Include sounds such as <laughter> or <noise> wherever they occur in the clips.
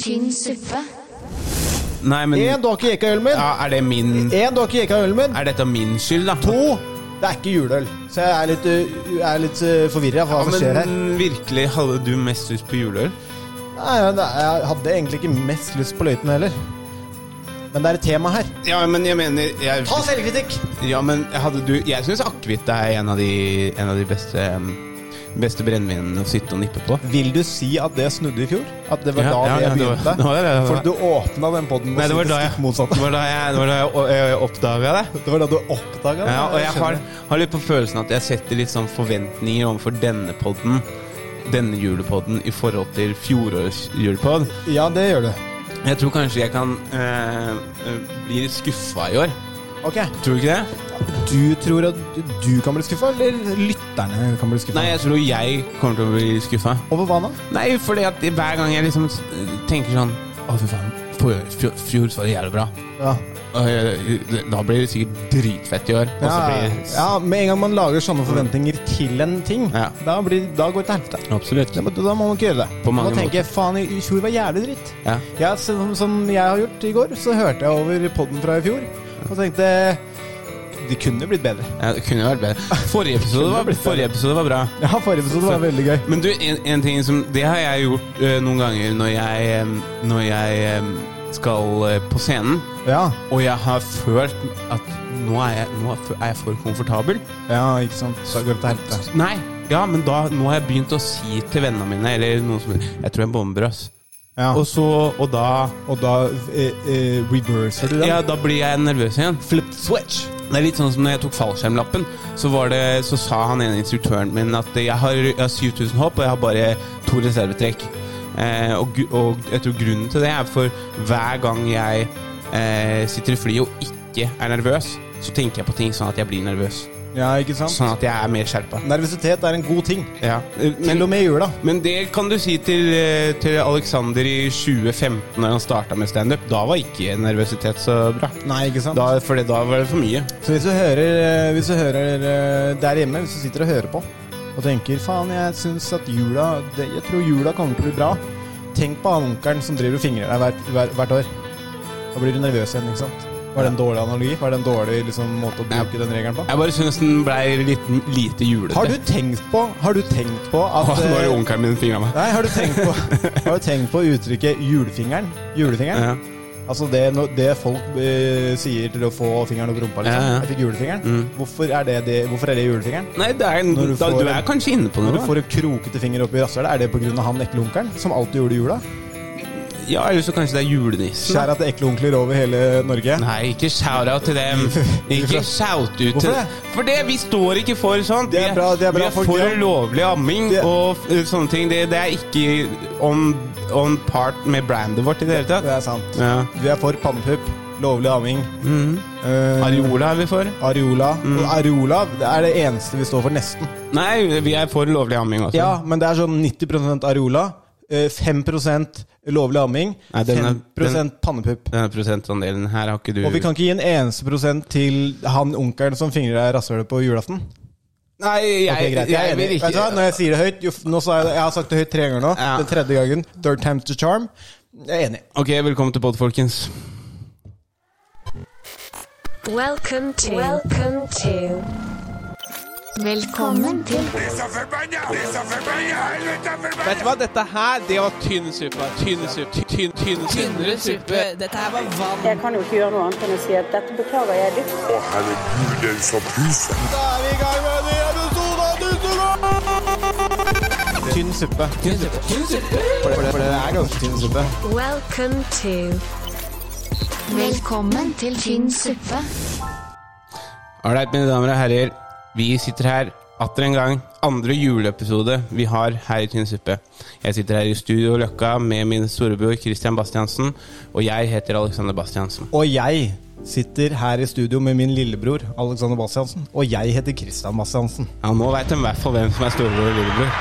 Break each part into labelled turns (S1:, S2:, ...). S1: tynn suppe.
S2: Nei, men
S3: Én, du har ikke jekka ølen min.
S2: ja, Er det min
S3: Én, du har ikke jekka ølen min.
S2: Er dette min skyld, da?
S3: To, det er ikke juleøl. Så jeg er litt, uh, jeg er litt uh, forvirra for hva
S2: Ja,
S3: som skjer her.
S2: men virkelig, hadde du mest lyst på juleøl?
S3: Nei, men det- Jeg hadde egentlig ikke mest lyst på løyten heller. Men det er et tema her.
S2: Ja, men jeg mener jeg,
S3: Ta selvkritikk!
S2: Ja, men hadde du Jeg syns akevitt er en av de, en av de beste, em, beste brennevinene å sitte og nippe på.
S3: Vil du si at det snudde i fjor? At det var
S2: Ja,
S3: da
S2: ja,
S3: det
S2: ja, det var- <laughs>
S3: begynte?
S2: det var det, det var
S3: For
S2: det.
S3: du åpna den poden
S2: Nei, det var da jeg, det var da jeg, det var da jeg, o- jeg oppdaga det.
S3: Det var da du oppdaga det?
S2: Ja, og jeg har,
S3: skjønner.
S2: har litt på følelsen at jeg setter litt sånn forventninger overfor denne podden, denne julepodden, i forhold til fjorårets julepodd.
S3: Ja, det gjør du.
S2: Jeg tror kanskje jeg kan eh, eh, bli litt skuffa i år.
S3: Ok.
S2: Tror du ikke det?
S3: Du tror at du kan bli skuffa, eller lytterne kan bli skuffa?
S2: Nei, jeg tror jeg kommer til å bli skuffa.
S3: Over hva da?
S2: Nei, fordi at hver gang jeg liksom s- tenker sånn Å, fy faen, fjor, fjor, fjor var det jævlig bra.
S3: Ja.
S2: Og jeg- Da blir det sikkert dritfett i år. Og så blir det
S3: ja, med en gang man lager sånne forventninger til en ting,
S2: Ja.
S3: da, blir, da går det til helvete.
S2: Absolutt.
S3: Da må- Da må man ikke gjøre det.
S2: På mange
S3: man tenker faen, i fjor var jævlig dritt.
S2: Ja.
S3: Ja, som, som jeg har gjort i går, så hørte jeg over podden fra i fjor og tenkte det kunne blitt bedre.
S2: Ja, det kunne jo vært bedre.
S3: <laughs>
S2: Forrige episode var, forrige episode var bra.
S3: Ja, forrige episode var veldig gøy.
S2: Men du, en, en ting som Det har jeg gjort eh, noen ganger når jeg, em, når jeg em, skal eh, på scenen,
S3: Ja,
S2: og jeg har følt at nå er jeg, nå er jeg for komfortabel.
S3: ja ikke sant. Da går det til helvete.
S2: Nei, ja, men da, nå har jeg begynt å si til vennene mine Eller noen som Jeg tror jeg bomber, ass.
S3: Ja.
S2: Og så Og da
S3: Og da eh, eh, reverser du den.
S2: ja, da blir jeg nervøs igjen.
S3: Flip switch.
S2: Det er litt sånn som når jeg tok fallskjermlappen, så, var det, så sa han ene instruktøren min at jeg har, jeg har 7000 hopp, og jeg har bare to reservetrekk. Eh, og, gu- og jeg tror grunnen til det er for hver gang jeg eh, sitter i flyet og ikke er nervøs, så tenker jeg på ting sånn at jeg blir nervøs.
S3: Ja, ikke sant?
S2: Sånn at jeg er mer skjerpa.
S3: Nervøsitet er en god ting.
S2: Ja. eh,
S3: Til og
S2: Men,
S3: med i jula.
S2: men det kan du si til, eh, til Alexander i 2015, når han starta med standup. Da var ikke nervøsitet så bra.
S3: Nei, ikke sant?
S2: Da, for det- da var det for mye.
S3: Så hvis du hører, hvis du hører eh, der hjemme, hvis du sitter og hører på og tenker faen, jeg syns at jula det, Jeg tror jula kommer til å bli bra. Tenk på han onkelen som driver og fingrer deg hvert, hver- hvert år. Da blir du nervøs igjen, ikke sant? Var det en dårlig analogi? Var det en dårlig liksom, måte å bruke den regelen på?
S2: Jeg bare syns den blei litt lite julete.
S3: Har du tenkt på Har du tenkt på at
S2: Åh, <laughs> Nå har
S3: eh,
S2: onkelen min fingra meg.
S3: Nei, har du tenkt
S2: <laughs>
S3: på, har du tenkt på uttrykket 'julefingeren'? Julefingeren?
S2: Ja.
S3: Altså det, no- det folk eh, sier til å få fingeren opp rumpa, liksom.
S2: Ja, ja. Mm.
S3: Jeg fikk julefingeren. Hvorfor, er det det, hvorfor er det julefingeren?
S2: Nei, det er,
S3: Når du
S2: da,
S3: får
S2: du
S3: en-
S2: er kanskje inne på
S3: Når
S2: noe.
S3: du får en krokete finger opp i rasshølet, er det pga. han ekle onkelen som alltid gjorde jula?
S2: Ja, Eller så kanskje det er julenissen. da.
S3: Kjære at det er ekle onkler over hele Norge.
S2: Nei, ikke shout-out til dem. Ikke shout-ut til
S3: Hvorfor det?
S2: For det, vi står ikke for sånt.
S3: Det er
S2: Vi
S3: bra- det er bra
S2: vi
S3: folk,
S2: for
S3: ja.
S2: lovlig amming
S3: Det-
S2: og eh, sånne ting. Det, det er ikke on, on part med brandet vårt i det hele
S3: Det
S2: tatt.
S3: er sant.
S2: Ja.
S3: Vi er for pannepupp, lovlig amming.
S2: Mm.
S3: eh,
S2: Ariola er vi for.
S3: Areola.
S2: Mm.
S3: Og Areola det er det eneste vi står for, nesten.
S2: Nei, vi er for lovlig amming også.
S3: Ja, men det er sånn 90 areola, eh, 5 lovlig amming,
S2: Nei, den er-
S3: 5 pannepupp.
S2: Denne prosentandelen her har ikke du
S3: Og vi kan ikke gi en eneste prosent til han onkelen som fingrer deg i rasshølet på julaften.
S2: Nei, jeg,
S3: Ok, greit. Jeg,
S2: jeg
S3: er enig.
S2: vil ikke
S3: Vet du hva, når jeg sier det høyt jo, f- nå sa jeg, det- jeg har sagt det høyt tre ganger nå.
S2: Ja.
S3: Den tredje gangen. Third time to charm. Jeg er enig.
S2: Ok, velkommen til pod, folkens.
S4: Welcome to. Welcome to.
S1: Velkommen til
S2: Vet du hva, dette her, det var tynn suppe. Tynn suppe. Tynn, tynn, tynnere suppe.
S5: Dette her var vann.
S6: Jeg kan jo ikke gjøre noe annet enn å si at dette beklager jeg dypt.
S7: Å, herregud, den som puser.
S3: Da er vi i gang med en ny episode av Dusselord! Tynn suppe. Tynn suppe. For det, for det er ganske tynn suppe.
S4: Welcome to.
S1: Velkommen til tynn suppe.
S2: Ålreit, mine damer og herrer. Vi sitter her atter en gang. Andre juleepisode vi har her i Tynn suppe. Jeg sitter her i Studio Løkka med min storebror Christian Bastiansen. Og jeg heter Alexander Bastiansen.
S3: Og jeg sitter her i studio med min lillebror Alexander Bastiansen. Og jeg heter Christian Bastiansen.
S2: Ja, nå veit de i hvert fall hvem som er storebror og lillebror.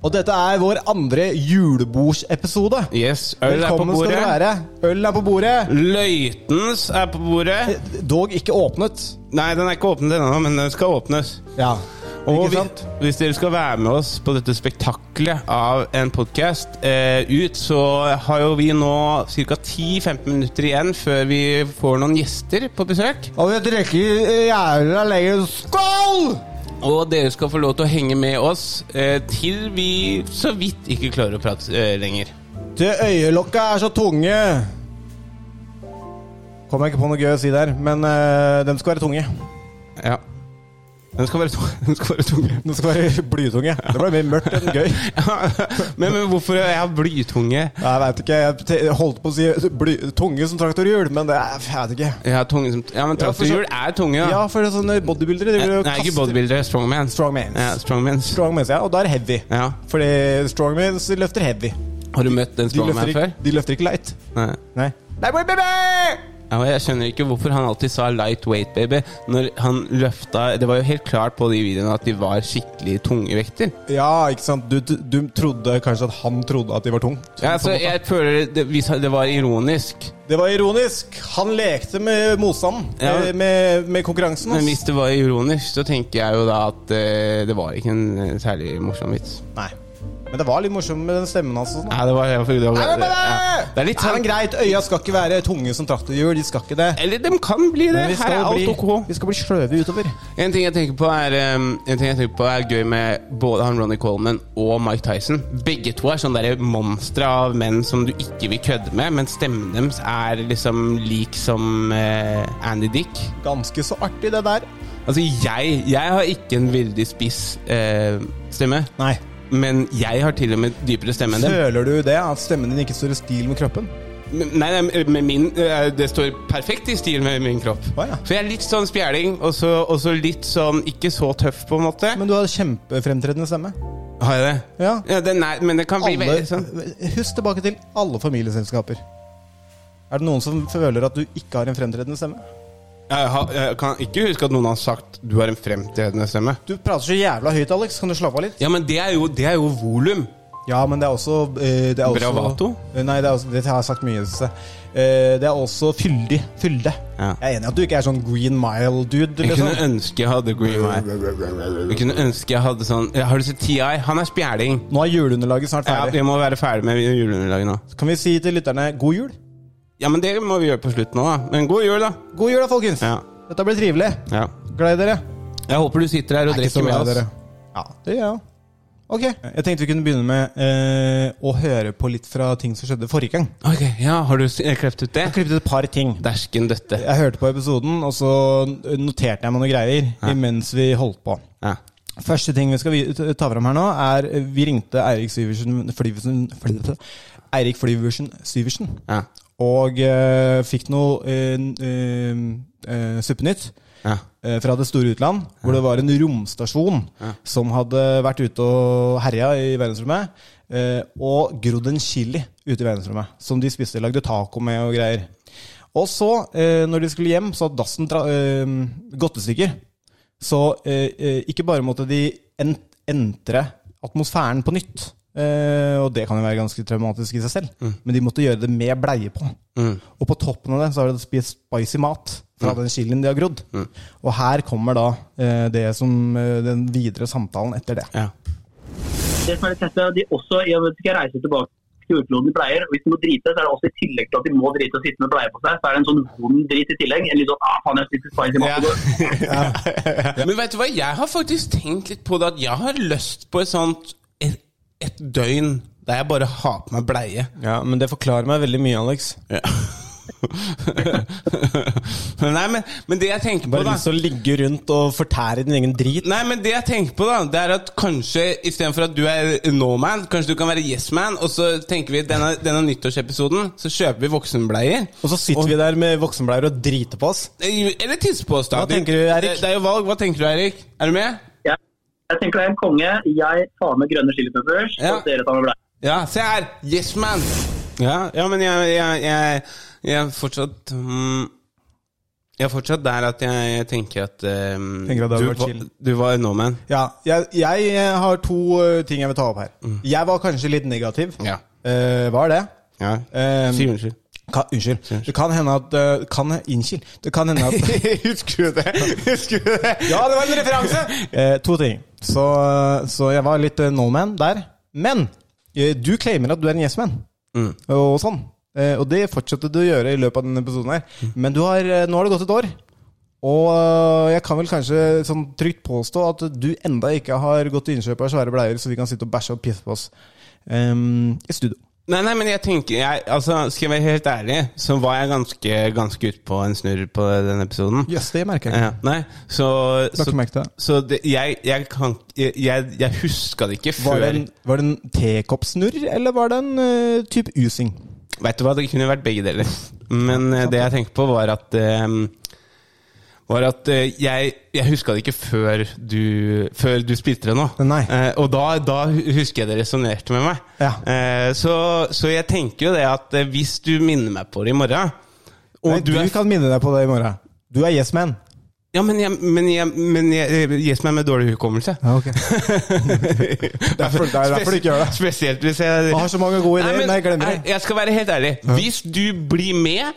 S3: Og dette er vår andre julebordsepisode.
S2: Yes, øl er på
S3: Velkommen skal
S2: bordet.
S3: dere være. Øl er på bordet.
S2: Løytens er
S3: Eh.
S2: på bordet.
S3: Dog ikke åpnet.
S2: Nei, den er ikke åpnet ennå, men den skal åpnes.
S3: Ja.
S2: Og
S3: Ikke
S2: vi,
S3: sant?
S2: hvis dere skal være med oss på dette spektaklet av en podkast eh, ut, så har jo vi nå ca. 10-15 minutter igjen før vi får noen gjester på besøk.
S3: Og vi drikker eh, jævla lenger. Skål!
S2: Og dere skal få lov til å henge med oss eh, til vi så vidt ikke klarer å prate eh, lenger.
S3: Til øyelokka er så tunge. Kom jeg ikke på noe gøy å si der, men eh, de skal være tunge.
S2: Ja. Den skal være, tung- <laughs> den skal være tunge.
S3: De skal være <laughs> blytunge. Det ble mer mørkt enn
S2: <laughs>
S3: gøy.
S2: men, men hvorfor er jeg blytunge?
S3: Nei, Jeg vet ikke. Jeg te- holdt på å si eh, bly, tunge som traktorhjul, men det er, jeg vet ikke.
S2: Jeg har tunge som Ja, men
S3: Ja, for så-
S2: traktorhjul er tunge,
S3: Ja,
S2: da.
S3: for det er sånne bodybuildere de vil jo
S2: Nei, ikke
S3: kaste-
S2: bodybuildere. Strongman.
S3: Strongmans.
S2: Ja, strongmans.
S3: Strongmans, ja. Og da er det heavy.
S2: Ja.
S3: Fordi strongmans løfter heavy.
S2: Har du møtt den
S3: De løfter,
S2: strongman
S3: ikke,
S2: før?
S3: de løfter ikke light.
S2: Nei.
S3: Nei.
S2: Ja, og jeg skjønner ikke hvorfor han alltid sa 'light weight, baby'. Når han løfta Det var jo helt klart på de videoene at de var skikkelig tunge vekter.
S3: Ja, ikke sant. Du, du, du trodde kanskje at han trodde at de var tung.
S2: Ja, altså, jeg føler det, vi sa- det var ironisk.
S3: Det var ironisk. Han lekte med motstanden.
S2: Ja.
S3: eh, Med, med konkurransen.
S2: Men
S3: hans.
S2: hvis det var ironisk, så tenker jeg jo da at eh, det var ikke en eh, særlig morsom vits.
S3: Nei. Men det var litt morsomt med den stemmen hans. og sånn.
S2: Nei, det var, det var, det var,
S3: Nei, men-
S2: ja. det er litt
S3: Nei, men
S2: sånn
S3: greit, øya skal ikke være tunge som traktorhjul. De skal ikke det.
S2: Eller de kan bli det.
S3: Men vi
S2: Her er
S3: skal,
S2: alt
S3: bli,
S2: ok.
S3: vi skal bli sløve utover.
S2: En ting jeg tenker på er um, En ting jeg tenker på er gøy med både han Ronny Coleman og Mike Tyson. Begge to er sånne der monstre av menn som du ikke vil kødde med, men stemmen deres er liksom lik som eh, Andy Dick.
S3: Ganske så artig, det der.
S2: Altså, jeg, jeg har ikke en veldig spiss eh, stemme,
S3: Nei.
S2: men jeg har til og med dypere stemme enn dem.
S3: Føler du det? At stemmen din ikke står i stil med kroppen?
S2: Men- Nei, nei, med min, eh, det står perfekt i stil med min kropp.
S3: Å, ja.
S2: Så jeg er litt sånn spjæling, og så og så litt sånn ikke så tøff, på en måte.
S3: Men du har kjempefremtredende stemme.
S2: Har jeg det?
S3: Ja.
S2: den er, men det kan bli
S3: Alle,
S2: veldig sånn.
S3: <laughs> husk tilbake til alle familieselskaper. Er det noen som føler at du ikke har en fremtredende stemme?
S2: Jeg, har, jeg kan ikke huske at noen har sagt 'du har en fremtredende stemme'.
S3: Du prater så jævla høyt, Alex. Kan du slappe av litt?
S2: Ja, men det er jo, det er jo volum.
S3: Ja, men det er også eh, det er også- Eh,
S2: Bravato?
S3: Nei, det, er også, det har jeg sagt mye. synes jeg. Eh, Det er også fyldig. Fylde.
S2: Ja.
S3: Jeg er enig i at du ikke er sånn Green Mile-dude.
S2: Jeg
S3: Liksom.
S2: kunne ønske jeg hadde Green Mile. Jeg kunne ønske jeg hadde sånn ja, Har du sett TI? Han er spjæling.
S3: Nå er juleunderlaget snart
S2: Ja,
S3: ferdig.
S2: vi må være ferdig med juleunderlaget nå.
S3: Kan vi si til lytterne god jul?
S2: Ja, men det må vi gjøre på slutten nå, da. Men god jul, da.
S3: God jul da, folkens!
S2: Ja.
S3: Dette blir trivelig.
S2: Ja.
S3: Gled dere.
S2: Jeg håper du sitter her og
S3: Jeg er ikke så
S2: drikker med
S3: glad i
S2: oss.
S3: dere. Ja, det gjør jeg òg. Ok. Jeg tenkte vi kunne begynne med eh, å høre på litt fra ting som skjedde forrige gang.
S2: Ok, ja, Har du s- eh, klept ut det?
S3: Jeg klippet ut et par ting.
S2: Dæsken døtte.
S3: Jeg hørte på episoden, og så noterte jeg meg noen greier imens vi holdt på.
S2: Ja.
S3: Første ting vi skal vi- ta fram her nå, er eh, Vi ringte Eirik Syversen Flyversen Fly- Eirik Flyversen Syversen.
S2: Ja.
S3: Og eh, fikk noe eh, n- eh, eh, Suppenytt
S2: Ja.
S3: eh, fra det store utland, hvor det var en romstasjon som hadde vært ute og herja i verdensrommet, eh, og grodd en chili ute i verdensrommet, som de spiste og lagde taco med og greier. Og så, eh, når de skulle hjem, så hadde dassen dra- eh, godtestykker. Så eh, eh, ikke bare måtte de en entre atmosfæren på nytt, eh, og det kan jo være ganske traumatisk i seg selv, men de måtte gjøre det med bleie på. Og på toppen av det så har de spist spicy mat fra den chilien de har grodd. Og her kommer da eh, det som, eh, den videre samtalen etter det.
S2: ja.
S5: Det som er litt tett, er at de også, i og med at de skal reise tilbake til jordkloden i bleier, og hvis de må drite, så er det også i tillegg til at de må drite og sitte med bleier på seg, så er det en sånn vond drit i tillegg. En litt sånn, ah, faen, jeg spiser spicy mat.
S2: <laughs> Men vet du hva, jeg har faktisk tenkt litt på det at jeg har lyst på et sånt et, et døgn der jeg bare har på meg bleie.
S3: Ja, men det forklarer meg veldig mye, Alex.
S2: <laughs> Nei, men, men det jeg tenker på,
S3: Bare
S2: da
S3: lyst til å ligge rundt og fortære din egen drit.
S2: Nei, men det jeg tenker på da Det er at kanskje istedenfor at du er no man, kanskje du kan være yes man. Og så tenker vi denne, denne nyttårsepisoden, så kjøper vi voksenbleier.
S3: Og så sitter vi der med voksenbleier og driter på oss.
S2: Eller tisse på oss, da.
S3: Hva tenker du, Erik?
S2: Det, det er jo valg. Hva tenker du, Erik? Er du med?
S5: Jeg, jeg tenker det er en konge. Jeg tar med grønne chilipeppers,
S2: Ja.
S5: og dere tar med bleier.
S2: Ja, se her! Yes, man! Ja, ja men jeg, jeg, jeg, jeg er fortsatt mm, Jeg er fortsatt der at jeg, jeg tenker at, ehm,
S3: Tenker at det hadde
S2: du,
S3: vært
S2: var-
S3: chill.
S2: du var no man.
S3: Ja, jeg, jeg har to eh, ting jeg vil ta opp her. Jeg var kanskje litt negativ.
S2: Ja.
S3: Eh, var det?
S2: Ja.
S3: Eh,
S2: si <laughs> unnskyld.
S3: Ka, unnskyld. Det kan hende at eh, Kan Innskyld. Det kan hende at
S2: Husker du det? Husker du det?
S3: Ja, det var en referanse! Eh, to ting. Så, så jeg var litt eh, no man der. Men eh, du claimer at du er en yes man.
S2: Mm.
S3: Og sånn. Eh, Og det fortsatte du å gjøre i løpet av denne episoden her.
S2: Mm.
S3: Men du har, eh, nå har det gått et år. Og eh, jeg kan vel kanskje sånn trygt påstå at du enda ikke har gått til innkjøp av svære bleier, så vi kan sitte og bæsje og pisse på oss ehm, i studio.
S2: Nei, nei, men jeg tenker jeg, altså, Skal jeg være helt ærlig, så var jeg ganske, ganske ute på en snurr på den episoden.
S3: Jøss, det merker jeg
S2: Ja,
S3: ikke.
S2: nei, så,
S3: har ikke
S2: så,
S3: merket det.
S2: så det, jeg, jeg, kan, jeg, jeg, jeg huska det ikke
S3: Var
S2: før
S3: det en, var det en tekoppsnurr, eller var det en eh, type using?
S2: Vet du hva, det kunne vært begge deler. Men eh, det jeg tenkte på, var at eh, var at eh, jeg, jeg huska det ikke før du, før du spilte det nå.
S3: Nei.
S2: Eh, og da, da husker jeg det resonnerte med meg.
S3: Ja.
S2: Eh, så, så jeg tenker jo det at eh, hvis du minner meg på det i morgen og
S3: Nei, du,
S2: er-
S3: kan minne deg på det i morgen. Du er yes man.
S2: Ja, men jeg, men jeg, men jeg, jeg gis meg med dårlig hukommelse. <laughs>
S3: Ja, <laughs> ok. Derfor- det er derfor du ikke gjør det.
S2: Spesielt hvis jeg
S3: Jeg har så mange gode ideer, men jeg glemmer
S2: nei,
S3: det.
S2: jeg skal være helt ærlig. Hvis du blir med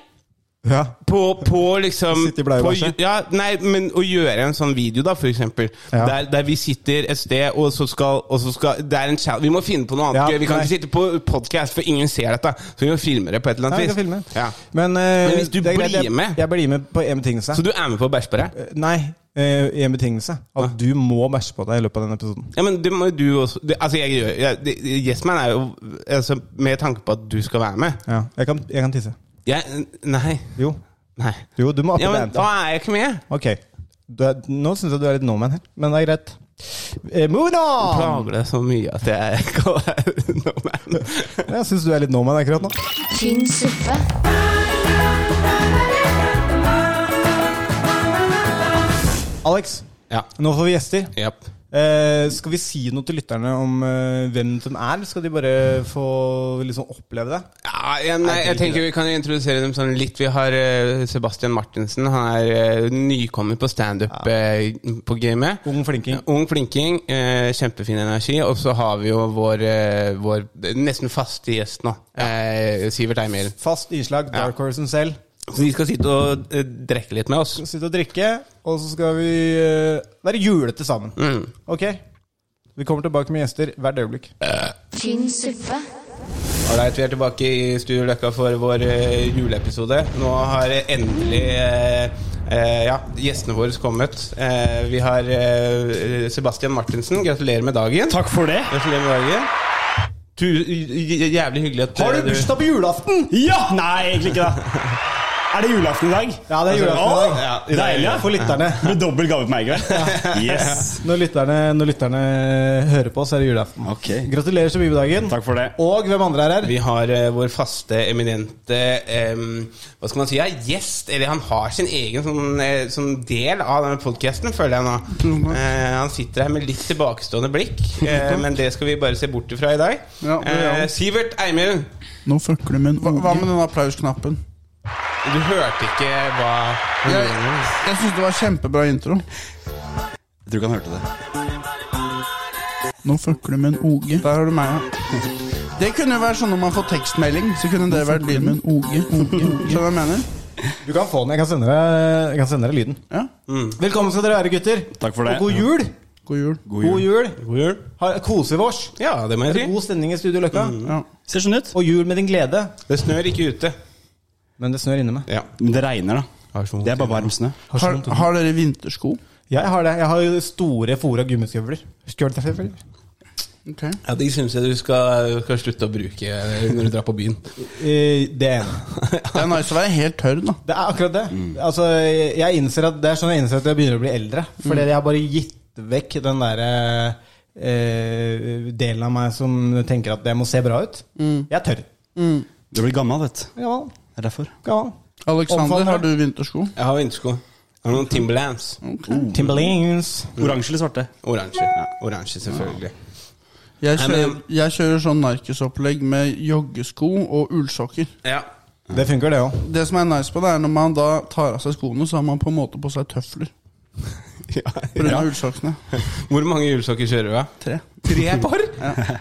S3: Ja.
S2: på, på liksom
S3: Sitte i bleiebæsje?
S2: på- Ja, nei, men å gjøre en sånn video, da, for eksempel.
S3: Ja.
S2: Der, der vi sitter et sted, og så skal, og så skal Det er en challenge. Vi må finne på noe annet
S3: Ja,
S2: gøy. Vi kan
S3: nei.
S2: ikke sitte på podcast, for ingen ser dette. Så vi må filme det på et eller
S3: Ja,
S2: annet
S3: jeg
S2: vis.
S3: kan filme.
S2: Ja.
S3: Men, eh,
S2: Men hvis du
S3: det er greit,
S2: blir
S3: jeg-
S2: med-
S3: Jeg blir med på en betingelse.
S2: Så du er med på bæsj på deg?
S3: Eh, Nei, eh, i en betingelse. At
S2: Hva?
S3: du må bæsje på deg i løpet av denne episoden.
S2: Ja, men det må jo du også det, Altså, jeg gjør jeg, det, Yesman er jo altså, Med tanke på at du skal være med
S3: Ja. Jeg kan, jeg kan tisse.
S2: jeg, Nei.
S3: Jo.
S2: Nei.
S3: Jo, du må oppe
S2: Ja, men
S3: det.
S2: da er jeg ikke med.
S3: Ok. Du er, nå syns jeg du er litt no-man her, men det er greit. Eh, moving on!
S2: Plager det så mye at jeg <laughs> kaller no man.
S3: <laughs> Jeg syns du er litt no-man akkurat nå.
S1: tynn suppe,
S3: Alex,
S2: Ja.
S3: nå får vi gjester.
S2: Japp.
S3: Eh, skal vi si noe til lytterne om eh, hvem de er? eller Skal de bare få liksom oppleve det?
S2: Ja, jeg, nei, jeg tenker vi kan introdusere dem sånn litt. Vi har eh, Sebastian Martinsen. Han er eh, nykommer på standup eh, på gamet.
S3: Ung flinking.
S2: Ung flinking. eh, kjempefin energi. Og så har vi jo vår, eh, vår nesten faste gjest nå. eh, Sivert Eimer.
S3: Fast innslag, Dark Horsen selv.
S2: Så de skal sitte og eh, drikke litt med oss.
S3: Sitte og drikke, og så skal vi eh, være julete sammen.
S2: Mm.
S3: Ok? Vi kommer tilbake med gjester hvert øyeblikk.
S1: tynn suppe,
S2: Alright, vi er tilbake i Studio Løkka for vår eh, juleepisode. Nå har endelig eh, eh, ja, gjestene våre kommet. Eh, vi har eh, Sebastian Martinsen. Gratulerer med dagen.
S8: Takk for det.
S2: Gratulerer med dagen. Tu j- j- jævlig hyggelig at eh,
S3: Har du bursdag på julaften?
S8: Ja! Nei, egentlig ikke det. Er det julaften i dag?
S3: Ja, det er
S8: Åh,
S3: julaften i dag.
S2: Ja, i dag er
S8: Deilig.
S2: det.
S8: Altså, ja.
S3: For lytterne.
S8: Blir dobbel gave på meg i kveld. Yes.
S3: Når lytterne, når lytterne hører på, så er det julaften.
S8: Ok.
S3: Gratulerer så mye med dagen.
S8: Takk for det.
S3: Og hvem andre er her?
S2: Vi har eh, vår faste, eminente em, Hva skal man si? Ja, gjest. Eller han har sin egen sånn, eh, sånn del av denne podkasten, føler jeg nå. Eh, han sitter her med litt tilbakestående blikk, eh, men det skal vi bare se bort ifra i dag.
S9: Ja, det gjør han.
S2: Eh, Sivert Eimund,
S9: Nå fucker du med en
S10: Hva, hva med
S9: unge.
S10: den applausknappen?
S2: du hørte ikke hva
S10: Jeg, jeg syns det var kjempebra intro.
S8: Jeg tror ikke han hørte det.
S10: Nå fucker du med en OG. Der har du meg, ja. Det kunne jo være sånn når man får tekstmelding, så kunne det vært lyden min. OG. Skjønner du hva jeg mener?
S3: Du kan få den. Jeg kan sende deg, jeg kan sende deg lyden.
S10: Ja.
S3: Velkommen skal dere være, gutter.
S8: Takk for det.
S3: Og god jul.
S10: God jul.
S8: God jul.
S3: God jul. Ha- Koser vi oss.
S2: Ja, det må
S3: Er Mm.
S2: jeg
S3: det
S2: si.
S3: god stemning i Studio Løkka?
S10: Ja.
S8: Ser sånn ut.
S3: Og jul med din glede.
S2: Det snør ikke ute.
S3: Men det snør inne meg.
S2: Ja.
S8: Men det regner, da.
S2: Har så vondt
S8: Det er bare varm snø.
S10: Har, har dere vintersko?
S3: Jeg har det. Jeg har jo store, fora gummiskøvler. Skjølteføvler.
S10: Ok.
S2: Ja, De syns jeg du skal, skal slutte å bruke når du drar på byen.
S3: Eh, Det ene.
S10: Det er nice å være helt tørr, da.
S3: Det er akkurat det.
S8: Mm.
S3: Altså, jeg innser at Det er sånn jeg innser at jeg begynner å bli eldre. Fordi jeg har bare gitt vekk den derre eh, delen av meg som tenker at jeg må se bra ut. Jeg er tørr.
S8: Mm. Du blir gammel, vet du.
S3: Gammel.
S8: Det er derfor.
S3: Gammel.
S10: Alexander,
S3: Omfavner.
S10: har du vintersko?
S2: Jeg har vintersko. Jeg har noen Timberlands. Oh.
S8: Mm.
S3: Timberlings.
S8: Oransje eller svarte?
S2: Oransje. Oransje, selvfølgelig.
S10: Jeg
S2: Nei, men-
S10: kjører, jeg kjører sånn narkisopplegg med joggesko og ullsokker.
S2: Ja.
S3: Det funker, det òg.
S10: Det som er nice på det, er når man da tar av seg skoene, så har man på en måte på seg tøfler. På grunn
S2: Ja.
S10: av ullsokkene.
S2: Hvor mange hjulsokker kjører du? da?
S10: Tre.
S2: Tre par?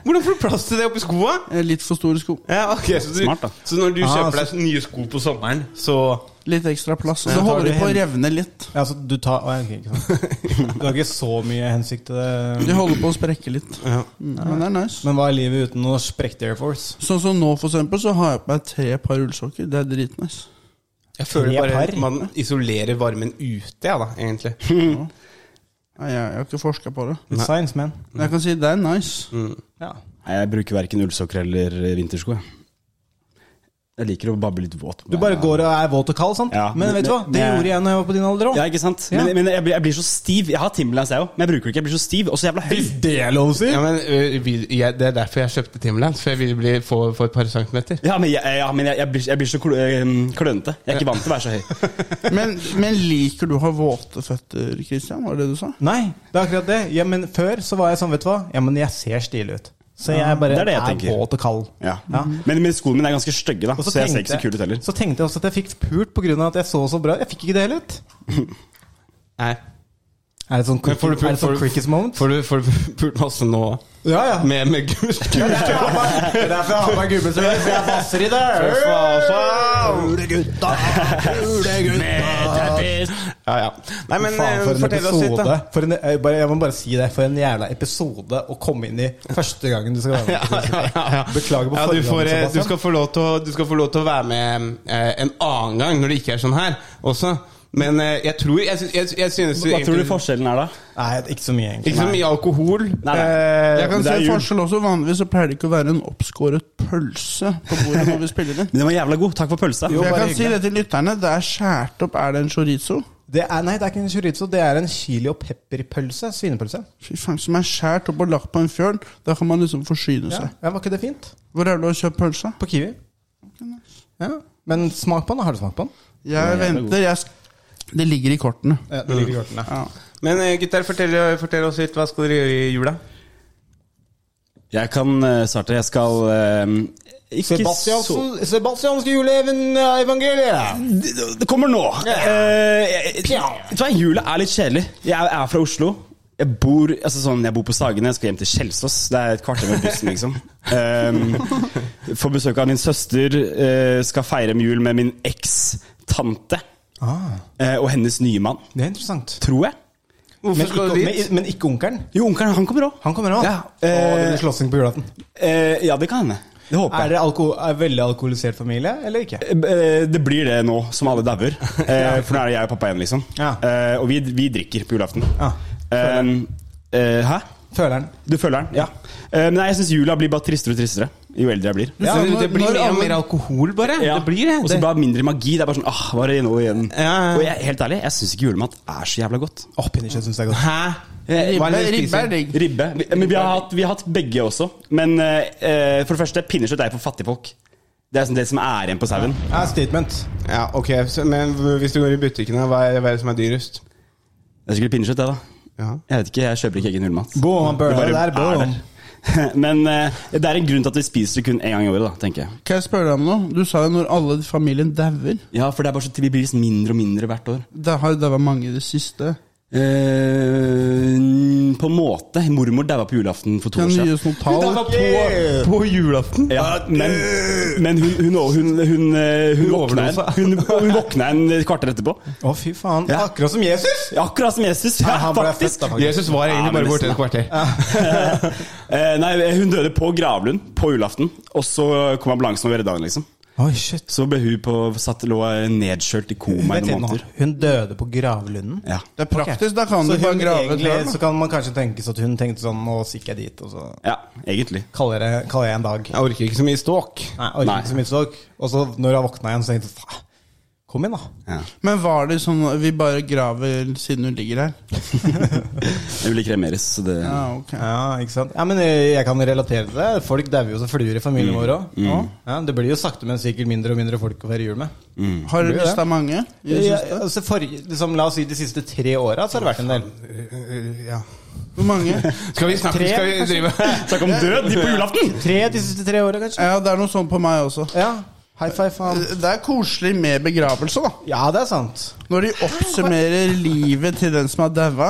S2: Hvordan får du plass til det oppi skoa?
S10: Eh, Litt for store sko.
S2: Ja, ok, så, du,
S8: Smart, da.
S2: så når du
S3: Ah,
S2: kjøper
S3: så-
S2: deg nye sko på sommeren, så
S10: Litt ekstra plass. Og
S3: Ja,
S10: så
S3: tar
S10: holder
S3: du
S10: de på å
S3: hen-
S10: revne litt.
S3: Ja, så du tar å, ok, ikke
S8: <laughs>
S3: sant. Du har ikke så mye hensikt til
S10: De
S3: det.
S10: holder på å sprekke litt.
S2: Ja.
S10: Mm, Men det er nice.
S3: Men hva er livet uten noe sprekt Air Force?
S10: Sånn som nå, for eksempel, så har jeg på meg tre par ullsokker. Det er dritnice.
S2: Jeg føler
S3: Tre
S2: bare at
S3: par?
S2: man isolerer varmen ute, ja da, egentlig.
S10: Nei, jeg, jeg har ikke forska på det.
S3: Science, man.
S10: Men jeg kan si det er nice.
S3: Ja.
S8: Nei, jeg bruker verken ullsokker eller vintersko. jeg. Jeg liker å bable litt våt. eh,
S3: Du bare går og er våt og kald, sant?
S8: Ja,
S3: men,
S8: men-
S3: vet du hva?
S8: men-
S3: Det gjorde jeg når jeg var på din alder òg.
S8: Ja, ikke sant?
S3: Ja.
S8: Men, men jeg, blir, jeg blir så stiv. Jeg har Timberlands, jeg òg, men jeg bruker det ikke. Jeg blir så stiv og så jævla høy.
S3: <laughs> Det er lov å si!
S2: Ja, men ø, vil, jeg, Det er derfor jeg kjøpte Timberlands, for jeg ville bli, få, få et par centimeter.
S8: Ja, men jeg, ja, men jeg, jeg, blir, jeg blir så kl øhm, klønete. Jeg er ikke vant til å være så høy.
S10: Men, men liker du å ha våte føtter, Christian? Var det det du sa?
S3: Nei, det er akkurat det. Ja, men før så var jeg sånn, vet du hva? Ja, men jeg ser stilig ut. Så jeg bare
S8: det
S3: er,
S8: er det jeg tenker.
S3: våt og kald.
S8: Ja. Men, men skoene mine er ganske stygge, da,
S3: Og
S8: så, jeg ser ikke så kul ut heller.
S3: så tenkte jeg også at jeg fikk pult pga. at jeg så så bra Jeg fikk ikke det heller. ut.
S2: Nei.
S3: Er det sånn,
S2: Men
S3: quick,
S2: får du pult-
S3: er det sånn
S2: får du-
S3: quickest moment?
S2: Får du, får du <laughs> pult masse nå?
S3: ja, ja.
S2: Med, med <laughs> gul-
S3: Det
S2: gul-
S3: er derfor jeg har meg- <laughs> det er derfor jeg har meg gubbetrøye, for jeg passer i det.
S2: Ja, ja. Nei, men
S3: Faen,
S2: ø,
S3: for en
S2: fortell oss litt, da.
S3: episode. For en, jeg, bare, jeg må bare si det. For en jævla episode å komme inn i første gangen du skal være med.
S2: <laughs> <laughs> Ja, ja, ja, ja.
S3: Beklager på
S2: ja, du,
S3: forhånd,
S2: får, eh, du,
S3: Sebastian.
S2: skal få lov til å, du skal få lov til å være med eh, en annen gang, når det ikke er sånn her også. Men eh, jeg tror jeg, sy- jeg, jeg synes
S8: Hva tror du
S2: egentlig-
S8: forskjellen er da?
S3: Nei, ikke så mye, egentlig.
S2: Ikke så mye alkohol.
S8: Nei, nei.
S2: eh,
S10: Jeg kan
S8: men
S10: se
S8: det er jul.
S10: forskjell også. Vanligvis så pleier det ikke å være en oppskåret pølse på bordet når vi spiller inn.
S2: <laughs>
S8: Men den var jævla god. Takk for pølsa.
S3: Jo,
S10: Jeg
S3: bare
S10: kan si
S3: hyggelig.
S10: det til lytterne. Det er skåret opp. Er det en chorizo?
S3: Det er, nei, det er ikke en chorizo. Det er en chili og pepperpølse. Svinepølse.
S10: Fy faen, som er skåret opp og lagt på en fjøl. Da kan man liksom forsyne
S3: Ja,
S10: seg.
S3: ja, Var ikke det fint?
S10: Hvor er det du har kjøpt pølsa?
S3: På Kiwi. Ja. Men smak på den. da. Har du smakt på den?
S10: Jeg venter. Jeg sk det ligger i kortene.
S3: Ja, det ligger i kortene.
S10: Ja.
S2: Men eh, gutter, fortell, fortell oss litt. Hva skal dere gjøre i jula?
S8: Jeg kan eh, starte. Jeg skal ehm, ikke
S3: Sebastiansen- Sebastianske juleevangeliet!
S8: så Det kommer nå. Eh, jeg- jeg-
S3: Pja.
S8: Vet du hva, Jula er litt kjedelig. Jeg er- er fra Oslo. Jeg bor, altså sånn, jeg bor på Sagene, jeg skal hjem til Kjelsås. Det er et kvarter med bussen, liksom. Um, får besøk av min søster, eh, skal feire med jul med min eks-tante
S3: Ah,
S8: eh, og hennes nye mann,
S3: det er interessant.
S8: tror jeg.
S3: Men
S2: Hvorfor
S3: ikke,
S2: skal du dit?
S3: men, men ikke onkelen.
S8: Jo, onkelen, han kommer òg.
S3: Han kommer òg.
S8: Ja.
S3: det blir slåssing på julaften.
S8: Eh, ja, det kan hende. Det håper jeg.
S3: Er det alko er veldig alkoholisert familie, eller ikke?
S8: Eh, Det blir det nå, som alle dauer. Eh, For nå er det jeg og pappa igjen, liksom.
S3: Ja.
S8: Eh, Og vi, vi drikker på julaften.
S3: Ja.
S8: Eh, eh, hæ?
S3: Føleren.
S8: Du føler den? Ja. Eh, Men nei, jeg syns jula blir bare tristere og tristere jo eldre jeg blir.
S10: Ja,
S2: Så det,
S10: når-
S2: det blir
S10: når
S2: mer og
S10: alle-
S2: mer alkohol, bare.
S8: Ja.
S2: Det blir det.
S8: Og så
S2: det.
S8: bare mindre magi. Det er bare sånn ah, hva er det nå igjen?
S2: Ja.
S8: Og jeg, helt ærlig, jeg syns ikke julemat er så jævla godt.
S3: Åh, pinnekjøtt syns jeg er godt.
S2: Hæ? Hva Eh, er
S10: Ribbe,
S2: det du
S10: ribbe
S2: spiser?
S10: er digg.
S8: Ribbe. Vi- Men vi har hatt, vi har hatt begge også. Men eh, eh, for det første, pinnekjøtt er for fattigfolk. Det er sånn det som er igjen på sauen.
S3: Ja, statement.
S2: Ja, ok, så, Men hvis du går i butikken, da, hva er hva er det som er dyrest?
S8: Det er sikkert pinnekjøtt, det, da.
S2: Ja.
S8: Jeg vet ikke, jeg kjøper ikke egen julemat.
S3: Boom, han burner
S8: Det bare
S3: der, boom.
S8: er der. <laughs> Men eh, det er en grunn til at vi spiser det kun én gang i året, da, tenker jeg.
S10: Kan jeg spørre deg om noe? Du sa jo når alle i familien dauer.
S8: Ja, for det er bare så til vi blir liksom mindre og mindre hvert år.
S10: Det har jo daua mange i det siste.
S8: Eh, på en måte. Mormor daua på julaften for to
S10: Kan
S8: år
S10: du gi
S8: siden.
S10: oss noen
S3: <laughs>
S10: tall?
S2: På, på julaften?
S8: Ja, men, men hun, hun, hun, hun, eh, hun, våkna en,
S2: overdosa.
S8: hun, hun våkna en kvarter etterpå.
S3: Å, fy faen.
S8: Ja.
S3: Akkurat som Jesus!
S8: Akkurat som Jesus, ja,
S3: han ble
S8: faktisk.
S3: født da, faktisk.
S2: Jesus var
S8: Ja,
S2: egentlig
S8: men
S2: bare borte
S8: nesten,
S2: et kvarter.
S8: <laughs> Eh, nei, hun døde på Gravlund på julaften, og så kom ambulansen over i dagen, liksom.
S3: Oi, shit.
S8: Så ble hun på, satt, lå nedkjølt i
S2: Oh
S8: koma i
S3: Vent litt
S8: noen
S3: nå.
S8: måneder.
S3: Hun døde på gravlunden?
S8: Ja.
S10: Det er praktisk. Da kan
S3: Så,
S10: du bare
S3: hun
S10: grave et
S3: egentlig,
S10: høl, da.
S3: så kan man kanskje tenkes at hun tenkte sånn Nå stikker jeg dit, og så
S8: ja, egentlig.
S3: kaller jeg, kaller jeg en dag.
S2: Jeg orker ikke så mye ståk.
S3: Nei, orker
S8: Nei.
S3: ikke så mye sorg. Og så når jeg våkna igjen, så tenkte jeg faen, kom inn, da.
S8: Ja.
S10: Men var det sånn Vi bare graver siden hun ligger her?
S8: Jeg ville kremeres, så det
S10: Ja, ok
S3: Ja, ikke sant? Ja, men jeg, jeg kan relatere til det. Folk dauer jo som fluer i
S2: Mm.
S3: familien vår òg. Ja, det blir jo sakte, men sikkert mindre og mindre folk å feire jul med.
S10: Har du
S3: Blir det?
S10: mista mange? i det
S3: Ja,
S10: siste?
S3: altså for, liksom, la oss si de siste tre åra, så har det vært en del.
S10: Hvor
S3: <laughs>
S10: mange?
S2: Skal vi snakke
S3: Tre,
S2: Skal vi drive
S3: <laughs>
S8: Snakk om død, de på julaften!
S3: Tre de siste tre åra, kanskje?
S10: Ja, det er noe sånn på meg også.
S2: Eh,
S3: Ja. High five, faen.
S10: Det er koselig med begravelse, da.
S3: Ja, det er sant.
S10: Når de
S3: <laughs>
S10: oppsummerer livet til den som har daua.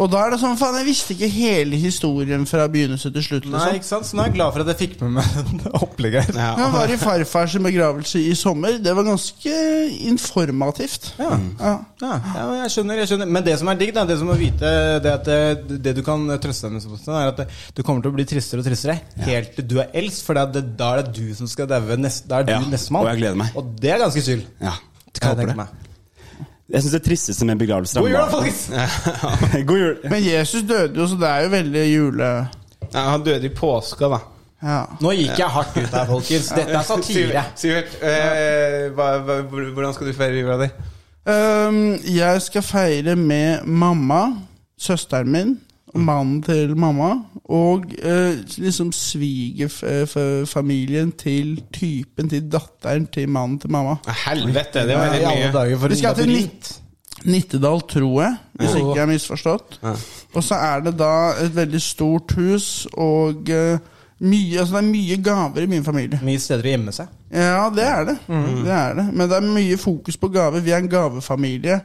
S10: Og da er det sånn Faen, jeg visste ikke hele historien fra begynnelse til slutt.
S3: Nei,
S2: Sånn.
S10: Liksom.
S3: ikke sant? Så nå er jeg glad for at jeg fikk med meg <laughs> opplegget. her. <laughs>
S10: Jeg var i farfars begravelse i sommer. Det var ganske informativt.
S3: Ja.
S10: Ja.
S3: Mm. Ja, ja, men jeg skjønner, jeg skjønner. Men det som er digg, da, det som må vite, det at det, det du kan trøste deg med, Sebastian, er at det, du kommer til å bli tristere og tristere helt til du er eldst. For det, er- det, da er det du som skal daue. nest- Da er du
S8: Ja,
S3: nestemann.
S8: og jeg gleder meg.
S3: Og det er ganske chill.
S8: Ja.
S3: Kan jeg
S8: håper
S3: tenke
S8: det.
S3: meg.
S8: Jeg syns det tristeste med begravelser er
S3: God jul, da,
S8: barn.
S3: folkens!
S8: <laughs> God jul.
S10: Men Jesus døde jo, så det er jo veldig jule...
S2: Nei, han døde i påska, da.
S10: Ja.
S3: Nå gikk jeg hardt ut her, folkens. Dette er satire.
S2: Sivert, Sivert eh, hva, hva, hvordan skal du feire jula di?
S10: Øhm, jeg skal feire med mamma, søsteren min, og mannen til mamma, og øh, liksom svigerfamilien til typen til datteren til mannen til mamma.
S2: Helvete, det var
S3: I alle
S2: litt Eh, mye.
S3: dager for
S10: Vi skal
S3: en
S10: til
S3: labyrint.
S10: Nitt- Nittedal, tror jeg, hvis
S3: Ja.
S10: ikke jeg har misforstått. Og så er det da et veldig stort hus, og øh, mye, altså det er mye gaver i min familie.
S3: Mye steder å gjemme seg.
S10: Ja, det er det. det er det. Men det er mye fokus på gaver. Vi er en gavefamilie.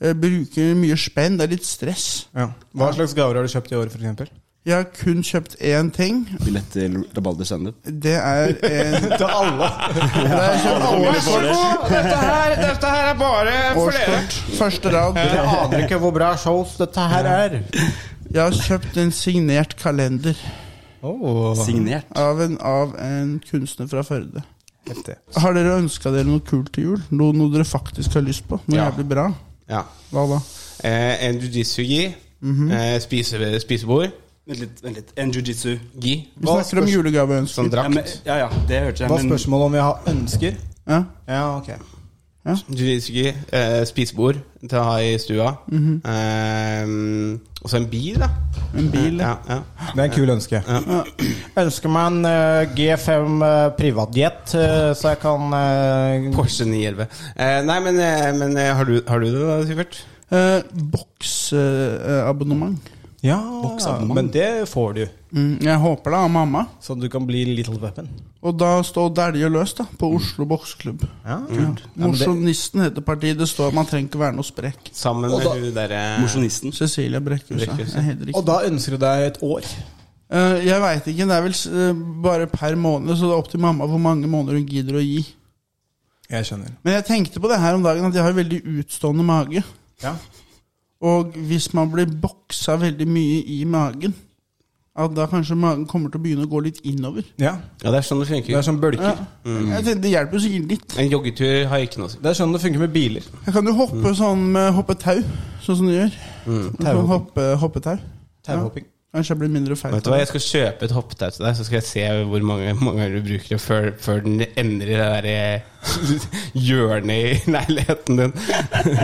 S10: Eh, bruker mye spenn. Det er litt stress.
S3: Hva slags gaver har du kjøpt i år, f.eks.?
S10: Jeg har kun kjøpt én ting.
S8: Billett til Rabalder standup.
S10: Det er en
S3: Til alle.
S10: det er kjøpt årskort.
S2: Dette her, dette her er bare
S10: årskort. Første rad.
S3: Jeg aner ikke hvor bra shows dette her er.
S10: Jeg har kjøpt en signert kalender
S8: Signert.
S10: av en, av en kunstner fra Førde.
S3: Heftig.
S10: Har dere ønska dere noe kult til jul? Noe, noe dere faktisk har lyst på? Noe
S2: Ja.
S10: jævlig bra?
S2: Ja.
S10: Hva da?
S2: Eh, en jujitsu-gi. eh, spise, spisebord.
S8: Vent litt. vent litt En jiu-jitsu.
S2: Gi.
S10: Vi snakker om
S2: Sånn
S10: julegaveønsker.
S8: Ja, men,
S2: drakt.
S8: ja, ja, det hørte jeg.
S3: Hva er
S8: Men
S3: spørsmålet om jeg har ønsker?
S10: Ja.
S3: Ja, ok.
S2: Jujitsu-gi. Eh, spisebord til å ha i stua. eh, og så en bil, da.
S10: En bil.
S2: Ja, ja.
S3: Det er en kul ønske. Ønsker meg en eh, G5 uh, privatjet, eh, så jeg kan eh,
S2: Porsche 911. Eh, nei, men, eh, men eh, har, du, har du det, da, Sivert?
S10: Eh, Boksabonnement.
S3: Ja,
S8: Boksabonnement.
S3: men det får du.
S10: Mm, jeg håper det av mamma.
S3: Sånn at du kan bli Little Weapon.
S10: Og da står Dælje løs da, på Oslo boksklubb.
S3: Ja.
S10: Mosjonisten heter partiet. Det står at man trenger ikke være noe sprekk.
S2: Sammen med
S3: da-
S2: hun eh, derre
S8: mosjonisten.
S10: Cecilia Brekkhus. ja.
S2: Brekkhus, ja.
S10: Jeg heter ikke.
S3: Og da ønsker du deg et år.
S10: Eh, jeg veit ikke. Det er vel eh, bare per måned, så det er opp til mamma hvor mange måneder hun gidder å gi.
S3: Jeg skjønner.
S10: Men jeg tenkte på det her om dagen, at jeg har veldig utstående mage.
S3: Ja.
S10: Og hvis man blir boksa veldig mye i magen, at da kanskje magen kommer til å begynne å gå litt innover.
S3: ja.
S2: Ja, det er sånn det
S3: Det
S2: funker.
S3: er sånn
S10: Ja.
S3: bølker.
S2: Mm.
S10: Jeg tenkte, det hjelper jo sikkert litt.
S2: En joggetur har ikke noe å si.
S3: Det er sånn det funker med biler.
S10: Jeg kan jo hoppe
S2: Mm.
S10: sånn med hoppetau, sånn som du gjør. Du kan
S3: Tauhopping.
S10: hoppe, hoppetau.
S3: Tauhopping.
S10: Kanskje jeg blir mindre feit.
S2: Vet du hva, Jeg skal kjøpe et hoppetau til deg, så skal jeg se hvor mange, mange ganger du bruker det før, før den endrer det derre <laughs> hjørnet i leiligheten din.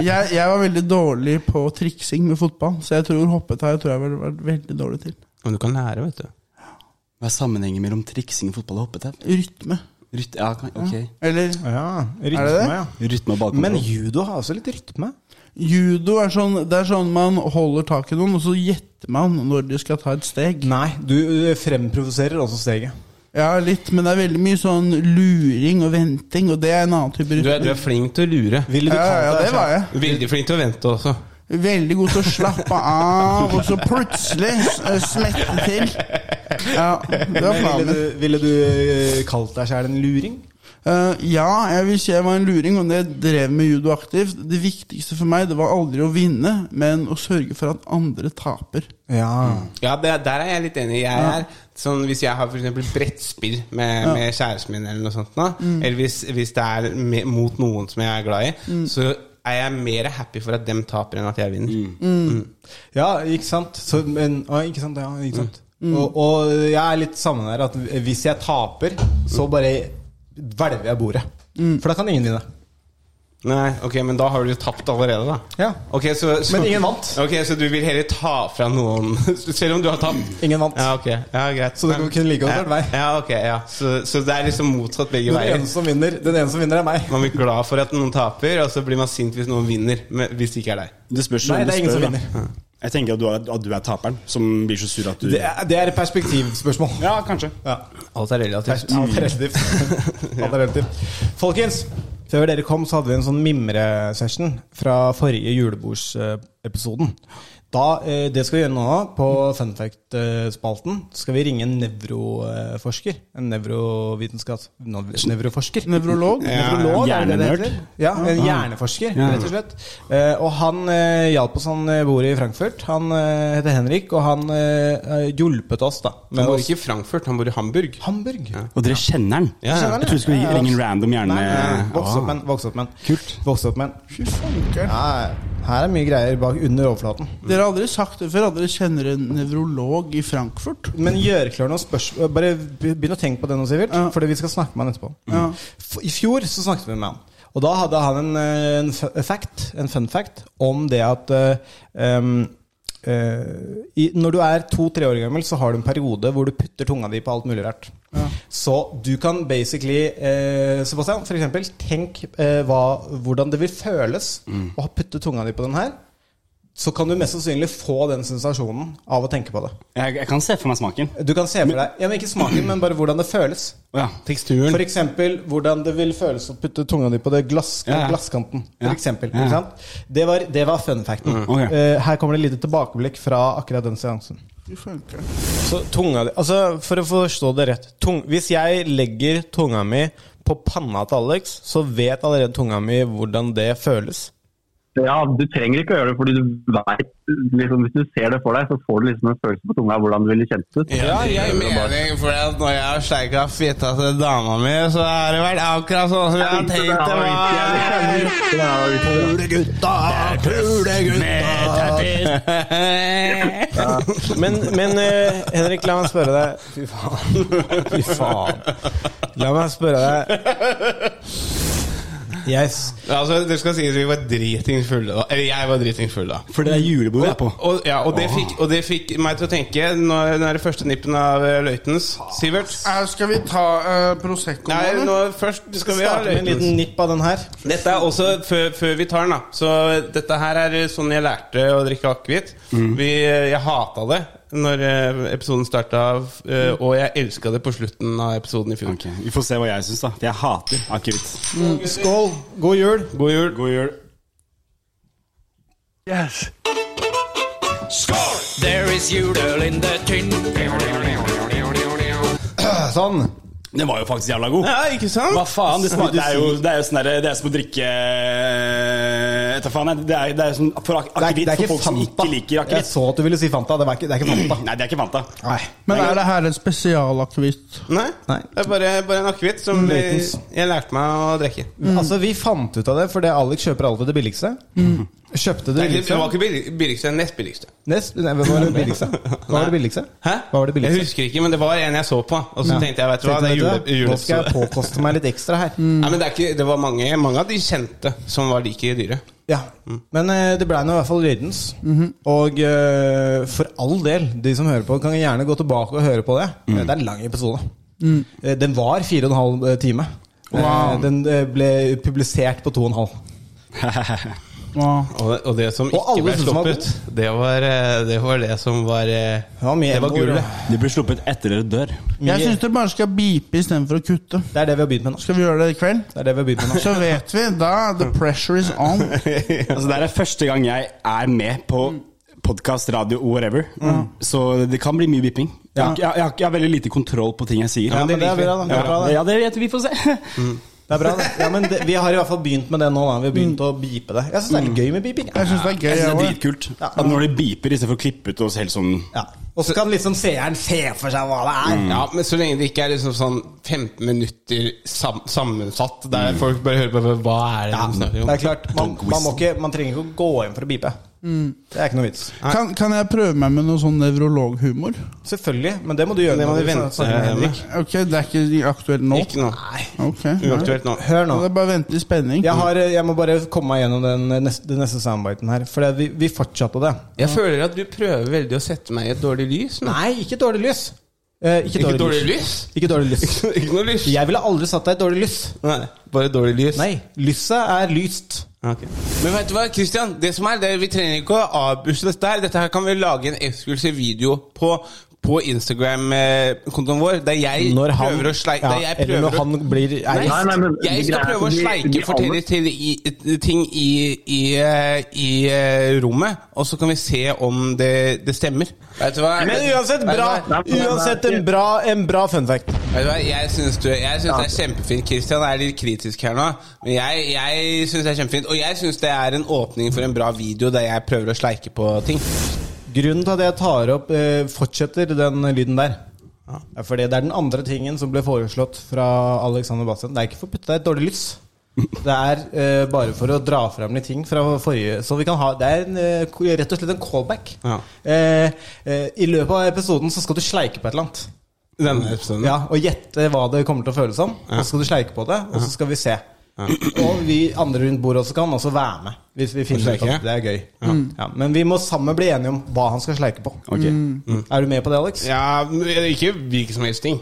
S10: jeg, jeg var veldig dårlig på triksing med fotball, så jeg tror hoppetau tror jeg ville vært veldig dårlig til.
S2: <laughs> Men du kan lære, vet du.
S8: Hva er sammenhengen mellom triksing, fotball og hoppetau?
S10: Rytme.
S8: Ryt, ja, kan- ok.
S10: Eller
S3: Ja, rytme,
S10: Er det det?
S3: ja.
S8: Rytme og
S3: Men
S8: bakkontroll.
S3: judo har også litt rytme.
S10: judo er sånn, det er sånn man holder tak i noen, og så gjetter man når de skal ta et steg.
S3: Nei, du ø, fremprovoserer også steget.
S10: Ja, litt, men det er veldig mye sånn luring og venting, og det er en annen type
S2: Du er, altså. du
S10: rytme.
S2: er flink til å lure.
S3: Ville du
S10: Ja,
S3: kalt
S10: ja,
S3: deg
S10: det var jeg.
S2: Veldig flink til å vente også.
S10: Veldig god til å slappe av, og så plutselig eh, smette til. Ja, det var
S3: Men Ville
S10: planen min.
S3: du, ville du ø, kalt deg sjæl en luring?
S10: Eh, ja, jeg vil si jeg var en luring, og jeg drev med judo aktivt. Det viktigste for meg det var aldri å vinne, men å sørge for at andre taper.
S3: Ja.
S2: Ja, det, Der er jeg litt enig. Jeg er sånn, Hvis jeg har for eksempel brettspill med, med kjæresten min, eller noe sånt nå, eller hvis, hvis det er me- mot noen som jeg er glad i, så er jeg mer happy for at dem taper enn at jeg vinner.
S3: Ja, ikke sant? Så, men, å, ikke sant, ja, ikke sant? Og, og jeg er litt sammen der at hvis jeg taper, så bare hvelver jeg bordet. For da kan ingen vinne.
S2: Nei, ok, Men da har du jo tapt allerede, da.
S3: Ja.
S2: Ok, så, så,
S3: Men ingen vant.
S2: Ok, Så du vil heller ta fra noen <laughs> Selv om du har tapt?
S3: Ingen vant.
S2: Ja, ok, ja, greit
S3: Så det kunne like godt
S2: ja.
S3: vært meg.
S2: Ja, ok, ja så, så det er liksom motsatt begge
S3: Den
S2: veier.
S3: ene som vinner, den ene som vinner er meg.
S2: Man blir glad for at noen taper, og så blir man sint hvis noen vinner. Men hvis det ikke er deg.
S8: Det spørs
S3: Nei,
S8: om du
S3: det er ingen
S8: spør,
S3: som
S8: da. Jeg tenker at du, er, at du er taperen, som blir så sur at du
S3: Det er, det er et perspektivspørsmål.
S8: Ja, kanskje.
S3: Ja.
S2: Alt er relativt.
S3: <laughs> Alt er relativt. Alt er relativt. Folkens, Før dere kom, så hadde vi en sånn mimresession fra forrige julebordsepisoden. Da, eh, det skal vi gjøre nå, på fun fact-spalten, skal vi ringe en nevroforsker. En nevrovitenskaps... Nevroforsker.
S10: Nevrolog?
S3: Nevrolog, er det det
S8: Hjernenerd?
S3: heter? Ah. Ja, en hjerneforsker, rett og slett. Eh, og han eh, hjalp oos, han eh, bor i Frankfurt. Han eh, heter Henrik, og han eh, hjulpet oss, da.
S2: Han
S3: Med
S2: bor
S3: oss.
S2: ikke i Frankfurt, han bor i
S3: <laughs>
S2: Hamburg.
S3: Hamburg.
S2: Ja.
S8: Og dere kjenner den?
S2: Ja, ja.
S8: Eh, Jeg trodde du skulle
S3: Ja, ja.
S8: ringe en random hjerne...
S3: Nei, nei, nei. Vokse opp
S8: Ah.
S3: menn. Vokse opp menn.
S8: Kult.
S3: Vokse opp menn.
S10: Fy fanker.
S3: Ja, her er mye greier bak under overflaten.
S10: Dere har aldri sagt det før. at Dere kjenner en nevrolog i Frankfurt.
S3: Men gjørklar noen spørsmål Bare begynn å tenke på det nå, Sivert.
S10: Ja.
S3: Fordi vi skal snakke med han etterpå.
S10: Ja.
S3: F- I fjor så snakket vi med han. Og da hadde han en, eh, en, fu- fact, en fun fact om det at eh, em, eh, i, Når du er to-tre år gammel, så har du en periode hvor du putter tunga di på alt mulig rart. Så du kan basically eh, Sebastian, for eksempel, tenk eh, hva, hvordan det vil føles å ha puttet tunga di på den her. Så kan du mest sannsynlig få den sensasjonen av å tenke på det.
S8: Jeg, jeg kan se for meg smaken.
S3: Du kan se for deg ja, men Ikke smaken, men bare hvordan det føles.
S8: Å ja.
S3: For
S8: Teksturen.
S3: eksempel hvordan det vil føles å putte tunga di på det glass,
S8: Ja, ja.
S3: glasskanten.
S8: Ja.
S3: For eksempel,
S8: Ja. Mm,
S3: ikke sant? Det, var, det var fun facten.
S8: ok.
S3: Eh, her kommer det et lite tilbakeblikk fra akkurat den seansen.
S10: Fy fanker.
S3: Så tunga di Altså, for å forstå det rett tung, Hvis jeg legger tunga mi på panna til Alex, så vet allerede tunga mi hvordan det føles.
S5: Ja, Du trenger ikke å gjøre det, fordi du vet, liksom, hvis du ser det for deg, så får du liksom en følelse på tunga av hvordan det ville kjentes ut.
S2: Ja, jeg mener for at når jeg har sleika fitta til dama mi, så har det vært akkurat sånn som jeg har tenkt det var.
S10: Pulegutta, pulegutta.
S3: Men, men eh, Henrik, la meg spørre deg Fy
S8: <laughs>
S3: faen. Fy faen. La meg spørre deg Yes.
S2: Altså, det skal sies vi var dritings fulle da. Eller jeg var dritings full da.
S8: For det er julebordet jeg er på.
S2: Og, ja, og, det fikk, og det fikk meg til å tenke, når den første nippen av eh, løytens Sivert
S10: Eh, Skal vi ta eh, Prosecco nå,
S2: Nei,
S10: eller?
S2: nå først skal vi ha
S3: Starte med en
S2: løytens.
S3: liten nipp av den her.
S2: Dette er også før, før vi tar den, da. Så dette her er sånn jeg lærte å drikke akevitt. Vi- eh, Jeg hata det når eh, episoden starta, eh, og jeg elska det på slutten av episoden i fjor.
S8: Ok, Vi får se hva jeg syns, da. For jeg hater akevitt.
S3: Skål. God jul.
S2: God jul.
S8: God jul.
S3: Sånn.
S8: Den var jo faktisk jævla god.
S2: Ja, ikke sant?
S8: Hva faen? Det, smaker, det, er, jo, det, er, jo sånn derre- det er som å drikke Etter faen, jeg. det er, det er sånn for ak-
S3: Det er, det
S8: akevitt
S3: er
S8: for
S3: ikke
S8: folk som
S3: Fanta.
S8: ikke liker
S3: Jeg
S8: akevitt.
S3: så at du ville si Fanta. Det, var ikke, det er ikke Fanta.
S8: Nei, det er ikke Fanta.
S3: Nei.
S10: Men er det her en spesialakevitt?
S2: Nei,
S3: Nei.
S2: det er bare, bare en akevitt som vi,
S3: Løytens.
S2: jeg lærte meg å drikke.
S3: Altså, vi fant ut av det fordi Alex kjøper alltid det billigste. Kjøpte
S2: Mm.
S3: det
S2: Det
S3: billigste.
S2: var ikke billig- billigste, det nest billigste.
S3: Nest, nei, hva var det billigste? Hva var det billigste?
S2: Hæ?
S3: Hva var det
S2: jeg
S3: billigste?
S2: husker ikke, men det var en jeg så på. Og så
S3: Ja.
S2: tenkte jeg, vet du hva,
S3: Tenkte,
S2: det er jule,
S3: vet du hva, Nå
S2: <laughs>
S3: skal jeg
S2: juleepisode.
S3: påkoste meg litt ekstra her.
S2: Nei, men det, er ikke, det var mange, mange av de kjente som var like dyre.
S3: Ja,
S2: Mm.
S3: Men eh, det blei nå i hvert fall lydens. Og eh, for all del, de som hører på, kan gjerne gå tilbake og høre på det.
S2: Mm.
S3: Eh, Det er en lang episode. Eh, Den var fire og en halv eh, time. Eh, Den eh, ble publisert på to og en halv.
S10: Wow.
S2: Og, og det som ikke
S3: alle
S2: ble
S3: syntes den var
S2: sluppet, det var, eh, det var det som var eh,
S3: Det var, mye
S2: Det var
S3: emo-er,
S2: gullet.
S3: da.
S8: <laughs> De blir sluppet etter dere dør.
S10: Jeg
S3: Mye-
S10: syns dere bare skal bipe istedenfor å kutte.
S3: Det er det vi har begynt med nå.
S10: Skal vi gjøre det i kveld?
S3: Det er det vi har begynt med nå.
S2: <laughs>
S10: Så vet vi. Da the pressure is on.
S8: <laughs> Altså, det er første gang jeg er med på podkast, radio, whatever.
S3: Mm.
S8: Så det kan bli mye bipping. Jeg, har- jeg, har- jeg har veldig lite kontroll på ting jeg sier.
S3: Ja, men det er bra, da. Det er bra,
S8: Ja,
S3: det. Mm.
S8: ja, det vet vi. Vi får se.
S3: Det er bra, det. Ja, men det, vi har i hvert fall begynt med det nå. Da. Vi har begynt å bipe det. Jeg syns det er
S2: Mm.
S3: litt gøy med beeping.
S10: Jeg syns det er gøy.
S8: Jeg synes <laughs> det er
S10: Jeg, også.
S8: dritkult. At når det beeper istedenfor å klippe ut oss helt sånn
S3: Ja. Og så kan liksom seeren se for seg hva det er.
S2: Ja, men så lenge det ikke er liksom sånn 15 minutter sam sammensatt, der folk bare hører på hva er det de snakker om.
S3: Mm. Det er klart, Man, man, må ikke, man trenger ikke å gå inn for å bipe. Det er ikke noe vits.
S10: Kan, kan jeg prøve meg med noe sånn nevrologhumor?
S3: Selvfølgelig, men det må du gjøre.
S2: Det må
S3: når
S2: vi vente eh,
S3: snakker med Henrik.
S2: med.
S10: Ok, Det er ikke aktuelt nå?
S2: Ikke nå.
S10: Ok, nei.
S2: Uaktuelt nå.
S3: Hør nå.
S10: Det er bare å vente i spenning.
S3: Jeg, har, jeg må bare komme meg gjennom den neste, den neste soundbiten her. For det- vi, vi fortsatte det.
S2: Jeg føler at du prøver veldig å sette meg i et dårlig lys. nå.
S3: Nei, ikke dårlig lys. Eh, ikke,
S2: Ikke
S3: dårlig
S2: dårlig
S3: lys.
S2: lys?
S3: Ikke dårlig lys.
S2: <laughs> Ikke noe lys?
S3: Jeg ville aldri satt deg i et dårlig lys.
S2: Nei, bare dårlig lys?
S3: Nei, lyset er lyst.
S2: Ah, Ok. Men vet du hva, Christian? Det som er, det, er- vi trenger ikke å avbushe dette her. Dette her kan vi lage en eksklusiv video på på Instagram-kontoen vår, der jeg
S3: Når han-
S2: prøver å sleike
S3: ja,
S2: der jeg
S3: eller når
S2: prøver å-
S3: han blir-
S2: Nei,
S5: Nei, nei, men
S2: Jeg skal
S5: greia er
S2: prøve å
S5: at de- de
S2: sleike for
S5: aller-
S2: til, til i, ting i, i, eh, i eh, rommet, og så kan vi se om det, det stemmer. Vet du hva?
S3: Men uansett,
S2: Vet du
S3: bra,
S2: hva?
S3: uansett en bra, en bra fun fact.
S2: Vet du hva, Jeg syns du- jeg syns det er kjempefint. Christian er litt kritisk her nå. Men jeg, jeg syns det er kjempefint. Og jeg syns det er en åpning for en bra video der jeg prøver å sleike på ting.
S3: Grunnen til at jeg tar opp eh, fortsetter den lyden der, er fordi det er den andre tingen som ble foreslått fra Alexander Bastian. Det er ikke for å putte deg i et dårlig lys. Det er eh, bare for å dra frem litt ting fra forrige Så vi kan ha Det er en, eh, ko- rett og slett en callback.
S2: Ja.
S3: Eh, eh, I løpet av episoden så skal du sleike på et eller annet.
S2: Denne episoden.
S3: Ja, Og gjette hva det kommer til å føles som. Og så skal du sleike på det, og så skal vi se. Og vi andre rundt bordet også kan også være med. Hvis vi finner ut
S2: sleike?
S3: at det er gøy. Ja, men vi må sammen bli enige om hva han skal sleike på. Er du med på det, Alex?
S2: Mm. Ja, men ikke hvilken som helst ting.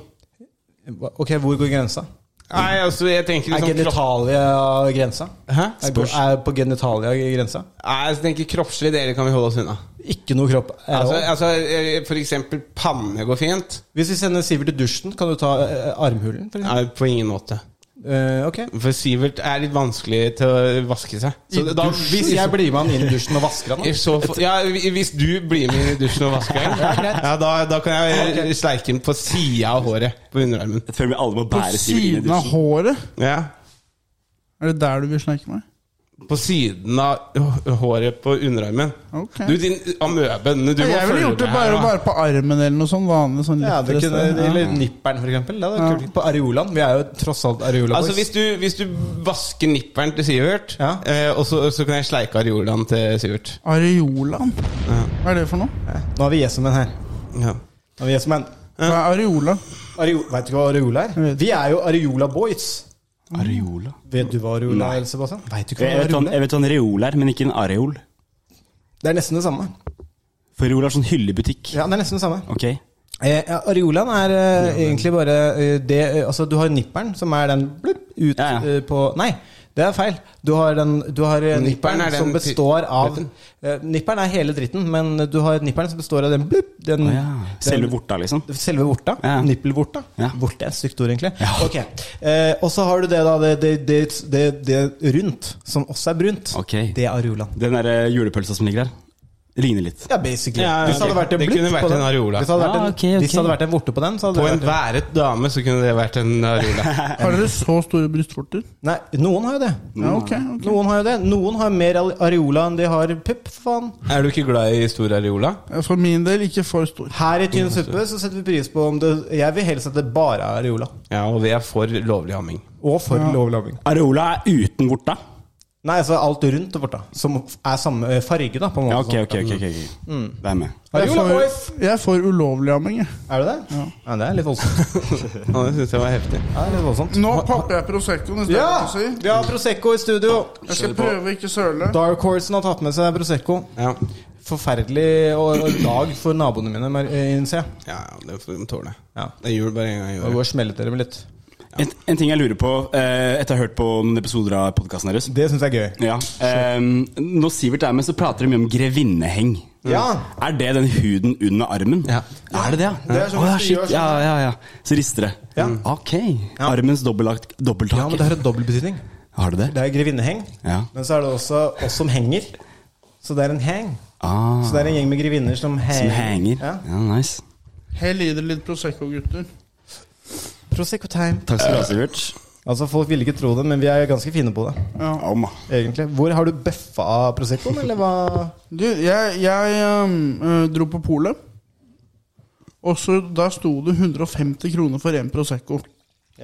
S3: Hva- Ok, Hvor går grensa?
S2: Nei, altså, jeg tenker
S3: Er
S2: liksom kropp...
S3: genitalia grensa?
S2: Hæ?
S3: Er, er på genitalia grensa?
S2: Nei, jeg tenker kroppslige deler kan vi holde oss unna.
S3: Ikke noe kropp. er
S2: Altså,
S3: det også?
S2: altså eh, For eksempel panne går fint.
S3: Hvis vi sender Sivert i dusjen, kan du ta eh, armhulen? For eksempel?
S2: Nei, på ingen måte.
S3: Eh, ok.
S2: For Sivert er litt vanskelig til å vaske seg. Så da,
S3: Hvis
S2: i liksom.
S3: jeg
S2: så-
S3: blir med han inn i dusjen og vasker han,
S2: i
S3: da.
S2: så fall- ja, hvis du blir med i dusjen og vasker deg, <laughs> ja, da, da kan jeg sleike den på sida av håret. På underarmen.
S8: Jeg føler vi alle må
S10: På
S8: bære Sivert inn i
S10: siden av
S8: dusjen.
S10: håret?
S2: Ja.
S10: Er det der du vil snakke meg?
S2: På siden av h- håret på underarmen.
S10: Ok.
S2: Du, din amøbe, du må
S10: Jeg ville
S2: følge
S10: gjort det
S2: med her,
S10: bare,
S2: da.
S10: bare på armen eller noe sånn vanlig. Sånn
S3: Ja, det
S10: lettere
S3: kunne,
S10: sted. Ja.
S3: eller nipperen, for eksempel. Det hadde vært kult. På areolaen. Vi er jo tross alt areola
S2: Altså hvis du, hvis du vasker nipperen til Sivert,
S3: Ja.
S2: eh, og så, så kan jeg sleike areolaen til Sivert.
S10: Areolaen? Hva er det for noe?
S3: Nå har vi Jesumen her.
S2: Ja.
S3: Nå har vi Jesumen.
S10: Hva er areola?
S3: Areo, vet du hva areola er? Vi er jo areola boys.
S8: Areola?
S3: Vet du hva areola er, Sebastian? Eh, Vet du
S8: Eh, Jeg vet hva en- jeg vet hva en reol er, men ikke en areol.
S3: Det er nesten det samme.
S8: For reol er sånn hyllebutikk.
S3: Ja, det er nesten det samme.
S8: Ok.
S3: Eh, ja, areolaen er eh, egentlig bare eh, det eh, Altså, du har nipperen, som er den blupp, ut
S8: Ja, ja.
S3: eh, på Nei, det er feil. Du har, den, du har eh,
S2: Nipperen
S3: nipperen
S2: er den
S3: som
S2: ti-
S3: består av
S2: dritten.
S3: eh, Nipperen er hele dritten, men du har nipperen som består av den blupp, den,
S8: Å ja. Selve
S3: Mm. den-
S8: vorta, liksom.
S3: Selve vorta?
S8: Ja.
S3: Nippelvorta?
S8: Ja.
S3: Vorte er et stygt ord, egentlig. Ok, eh, Og så har du det da det, det, det, det, det rundt, som også er brunt.
S8: Ok.
S3: Det er areolaen.
S8: Den derre julepølsa som ligger der, ligner litt.
S3: Ja, basically.
S2: Ja, ja,
S3: Hvis det hadde
S2: ok.
S3: vært en
S2: Det
S3: blutt
S2: kunne vært
S3: på den-
S2: en areola.
S3: Hvis det hadde vært en,
S8: Ah, ok, ok.
S3: hvis det hadde vært en vorte på den, så
S2: På
S3: hadde det
S2: en
S3: vært en-
S2: været dame så kunne det vært en areola.
S10: Har dere så store brystvorter?
S3: Nei, noen har jo det.
S10: Ja, ok. ok.
S3: Noen har jo det. Noen har mer al- areola enn de har pupp, for faen.
S2: <laughs> er du ikke glad i stor areola?
S10: For min del ikke for stor.
S3: Her i Tynn suppe så setter vi pris på om det Jeg vil helst at det bare er areola.
S2: Ja, og vi er for lovlig <laughs> amming.
S3: Og for ja. lovloving.
S8: Areola er uten vorta.
S3: Nei, altså alt rundt vorta, som er samme eh, farge, da, på en måte. sånn.
S8: Ja, ok, ok. ok, ok,
S3: Mm.
S8: ok. Det er med.
S10: Jeg
S3: Areola
S10: får,
S3: boys!
S10: jeg får ulovlig amming. jeg.
S3: Er du det? Ja. det er litt <laughs> voldsomt.
S2: Ja, det syns jeg var heftig.
S3: Ja, det er litt voldsomt.
S10: Nå popper jeg Proseccoen.
S3: Ja!
S10: Ja!
S3: Vi har Prosecco i studio.
S10: Jeg skal prøve å ikke søle.
S3: Dark Horsen har tatt med seg Prosecco.
S2: Ja,
S3: Forferdelig og- og dag for naboene mine, mer- eh, innser jeg.
S2: ja ja, det får de tåle.
S3: Ja.
S2: Det er jul bare en gang i
S3: Nå går
S2: året.
S3: smellet dere med litt.
S8: En, en ting jeg lurer på, eh, etter å ha hørt på noen episoder av podkasten deres
S3: Det syns jeg er gøy.
S8: ja. eh, Når Sivert er med, så prater de mye om grevinneheng.
S3: Ja.
S8: Er det den huden under armen?
S2: Ja.
S8: Er det det, ja?
S3: Det er sånn
S8: Å, ja,
S3: hvis du gjør
S8: shit. ja, ja, ja. Så rister det.
S3: Ja.
S8: Mm. Ok. Armens dobbeltak.
S3: Ja, men det
S8: dobbelthake.
S3: har en dobbel betydning.
S8: Har du det?
S3: Det er grevinneheng,
S8: Ja.
S3: men så er det også oss som henger. Så det er en hang.
S8: Ah,
S3: Så det er en gjeng med grevinner som henger.
S8: som henger.
S3: Ja.
S8: Ja, nice.
S10: Hell i det litt Prosecco, gutter.
S3: Prosecco time.
S8: Takk skal du ha, Sivert.
S3: Altså, folk ville ikke tro det, men vi er ganske fine på det,
S8: Au, ma.
S3: egentlig. Hvor har du bøffa av Proseccoen, eller hva?
S10: Du, jeg, jeg ehm, eh, dro på polet. Og så da sto det 150 kroner for én Prosecco.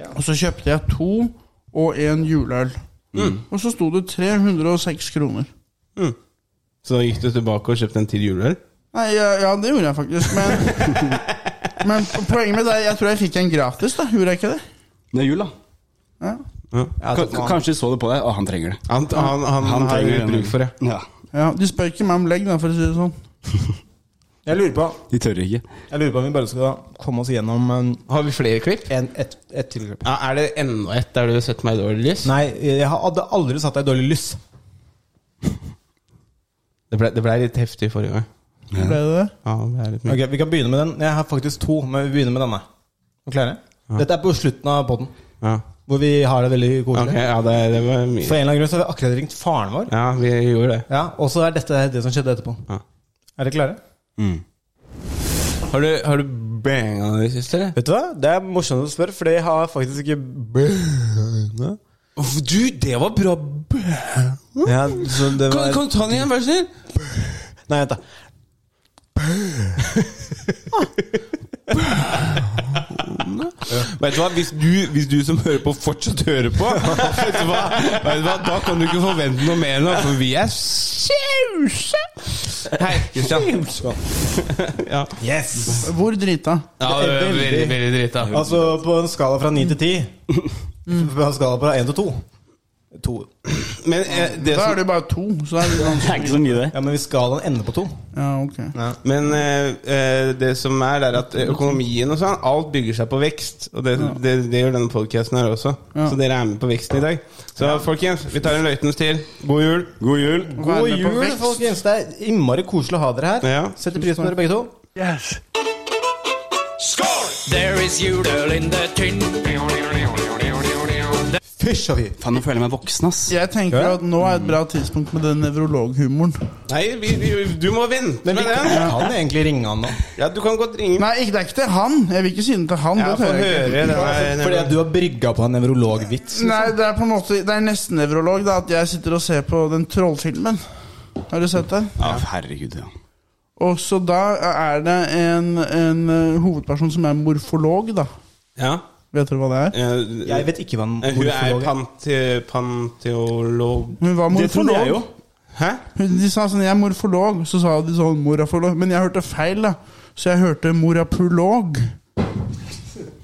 S10: Og så kjøpte jeg to og en juleøl. Og så sto det 306 kroner.
S2: Så gikk du tilbake og kjøpte en til juleøl?
S10: Nei, ja, ja det gjorde jeg faktisk, men Men poenget med det er jeg tror jeg fikk en gratis, da. Gjorde jeg ikke det?
S8: Det er jul, da.
S10: Ja.
S3: Ja,
S8: Ka-
S3: så faen.
S8: Kanskje de så det på deg. Å, han trenger det.
S2: Han, han, han, har
S8: trenger
S2: litt
S8: den.
S2: bruk for det.
S8: Ja,
S10: Ja, De spør ikke meg om legg, da, for å si det sånn.
S3: Jeg lurer på
S8: De tør ikke.
S3: Jeg lurer på om vi bare skal komme oss gjennom en,
S2: Har vi flere klipp?
S3: en, et, et til.
S2: Ja, er det enda et der du setter meg i dårlig lys?
S3: Nei, jeg hadde aldri satt deg i dårlig lys.
S2: Det blei ble litt heftig forrige gang.
S10: Ble det det?
S2: Ja, det er litt mye.
S3: Ok, Vi kan begynne med den. Jeg har faktisk to, men vi begynner med denne. Er du klare? Dette er på slutten av poden,
S2: Ja.
S3: hvor vi har det veldig
S2: Ok,
S3: koselig.
S2: ja, det, det var
S3: For
S2: mye.
S3: en eller annen grunn så har vi akkurat ringt faren vår,
S2: Ja, vi gjorde det.
S3: Ja, og så er dette det som skjedde etterpå.
S2: Ja.
S3: Er dere klare?
S2: Har du, har du banga i det siste, eller?
S3: Vet du hva? Det er morsomt å spørre, for det har jeg faktisk ikke bønne.
S2: Åh, Du, det var bra! Kan,
S3: Ja, så det var...
S2: kan du ta den igjen, vær så snill?
S3: Nei, vent da.
S2: Vet du hva, hvis du, hvis du som hører på, fortsatt hører på, vet du hva, vet du hva? da kan du ikke forvente noe mer nå, for vi er sause! Hei, Kristian. Ja,
S3: Yes!
S10: Hvor drita?
S2: ja det er veldig, veldig drita.
S3: Altså, på en skala fra 9
S2: <laughs>
S3: til 10,
S2: Mm.
S3: på en skala fra 1 til 2. 2.
S2: Men eh, det
S10: Da
S2: som
S10: er det jo bare to. Så er det
S8: <laughs> Det er ikke så mye, det.
S3: Ja, men hvis skalaen ender på 2.
S10: Ja, ok.
S2: Men eh, eh, det som er, det er at økonomien og sånn, alt bygger seg på vekst. Og det, det, det gjør denne podcasten her også.
S10: Ja.
S2: Så dere er med på veksten i dag. Så folkens, vi tar en løytens til. God jul. God jul.
S10: Vær
S3: God
S10: med på
S3: jul,
S10: vekst.
S3: folkens! Det er innmari koselig å ha dere her.
S2: Ja.
S3: Setter pris på dere begge to. Fysj og fy!
S8: Faen, nå føler jeg meg voksen, ass.
S10: Jeg tenker
S3: Ja.
S10: at nå er et bra tidspunkt med den nevrologhumoren.
S2: Nei, vi, vi, du må vente
S3: Men
S2: med
S3: vi kan,
S2: den.
S3: kan egentlig ringe han nå.
S2: Ja, du kan godt ringe.
S10: Nei, ikke, det er ikke til han. Jeg vil ikke si den til han.
S2: Ja,
S10: det
S2: få
S10: tør jeg
S2: høre
S10: ikke.
S2: den her.
S3: Fordi at du har brygga på en nevrologvits.
S10: Nei, det er på en måte Det er nesten nevrolog, da, at jeg sitter og ser på den trollfilmen. Har du sett den?
S8: Ja, herregud, ja.
S10: Og så da er det en, en eh, hovedperson som er morfolog, da.
S2: Ja.
S10: Vet dere hva det er?
S2: eh,
S3: Jeg vet ikke hva en
S2: eh, Hun er
S3: morfolog er.
S2: pante, panteolog...
S10: Hun var
S8: Det trodde jeg
S10: morfolog.
S8: jo.
S2: Hæ?
S10: Hun- De sa sånn 'jeg er morfolog', så sa de sånn 'morapolog'. Men jeg hørte feil, da. Så jeg hørte 'morapolog'.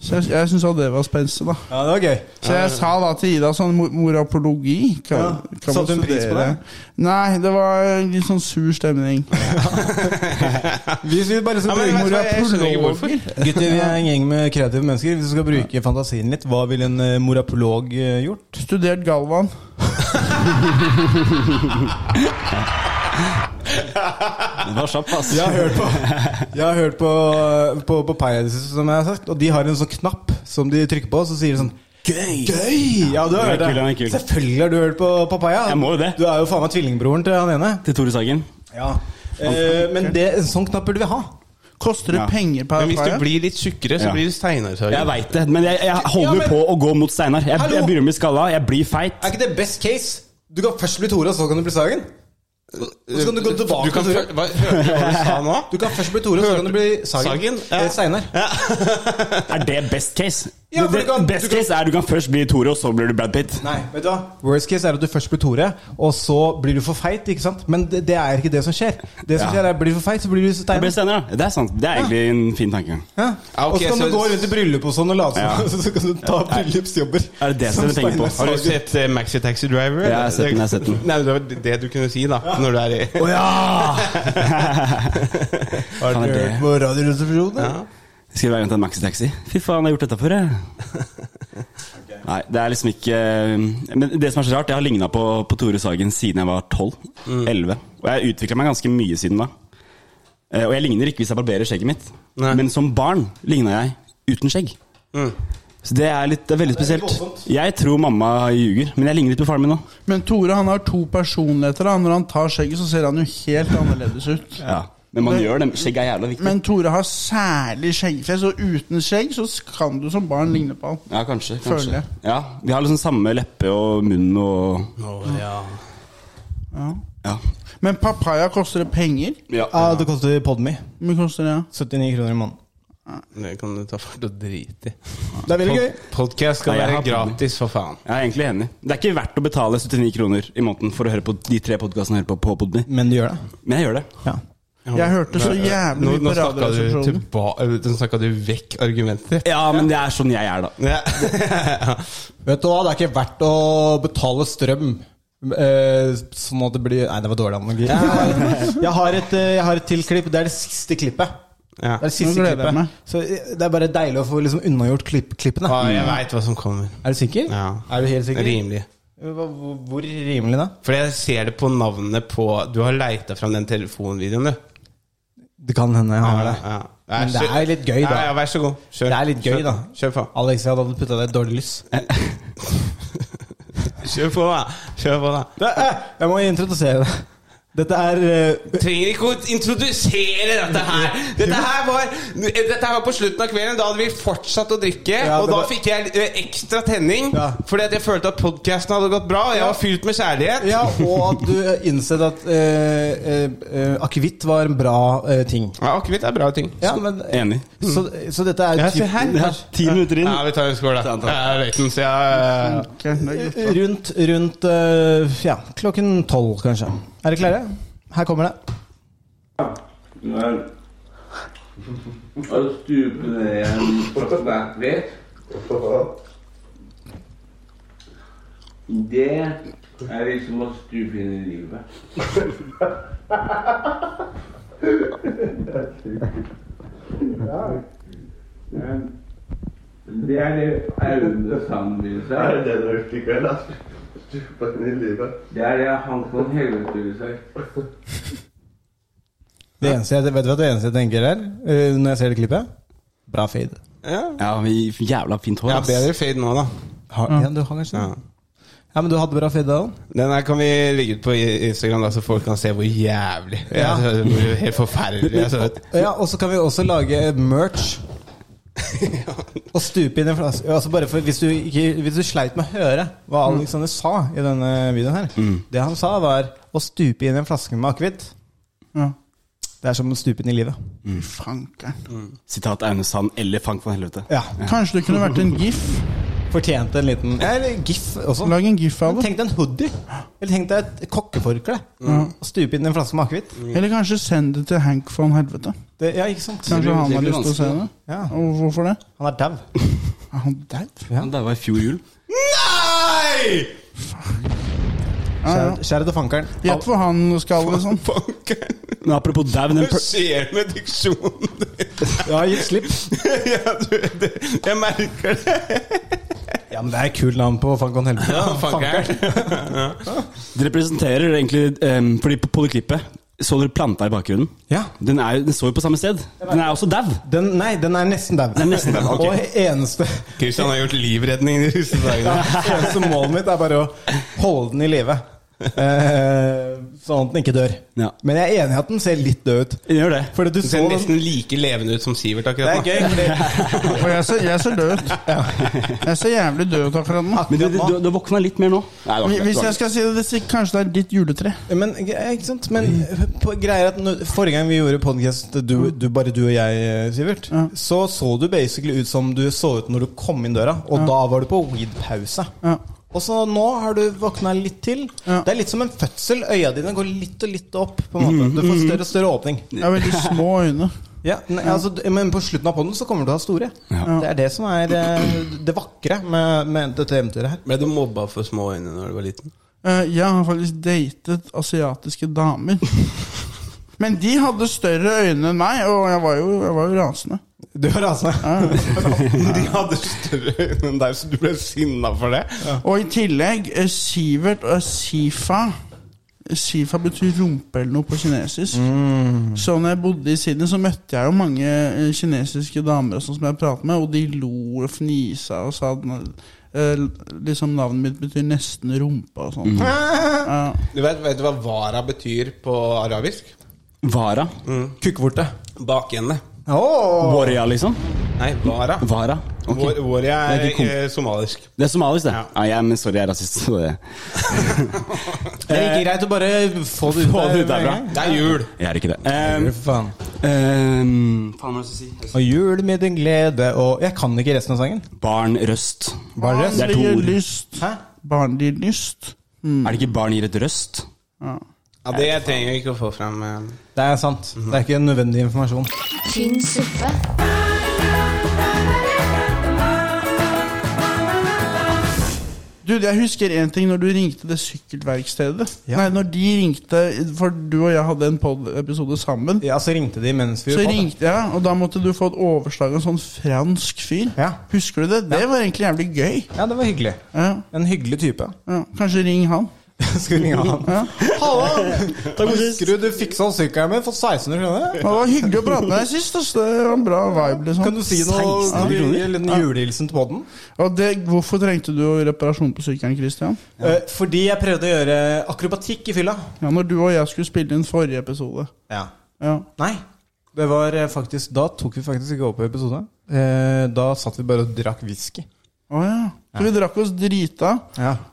S10: Så jeg, jeg syntes at det var spenstig, da.
S3: Ja, det var gøy.
S10: Så jeg sa da til Ida sånn mor- morapologi kan,
S3: Ja,
S10: kan
S3: satte
S10: man
S3: hun pris på
S10: studere?
S3: det?
S10: Nei, det var litt sånn sur stemning.
S3: Hvis vi bare skal
S2: Ja, men vet du
S3: bruke
S2: hva, jeg skjønner ikke
S3: morapolog
S2: hvorfor.
S3: Gutter, vi er en gjeng med kreative mennesker. Hvis du skal bruke fantasien litt, hva ville en eh, morapolog eh, gjort?
S10: Studert Galvan.
S8: Det var kjapp,
S3: <laughs>
S8: ass.
S3: Jeg har hørt på Jeg har hørt på, på, på Pirates, som jeg har sagt, og de har en sånn knapp som de trykker på, og så sier de sånn Gøy! Ja, du har
S8: Den
S3: hørt
S8: er kul, den er
S3: det.
S8: kul.
S3: Selvfølgelig har du hørt på Papaya.
S8: Jeg må jo det.
S3: Du er jo faen meg tvillingbroren til han ene.
S8: Til Tore Sagen.
S3: Ja. Eh, men det, en sånn knapp burde vi ha.
S10: Koster det
S8: Ja.
S10: penger per
S2: Men hvis du
S10: paie?
S2: blir litt tjukkere, så
S8: Ja.
S2: blir du Steinar Sagen.
S8: Jeg veit det, men jeg, jeg holder
S3: Ja, men-
S8: på å gå mot Steinar. Jeg,
S3: Hallo!
S8: jeg begynner å bli skalla, jeg blir feit.
S3: Er ikke det best case? Du kan først bli Tore, og så kan du bli Sagen. Og så kan du gå tilbake
S2: Du kan,
S3: til Tore.
S2: fø- hva, hørte du hva du sa nå?
S3: Du kan først bli Tore, så kan du bli Sagen.
S2: Sagen? Ja.
S3: Eh, Steinar.
S8: Er det best case?
S3: Ja, for
S8: det,
S3: du kan-
S8: best
S3: du kan-
S8: case er du kan først bli Tore, og så blir du Brad Pitt.
S3: Nei, vet du hva? Worst case er at du først blir Tore, og så blir du for feit. ikke sant? Men det, det er ikke det som skjer. Det som
S8: Ja.
S3: skjer er Blir du for feit, så blir du
S8: Jeg
S3: Steinar.
S8: blir Steinar, da. Det er sant. Det er egentlig en fin tanke.
S3: Ja.
S2: Ja, ok,
S3: og så kan
S2: så-
S3: du gå rundt i bryllup og sånn og late som, <laughs>
S8: Ja.
S3: så kan du ta bryllupsjobber.
S8: Er det det som du tenker på?
S3: Steinar
S2: Har du
S3: Sagen.
S2: sett eh, Maxi Taxi Driver?
S8: Ja, jeg har sett den, jeg har sett den.
S2: Nei, men det var det du kunne si, da. Når du er i
S8: Å <laughs> ja!
S3: Har
S8: Faen,
S3: du
S8: er det-
S3: hørt på Radioresepsjonen?
S2: ja.
S8: Skal vi være rundt en maxitaxi? Fy faen, jeg har gjort dette før, jeg. <laughs> Nei, det er liksom ikke Men det som er så rart, jeg har ligna på, på Tore Sagen siden jeg var 12-11. Og jeg har utvikla meg ganske mye siden da. Eh, Og jeg ligner ikke hvis jeg barberer skjegget mitt.
S2: Nei.
S8: Men som barn ligna jeg uten skjegg.
S2: Mm.
S8: Så det er, litt, det er veldig
S3: det er
S8: spesielt.
S3: voldsomt.
S8: Jeg tror mamma ljuger, men jeg ligner litt på faren min nå.
S10: Men Tore han har to personligheter. da Når han tar skjegget, så ser han jo helt annerledes ut.
S8: Ja. Men man gjør det. Skjegg er jævla viktig.
S10: Men Tore har særlig skjeggfjes, og uten skjegg så kan du som barn ligne på han.
S8: ja, kanskje.
S10: Føler
S8: kanskje.
S10: jeg.
S8: Ja, Vi har liksom samme leppe og munn og Ja.
S10: Men papaya koster det penger?
S8: ja.
S3: Ja, Ah, det koster Podme.
S10: Hvor mye koster det?
S3: 79 kroner i måneden.
S2: Det kan du ta fart og drite i.
S3: Det er veldig gøy.
S2: Podkast skal
S8: Nei, jeg
S2: være
S8: har podden.
S2: gratis, for faen.
S8: Jeg er egentlig enig. Det er ikke verdt å betale 79 kroner i måneden for å høre på de tre podkastene jeg hører på på Podme.
S3: Men du gjør det.
S8: Men jeg gjør det.
S3: Ja.
S10: Jeg hørte så jævlig
S2: Nå,
S10: mye
S2: nå
S10: på
S2: snakka du,
S10: Radioresepsjonen.
S2: tilba- eh, nå snakket du vekk argumentet.
S8: Ja, men det er sånn jeg er, da.
S2: Ja.
S3: Vet du hva, det er ikke verdt å betale strøm. Eh, sånn at det blir Nei, det var dårlig analogi. Jeg har, <laughs> jeg har et, eh, jeg har et til klipp. Det er det siste klippet.
S2: Ja.
S3: Det er det siste
S10: Nå gleder jeg meg.
S3: klippet. Så eh, det er bare deilig å få liksom unnagjort klipp, klippene.
S2: Ah, jeg veit hva som kommer.
S3: Er du sikker?
S2: Ja.
S3: Er du helt sikker?
S2: Rimelig.
S3: Hva- Hvor, hvor rimelig da?
S2: For jeg ser det på navnet på Du har leita fram den telefonvideoen, du.
S3: Det kan hende jeg har det.
S2: Ja, ja.
S3: Men det
S2: kjør-
S3: er litt gøy, da.
S2: Ja, ja, vær så god. Kjør.
S3: Det er litt gøy,
S2: Kjør.
S3: da.
S2: Kjør på.
S3: Alex, jeg hadde putta det i et dårlig lys.
S2: Kjør på, da. Kjør på, da.
S3: Det, eh, jeg må introdusere det. Dette er eh,
S2: Trenger ikke å introdusere dette her. Dette her var, dette her var på slutten av kvelden. Da hadde vi fortsatt å drikke.
S3: Ja,
S2: og
S3: det
S2: da
S3: var-
S2: fikk jeg eh, ekstra tenning
S3: Ja.
S2: fordi at jeg følte at podkasten hadde gått bra. Og jeg var fylt med kjærlighet.
S3: Ja, og at du eh, innså at uh, akevitt var en bra eh, ting.
S2: Ja, Akevitt er bra ting.
S3: Ja, men, eh,
S8: Enig.
S3: Så, så dette er
S2: Ja, se her.
S3: typ-
S8: Ja, ti minutter inn.
S2: Ja, vi tar en skål, da.
S8: Ta en, ta
S2: Jeg
S8: en.
S2: vet ikke, så jeg
S10: Ok, det er greit.
S3: Rundt, rundt eh, ja, klokken tolv, kanskje. Er dere klare? Her kommer det. Det eneste jeg, vet du hva det eneste jeg tenker her, eh, når jeg ser det klippet? Bra fade.
S2: ja.
S8: Ja, vi jævla fint hår.
S2: ja,
S8: ass.
S2: bedre fade nå, da.
S3: Har, ja. du har kanskje det? Ja, men du hadde bra fade da òg?
S2: Den her kan vi legge ut på i- Instagram, da, så folk kan se hvor jævlig
S3: Ja.
S2: jeg, Hvor helt forferdelig Altså, jeg så
S3: <laughs>
S2: ut.
S3: Ja, og så kan vi også lage merch. Og stupe inn en flaske altså bare for, hvis, du ikke, hvis du sleit med å høre hva Alexander sa i denne videoen her Det han sa, var å stupe inn i en flaske med akevitt.
S10: Ja.
S3: Det er som å stupe inn i livet.
S10: Fanken.
S8: Sitat Aune Sand eller Fang von Helvete.
S3: Ja,
S10: Kanskje det kunne vært en gif?
S3: Fortjente en liten ja, Eller gif også.
S10: Lag en gif av
S3: Men
S10: det.
S3: Tenk deg en hoodie. Eller tenk deg et kokkeforkle. Og stupe inn i en flaske med akevitt.
S10: Eller kanskje send det til Hank von Helvete.
S3: Det- Ja, ikke sant?
S10: Kanskje han
S8: det
S10: har
S8: blir
S10: lyst til å se det?
S8: vanskelig,
S3: Ja,
S10: Og hvorfor det?
S3: han er dau.
S10: Er han daud?
S8: Ja, Det var i fjor jul.
S2: Nei!
S3: Kjære, kjære til fankeren.
S10: Gjett hvor han skal,
S2: <laughs>
S10: liksom.
S2: Fankeren!
S8: Men apropos dau, den
S2: Hva
S8: per-
S2: skjer med diksjonen din?
S3: Ja, gi slipp.
S2: ja, du, det, jeg merker det.
S3: Ja, men det er et kult navn på Fankon Helvete.
S8: Det representerer egentlig em, Fordi på, på det klippet så dere planta i bakgrunnen.
S3: Ja.
S8: Den, er, jo- den står jo på samme sted. Den er også dau.
S3: Den, nei, den er nesten dau.
S8: Den er nesten dau, ok.
S3: Og
S8: <laughs>
S3: eneste,
S2: Kristian har gjort livredning de siste dagene.
S3: <laughs> eneste målet mitt er bare å holde den i live. Eh, sånn at den ikke dør.
S8: Ja.
S3: Men jeg er enig i at den ser litt død ut.
S8: Den gjør det.
S3: Fordi du
S2: Du
S3: så
S2: ser
S3: den
S2: nesten like levende ut som Sivert
S3: Det
S2: akkurat
S3: er gøy. <laughs> Fordi,
S10: Og jeg ser, jeg ser død ut. Jeg ser jævlig død ut akkurat nå.
S8: Men du, du, du, du våkna litt mer nå. Nei, det var ikke det,
S10: Hvis
S8: det var
S10: jeg skal si det, det, sier- kanskje det er ditt juletre.
S3: men ja, ikke sant? Men på, greier at nå- Forrige gang vi gjorde podkast, du, du, bare du og jeg, eh, Sivert,
S10: Ja.
S3: så så du basically ut som du så ut når du kom inn døra. Og da var du på weed-pause.
S10: Ja.
S3: Og så nå har du våkna litt til.
S10: Ja.
S3: Det er litt som en fødsel. Øya dine går litt og litt opp. På en måte. Du får større og større åpning.
S10: Jeg har veldig små øyne.
S3: Ja, nei, altså, d- men på slutten av podden så kommer du til å ha store.
S8: Ja.
S3: Det er det som er eh, det vakre med, med dette eventyret her.
S2: Ble du mobba for små øyne når du var liten?
S10: Eh, Jeg har faktisk datet asiatiske damer. Men de hadde større øyne enn meg, og jeg var jo, jeg var jo rasende.
S3: Du altså. har rasende.
S2: De hadde større øyne enn deg, så du ble sinna for det?
S10: Og i tillegg eh, Sivert og Sifa Sifa betyr rumpe eller noe på kinesisk.
S8: Mm.
S10: Så når jeg bodde i Sydney, så møtte jeg jo mange eh, kinesiske damer og sånn som jeg pratet med, og de lo og fnisa og sa at eh, liksom navnet mitt betyr nesten rumpe og
S8: Mm.
S10: sånn. Ja.
S2: Du vet, vet du hva vara betyr på arabisk?
S8: Vara.
S3: Kukkvorte.
S2: Bakende.
S3: Åh!
S8: Warrior, liksom.
S2: Nei, vara.
S8: Vara. Ok.
S2: Okay. Våre er
S8: Det er ikke kom-
S2: eh, somalisk.
S8: Det er somalisk, det.
S2: Ja.
S8: Ja. jeg- men sorry, jeg er rasist. så Det.
S3: <laughs> Det er ikke greit å bare få det ut
S8: Få det ut
S3: med en
S8: derfra.
S3: gang.
S2: Det er jul.
S8: Jeg er ikke det.
S3: Fy
S8: Um,
S3: Faen.
S8: um, faen, hva skal jeg si?
S3: Og jul med din glede og Jeg kan ikke resten av sangen.
S8: Barn røst.
S3: Bare
S8: Det er to
S10: Barnlig
S8: ord.
S10: lyst.
S3: Hæ?
S10: Barnlig lyst.
S8: Er det ikke barn gir et røst?
S10: Ja.
S2: Ja, Det trenger vi ikke å få fram. eh.
S3: Det er sant. Det er ikke nødvendig informasjon.
S1: Tynn suppe.
S10: Du, jeg husker en ting når du ringte det sykkelverkstedet. Nei, når de ringte, for du og jeg hadde en pod-episode sammen.
S3: Ja, så ringte de mens vi
S10: Så
S3: gjorde podden.
S10: ringte jeg, og da måtte du få et overslag av en sånn fransk fyr.
S3: Ja.
S10: Husker du det? Det var egentlig jævlig gøy.
S3: Ja, det var hyggelig.
S10: Ja,
S3: En hyggelig type.
S10: ja. Kanskje ring han.
S3: <laughs> Skulle ringe han.
S10: <laughs> Ja.
S3: Hallo! Husker du du fiksa sykkelen min for 1600 kroner?
S10: Det var hyggelig å prate med deg sist. ass. Det var en bra vibe. liksom
S3: Kan du si noe?
S8: 1600
S3: Gi
S8: kroner?
S3: en liten julehilsen til podden?
S10: Ja, det, Hvorfor trengte du reparasjon på sykkelen, Christian?
S3: Eh, Fordi jeg prøvde å gjøre akrobatikk i fylla.
S10: Ja, når du og jeg skulle spille inn forrige episode.
S3: Ja.
S10: Ja.
S3: Nei. Det var eh, faktisk, da tok vi faktisk ikke opp episode. Eh, da satt vi bare og drakk whisky.
S10: Å ja. Så vi drakk oss drita,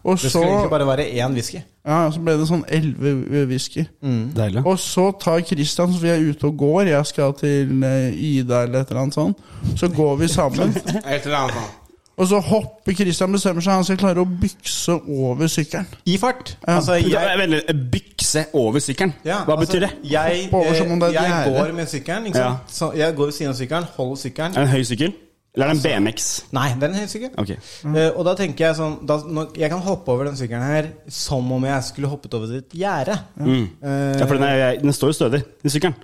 S10: og
S3: det
S10: så,
S3: skulle egentlig bare Mm. være én whisky.
S10: ja, så ble det sånn elleve whisky.
S8: Deilig.
S10: Og så tar Christian, så vi er ute og går, jeg skal til eh, Ida eller et eller annet sånt. Så går vi sammen,
S2: Et eller annet sånt.
S10: og så hopper Christian bestemmer seg, han skal klare å bykse over sykkelen.
S3: I fart.
S10: Ja.
S3: Altså, jeg,
S8: Jeg velger bykse over sykkelen.
S3: ja,
S8: Hva
S3: altså,
S8: betyr det?
S3: Jeg,
S10: Hoppe over som om det er
S3: eh,
S10: et
S3: jeg
S10: gjerde.
S3: går med sykkelen. Ikke sant? Så jeg går ved siden av sykkelen, holder sykkelen.
S8: Er det en høy sykkel? Eller er
S3: Altså-
S8: det en BMX?
S3: Nei, den er helt sikker.
S8: Ok.
S3: Eh, og da tenker jeg sånn da, når, Jeg kan hoppe over den sykkelen her som om jeg skulle hoppet over et gjerde.
S8: Mm.
S3: Eh,
S8: Ja, for den, er, den står jo stødig, den sykkelen.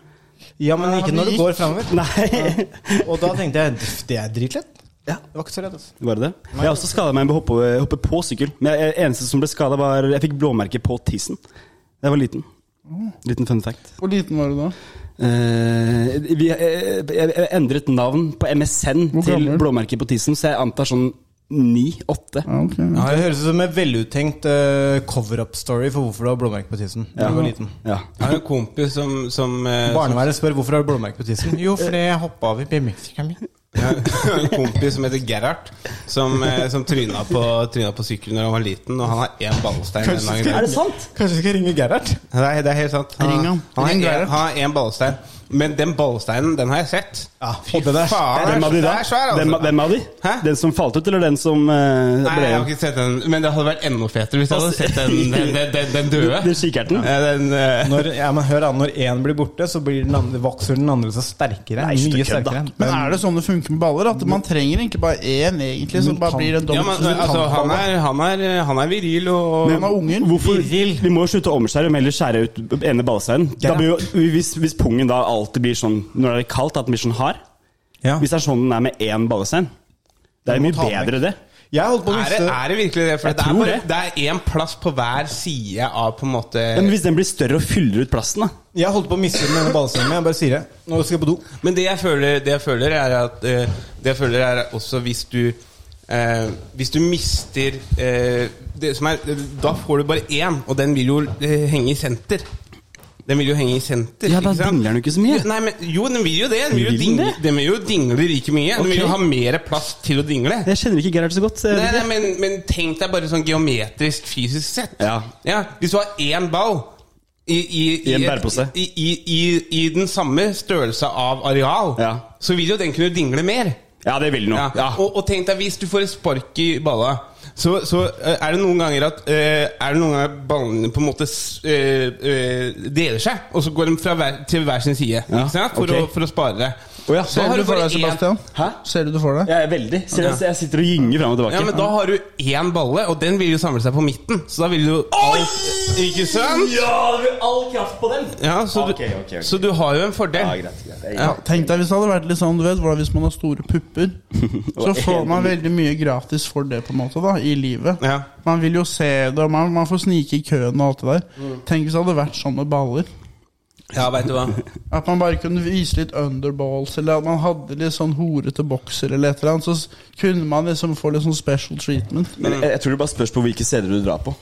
S3: ja, men ikke når du går framover.
S8: Nei. <laughs>
S3: Og da tenkte jeg "Pff, det er dritlett. Det var ikke så redd, altså.
S8: Var det det? Jeg har også skada meg med å hoppe, hoppe på sykkel. Men jeg, eneste som ble skada, var Jeg fikk blåmerke på tissen. Da jeg var liten.
S3: Mm.
S8: Liten fun fact.
S10: Hvor liten var du da?
S8: Eh, vi, eh, jeg, jeg endret navn på MSN
S10: Hvor
S8: til
S10: gammel?
S8: blåmerke på tissen, så jeg antar sånn ni-åtte.
S10: Ja, ok.
S3: Ja, det høres ut som en veluttenkt eh, cover-up-story for hvorfor du har blåmerke på tissen. Da Du var liten
S8: Ja.
S2: Jeg har en kompis som, som, eh, som
S3: Barnevernet spør hvorfor har du blåmerke på tissen. Jo, fordi jeg hoppa av i BMX-en min.
S2: Jeg har en kompis som heter Gerhard, som, eh, som tryna på, tryna på sykkelen da han var liten, og han har én ballestein. en gang i dag.
S8: sant?
S3: Kanskje vi skal ringe Gerhard?
S2: Nei, det er helt sant. Han,
S10: Ring han.
S2: han har
S10: Ring
S2: en-
S10: Gerhard.
S2: han har én ballestein. Men den ballesteinen, den har jeg sett.
S3: Ja,
S2: Fy
S3: og den er-
S2: faen,
S8: Hvem av de
S2: den
S8: da?
S2: er svær, altså.
S8: Hvem, hvem av de?
S2: Hæ?
S8: Den som falt ut, eller den som eh,
S2: Nei,
S8: ble
S2: jeg har ikke sett den, men det hadde vært enda fetere hvis jeg hadde
S8: Altså-
S2: sett den, den, den, den, den døde.
S8: Den kikkerten?
S2: Eh, Den, eh,
S3: Når, ja, men hør da, når én blir borte, så blir den andre, vokser den andre seg sterkere.
S8: Nei, slutt
S3: mye
S8: å kødde, da.
S3: sterkere.
S10: Men er det sånn det funker med baller? At man trenger egentlig bare én, egentlig? Så
S3: Men
S10: bare
S3: kan-
S10: blir det en
S2: ja, men,
S10: dobbelt-
S2: altså, han, er, han, er, han er viril og
S10: Men han har unger.
S8: Hvorfor? Vi må jo slutte å omskjære, men heller skjære ut ene ballesteinen. Da blir jo- Hvis, hvis pungen da alltid blir sånn når det er kaldt, at den blir sånn hard
S3: Ja.
S8: Hvis det er sånn den er med én ballestein, det er jo mye
S3: ta den
S8: bedre, det.
S3: Jeg holdt på å
S2: er det,
S3: miste
S2: er det virkelig det? For
S8: Jeg
S2: det er,
S8: tror
S2: bare,
S8: det.
S2: det er én plass på hver side av på en måte
S8: Ja, Men hvis den blir større og fyller ut plassen, da.
S3: Jeg holdt på å miste denne ballsengen. Jeg bare sier det. Nå skal jeg på do.
S2: Men det jeg føler, det jeg føler er at eh, Det jeg føler er også hvis du eh, Hvis du mister eh, det som er, Da får du bare én, og den vil jo eh, henge i senter. Den vil jo henge i senter.
S8: Ja, da
S2: ikke sant?
S8: dingler den jo ikke så mye.
S2: Jo, Nei, men, jo, den vil jo det. Den vil jo
S8: Vil den
S2: dingle,
S8: det?
S2: den vil jo dingle like mye. Den vil jo
S8: Ok.
S2: ha mer plass til å dingle.
S8: Jeg kjenner ikke Gerhard så godt. eh, så jeg
S2: Nei,
S8: vet
S2: nei,
S8: ikke.
S2: men, men tenk deg bare sånn geometrisk, fysisk sett.
S8: Ja.
S2: Hvis du har én ball i, i,
S8: I en
S2: et-
S8: bærepose.
S2: I, i, i, I den samme størrelse av areal,
S8: Ja.
S2: så vil jo den kunne dingle mer.
S8: Ja, det vil den jo.
S2: Ja.
S8: Ja.
S2: Og, og tenk deg hvis du får et spark i balla. Så, så eh, er det noen ganger at eh, Er det noen ganger ballene på en måte s- eh, eh, deler seg, og så går de fra hver, til hver sin side
S8: Ja,
S2: ikke sant? For,
S8: ok.
S2: å, for å spare det.
S8: Å ja,
S2: Da
S10: Ser
S2: har
S10: du
S2: du
S10: for
S2: bare
S10: deg,
S2: én-
S10: Sebastian?
S8: Hæ?
S10: Ser du det for deg?
S8: Jeg er veldig. Ser du, jeg sitter og gynger fram og tilbake.
S2: Ja, men da har du én balle, og den vil jo samle seg på midten. Så da vil du alt Ikke sant?
S8: Ja, du vil all kraft på den!
S2: Ja, så, du,
S8: Ok, ok, ok.
S2: så du har jo en
S8: Ja,
S2: fordel.
S8: greit, greit. Jeg-
S2: Ja.
S10: Tenk deg hvis det hadde vært litt sånn, du vet, hvordan hvis man har store
S2: <laughs>
S10: pupper, så får man veldig mye gratis for det, på en måte, da, i livet.
S2: Ja.
S10: Man vil jo se det, og man, man får snike i køen og alt det der.
S2: Mm.
S10: Tenk hvis det hadde vært sånn med baller.
S2: Ja, veit du
S8: <laughs>
S2: hva.
S10: At man bare kunne vise litt underballs, eller at man hadde litt sånn horete bokser eller et eller annet, så s- kunne man liksom få litt sånn special treatment.
S8: Men jeg, jeg tror det bare spørs på hvilke steder du drar på.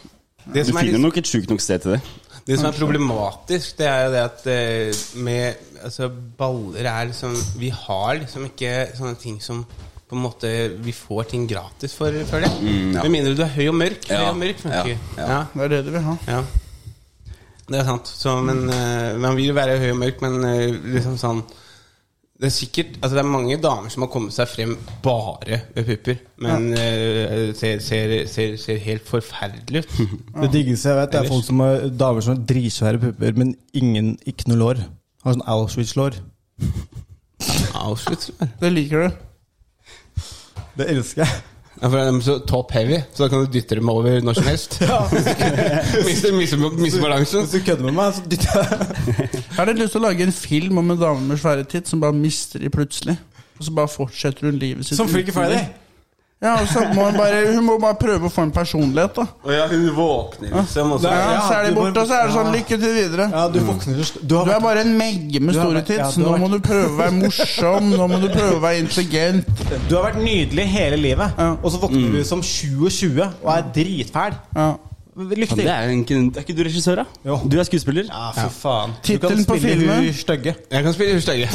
S2: Det
S8: Du
S2: som er,
S8: finner
S2: litt-
S8: nok et sjukt nok sted til det.
S2: det som er problematisk, det er jo det at eh, med Altså, baller er liksom Vi har liksom ikke sånne ting som på en måte Vi får ting gratis for, for det.
S8: Mm, ja.
S2: Med mindre du er høy og mørk. Høy
S8: Ja,
S2: og mørk
S8: ja,
S2: funker.
S8: ja.
S2: Ja.
S10: Det er det de vil ha.
S2: Ja, det er sant. Så, men, eh, man vil jo være høy og mørk, men eh, liksom sånn det er sikkert, altså det er mange damer som har kommet seg frem bare ved pupper. Men eh, ser, ser, ser, ser helt forferdelig ut. <laughs>
S3: Det diggeste jeg vet, det er folk som har damer som har dritsvære pupper, men ingen ikke noe lår. Har sånn Auschwitz-lår.
S2: Auschwitz. eller?
S10: Det liker du.
S3: Det elsker <laughs> jeg.
S2: Ja, for de er så top heavy, så da kan du dytte dem over når som <laughs> helst. Mister, mister, mister balansen.
S3: Hvis du kødder med meg, så dytter jeg
S10: Jeg har litt lyst til å lage en film om en dame med svære titt som bare mister de plutselig. Og så bare fortsetter hun livet sitt.
S3: Som Freaky
S10: uten de.
S3: Friday.
S10: Ja, og så må hun, bare, hun må bare prøve å få en personlighet, da.
S2: Og ja, hun våkner liksom. Og så,
S10: Ja,
S3: ja,
S10: så er de
S3: du må-
S10: borte, og så er det sånn
S3: ja.
S10: Lykke til videre.
S3: Ja, du våkner til slutt. Du har
S10: Du er
S3: vært
S10: bare en megge med
S3: Du har
S10: store
S3: vært- ja,
S10: tits.
S3: du har
S10: Nå må du prøve å være morsom. Nå må du prøve å være intelligent.
S3: Du har vært nydelig hele livet,
S10: Ja.
S3: og så våkner du som 27 og er dritfæl.
S10: Ja.
S3: Lykke
S8: Ja, det
S3: til.
S8: er, jo ikke, er ikke du regissør, da?
S3: Jo.
S8: Du er skuespiller?
S3: Ja, fy faen.
S10: Tittelen på filmen?
S3: hun stygge.
S2: Jeg kan spille <laughs> stygge.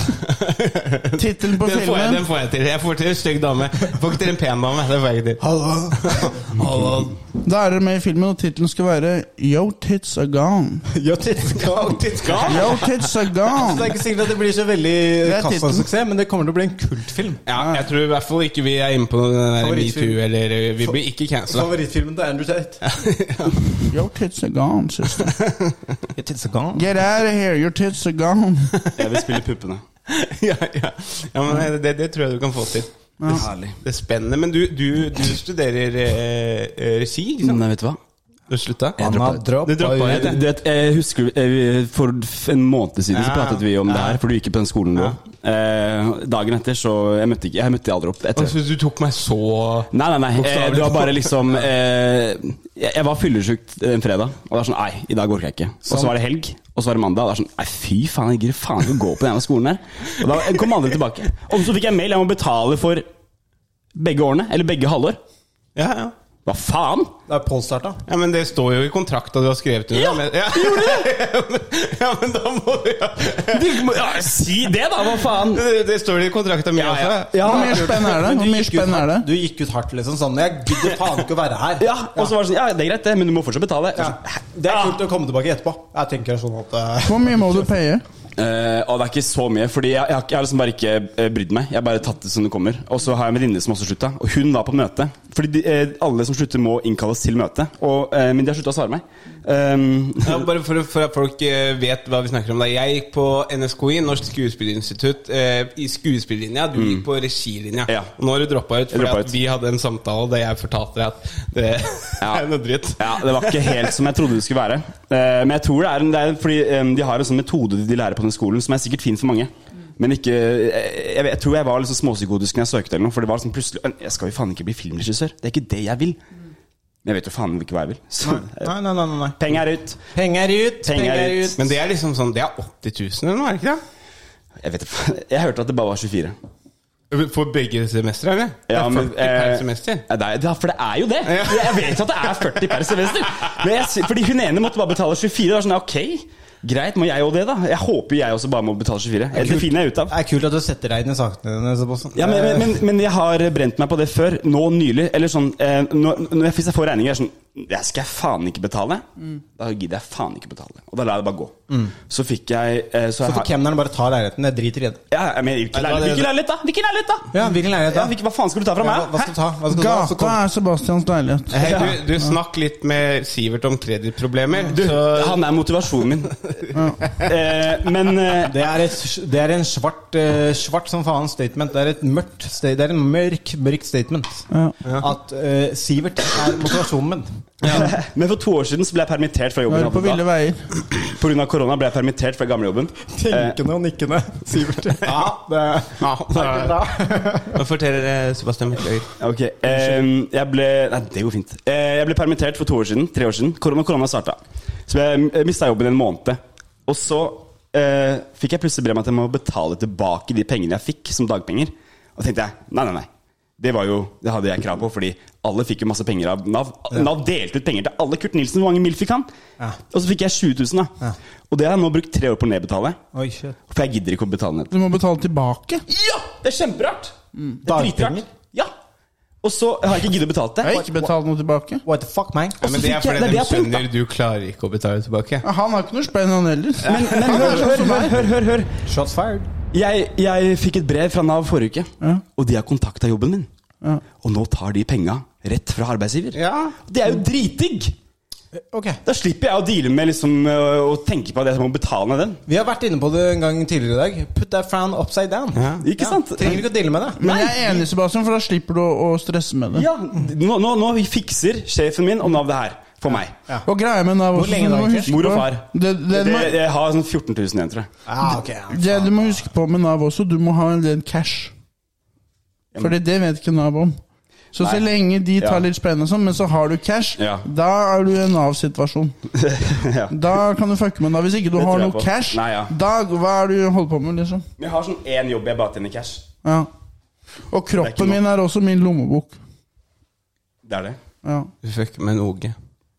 S10: Tittelen på
S2: Den får, jeg, den
S10: filmen
S2: får jeg til. Jeg får til en stygg dame. Jeg får ikke til en pen dame. Det får jeg ikke til.
S3: <laughs>
S10: Da er dere med i filmen, og tittelen skal være Yo tits are gone.
S3: Yo, tittskall. Tittskall.
S10: Yo tits are
S3: Så <laughs> det er
S10: gone.
S3: ikke sikkert at det blir så veldig
S10: Det er tittelen.
S3: kassasuksess, men det kommer til å bli en kultfilm.
S2: Ja, jeg tror i hvert fall ikke vi er inne på den der
S3: Favorittfilm.
S2: metoo, eller eh, vi blir ikke cancela.
S3: Favorittfilmen til Andrew Tate.
S10: Yo tits are gone, sister.
S3: Tittskall.
S10: Get out of here, your tits are gone.
S8: Jeg vil spille puppene.
S2: <laughs> ja, ja. ja, men det, det tror jeg du kan få til.
S10: Ja.
S8: Herlig.
S2: Det er spennende. Men du, du, du studerer eh, eh, regi, ikke sant?
S8: Nei, vet du hva?
S2: Du har slutta?
S8: Jeg droppa
S3: har droppa
S2: Du droppa
S3: ut.
S8: Jeg, du vet, jeg husker eh, For en måned siden så
S2: Ja.
S8: pratet vi om det her, for du gikk ikke på den skolen nå. Eh, dagen etter så Jeg møtte ikke Jeg møtte aldri opp. Etter.
S2: Altså, du tok meg så
S8: Nei, nei, nei. eh,
S2: Bokstavelig.
S8: Det var bare liksom eh, Jeg jeg var fyllesyk en fredag, og det var sånn Nei, i dag orker jeg ikke. Og så var det helg, og så var det mandag. Og det var sånn Nei, fy faen, jeg gidder faen ikke å gå på den jævla skolen her. Og da kom andre tilbake. Og så fikk jeg mail. Jeg må betale for begge årene. Eller begge halvår.
S2: Ja, ja.
S8: Hva faen?
S3: Det er påstarta.
S2: ja, men det står jo i kontrakta du har skrevet under.
S8: Ja,
S2: men, ja. ja, men, <laughs> ja men da må du ja.
S8: Du må ja, si det, da! Hva faen?
S2: det, det står i kontrakta mi
S8: Ja, ja.
S2: også.
S10: Hvor mye spenn er det?
S3: Men du
S10: Hvor mye
S3: gikk ut
S10: spenn er det?
S3: hardt- Du gikk ut hardt, liksom sånn. Jeg gidder faen ikke å være her.
S8: Ja, og så var det sånn Ja, det er greit, det, men du må fortsatt betale.
S3: Ja. Det er kult å komme tilbake etterpå. Jeg tenker sånn at eh,
S10: Hvor mye må du paye?
S8: Eh, og det er ikke så mye, Fordi jeg, jeg, har ikke- jeg har liksom bare ikke eh, brydd meg. Jeg har bare tatt det som det kommer. Og så har jeg en venninne som også slutta, og hun var på møte. Fordi de, eh, alle som slutter, må innkalles til møte. Og, eh, men de har slutta å svare meg. Um,
S2: Ja, bare for, for at folk eh, vet hva vi snakker om. da Jeg gikk på NSKI, Norsk Skuespillerinstitutt, eh, i skuespillerlinja. Du gikk på regilinja.
S8: Mm. Ja.
S2: Og nå har du droppa ut,
S8: Jeg
S2: fordi
S8: droppet
S2: at
S8: ut.
S2: vi hadde en samtale der jeg fortalte deg at det
S8: Ja.
S2: <laughs> er noe dritt.
S8: <laughs> ja, det var ikke helt som jeg trodde det skulle være. Eh, men jeg tror det er, en, det er fordi eh, de har en sånn metode de lærer på den skolen, som er sikkert fin for mange. Men ikke eh, jeg, vet- jeg tror jeg var litt sånn småpsykotisk når jeg søkte, eller noe. For det var sånn plutselig eh, Jeg skal jo faen ikke bli filmregissør. Det er ikke det jeg vil. Men jeg vet jo faen ikke hva jeg vil. Så
S3: Nei, nei, nei. nei, nei.
S8: <laughs> penger er ut.
S3: Penger ut,
S8: Penger
S3: penger
S8: ut.
S3: ut.
S2: Men det er liksom sånn Det er 80 000 eller noe, er det ikke det?
S8: Jeg vet ikke. <laughs> Jeg hørte at det bare var 24.
S2: For begge semestre, eller? det
S8: Ja,
S2: er
S8: men,
S2: 40 per
S8: eh,
S2: semester.
S8: Ja, det er, ja, for det er jo det! Jeg vet jo at det er 40 per semester. Men jeg, sy- fordi hun ene måtte bare betale 24. Det var sånn, ok, Greit, må jeg òg det, da? Jeg håper jeg også bare må betale 24. Jeg- Det finner jeg ut av.
S3: Det er kult at du setter deg inn i sakene dine, Sebastian.
S8: Ja, men, men, men, men jeg har brent meg på det før. Nå nylig. Eller sånn eh, når, når jeg- Hvis jeg får regninger, er jeg sånn Det skal jeg faen ikke betale. Da gidder jeg faen ikke betale. Og da lar jeg det bare gå. Så fikk jeg eh, Mm. Så,
S3: Så
S8: jeg
S3: for
S8: har,
S3: kemneren bare tar leiligheten. Jeg driter i det.
S8: ja, jeg mener,
S3: Nei,
S8: hvilken
S3: det var det-
S8: leilighet, hvilken leilighet, da? Hvilken leilighet, da?
S3: Ja, hvilken leilighet
S8: Ja,
S3: da?
S8: hvilken, hva faen skal du ta fra
S3: Ja,
S8: meg?
S3: hva, hva skal
S8: Hæ?
S3: du ta? Hva skal du ta? Så
S10: Gata
S3: kom-
S10: er Sebastians leilighet.
S2: Hei, du, du snakk litt med Sivert om kredittproblemer.
S8: Du,
S2: så-
S8: han er motivasjonen min. eh, men eh,
S3: Det er, et, det er en svart, eh, svart som faen statement. Det er et mørkt sta- Det er en mørk, mørk statement.
S10: Ja.
S3: At eh, Sivert er motivasjonen min.
S8: <laughs> Men for to år siden så ble jeg permittert fra
S10: Nå
S8: jobben.
S10: er du på ville veier.
S8: Pga. korona ble jeg permittert fra gamlejobben.
S3: Tenkende og nikkende Sivert. Ja, det
S2: ja, da- <laughs>
S3: er bra.
S2: Nå forteller eh, Sebastian Midtøy.
S8: Ok, eh, Jeg ble Nei, det går fint. Eh, jeg ble permittert for to år siden. Tre år siden. Korona, korona starta. Så jeg mista jobben en måned. Og så eh, fikk jeg plutselig brev om at jeg må betale tilbake de pengene jeg fikk som dagpenger. Og tenkte jeg nei, nei, nei. Det var jo, det hadde jeg krav på, fordi alle fikk jo masse penger av Nav. Nav delte ut penger til alle. Kurt Nilsen, hvor mange mil fikk han? Og så fikk jeg 20 000, da. Og det har jeg nå brukt tre år på å nedbetale.
S3: Oi, shit.
S8: For jeg gidder ikke å betale ned.
S10: Du må betale tilbake.
S8: Ja! Det er kjemperart.
S10: Mm.
S8: Det er
S3: Dagpenger?
S8: dritrart. Ja. Og så har jeg ikke giddet å betale det.
S10: Jeg har ikke betalt noe tilbake.
S3: What the fuck, man?
S2: Ja, men det er
S8: fikk jeg-
S2: fordi
S8: det er det
S2: de
S8: jeg tenkte.
S2: skjønner du klarer ikke å betale tilbake.
S10: Ja, Han har ikke noe spenn, han heller.
S8: Men, men hør, hør, hør, hør, hør, hør.
S3: Shots fired.
S8: Jeg, jeg fikk et brev fra Nav forrige uke,
S10: Ja.
S8: og de har kontakta jobben min.
S10: Ja.
S8: Og nå tar de penga rett fra arbeidsgiver.
S3: Ja.
S8: Det er jo dritdigg!
S3: Ok.
S8: Da slipper jeg å deale med liksom, øh, å tenke på at jeg må betale den.
S3: Vi har vært inne på det en gang tidligere i dag. Put that frown upside down.
S2: Ja.
S8: Ikke sant?
S3: Trenger ikke å deale med det.
S10: Men jeg er enig, Sebastian, for da slipper du å å stresse med det.
S8: Ja, nå, nå, nå fikser sjefen min og Nav det her for meg.
S10: Og greia med Nav
S3: Hvor
S10: også,
S3: lenge
S10: du må
S3: da, egentlig?
S10: huske
S8: Mor og
S10: på-
S8: far.
S10: Det, det,
S8: Det,
S10: må,
S8: jeg har sånn 14 000 igjen, tror jeg.
S3: Ah, ok, ja.
S10: det du må huske på med Nav også, du må ha en del cash. Fordi det vet ikke Nav om. Så så lenge de tar
S8: Ja.
S10: litt spenn og sånn, men så har du cash,
S8: Ja.
S10: da er du i en Nav-situasjon.
S8: <laughs> ja.
S10: Da kan du fucke med Nav. Hvis ikke du
S8: Det
S10: har
S8: tror jeg
S10: noe
S8: på.
S10: cash,
S8: Nei, ja.
S10: da hva er det du holder på med, liksom?
S8: Men Jeg har sånn én jobb jeg bare tjener cash.
S10: Ja. Og
S8: ikke
S10: kroppen
S8: noe.
S10: min er også min lommebok.
S8: Det er det.
S10: Ja.
S2: Fuck, men OG.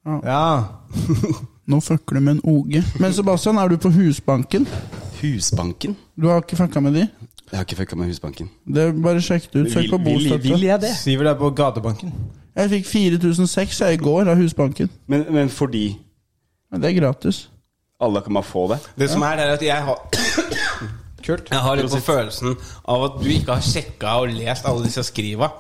S3: Ja.
S10: Nå fucker du med en OG. Men Sebastian, er du på Husbanken?
S8: Husbanken?
S10: Du har ikke fucka med de?
S8: Jeg har ikke fucka med Husbanken.
S10: Det er Bare sjekk det ut. Søk på bostøtte.
S8: jeg det?
S3: Siver deg på gatebanken.
S10: Jeg fikk 4006 jeg i går av Husbanken.
S8: Men, men fordi
S10: Men Det er gratis.
S8: alle kan bare få det?
S2: Det som er, det er at jeg har Jeg har litt på følelsen av at du ikke har sjekka og lest alle disse skriva.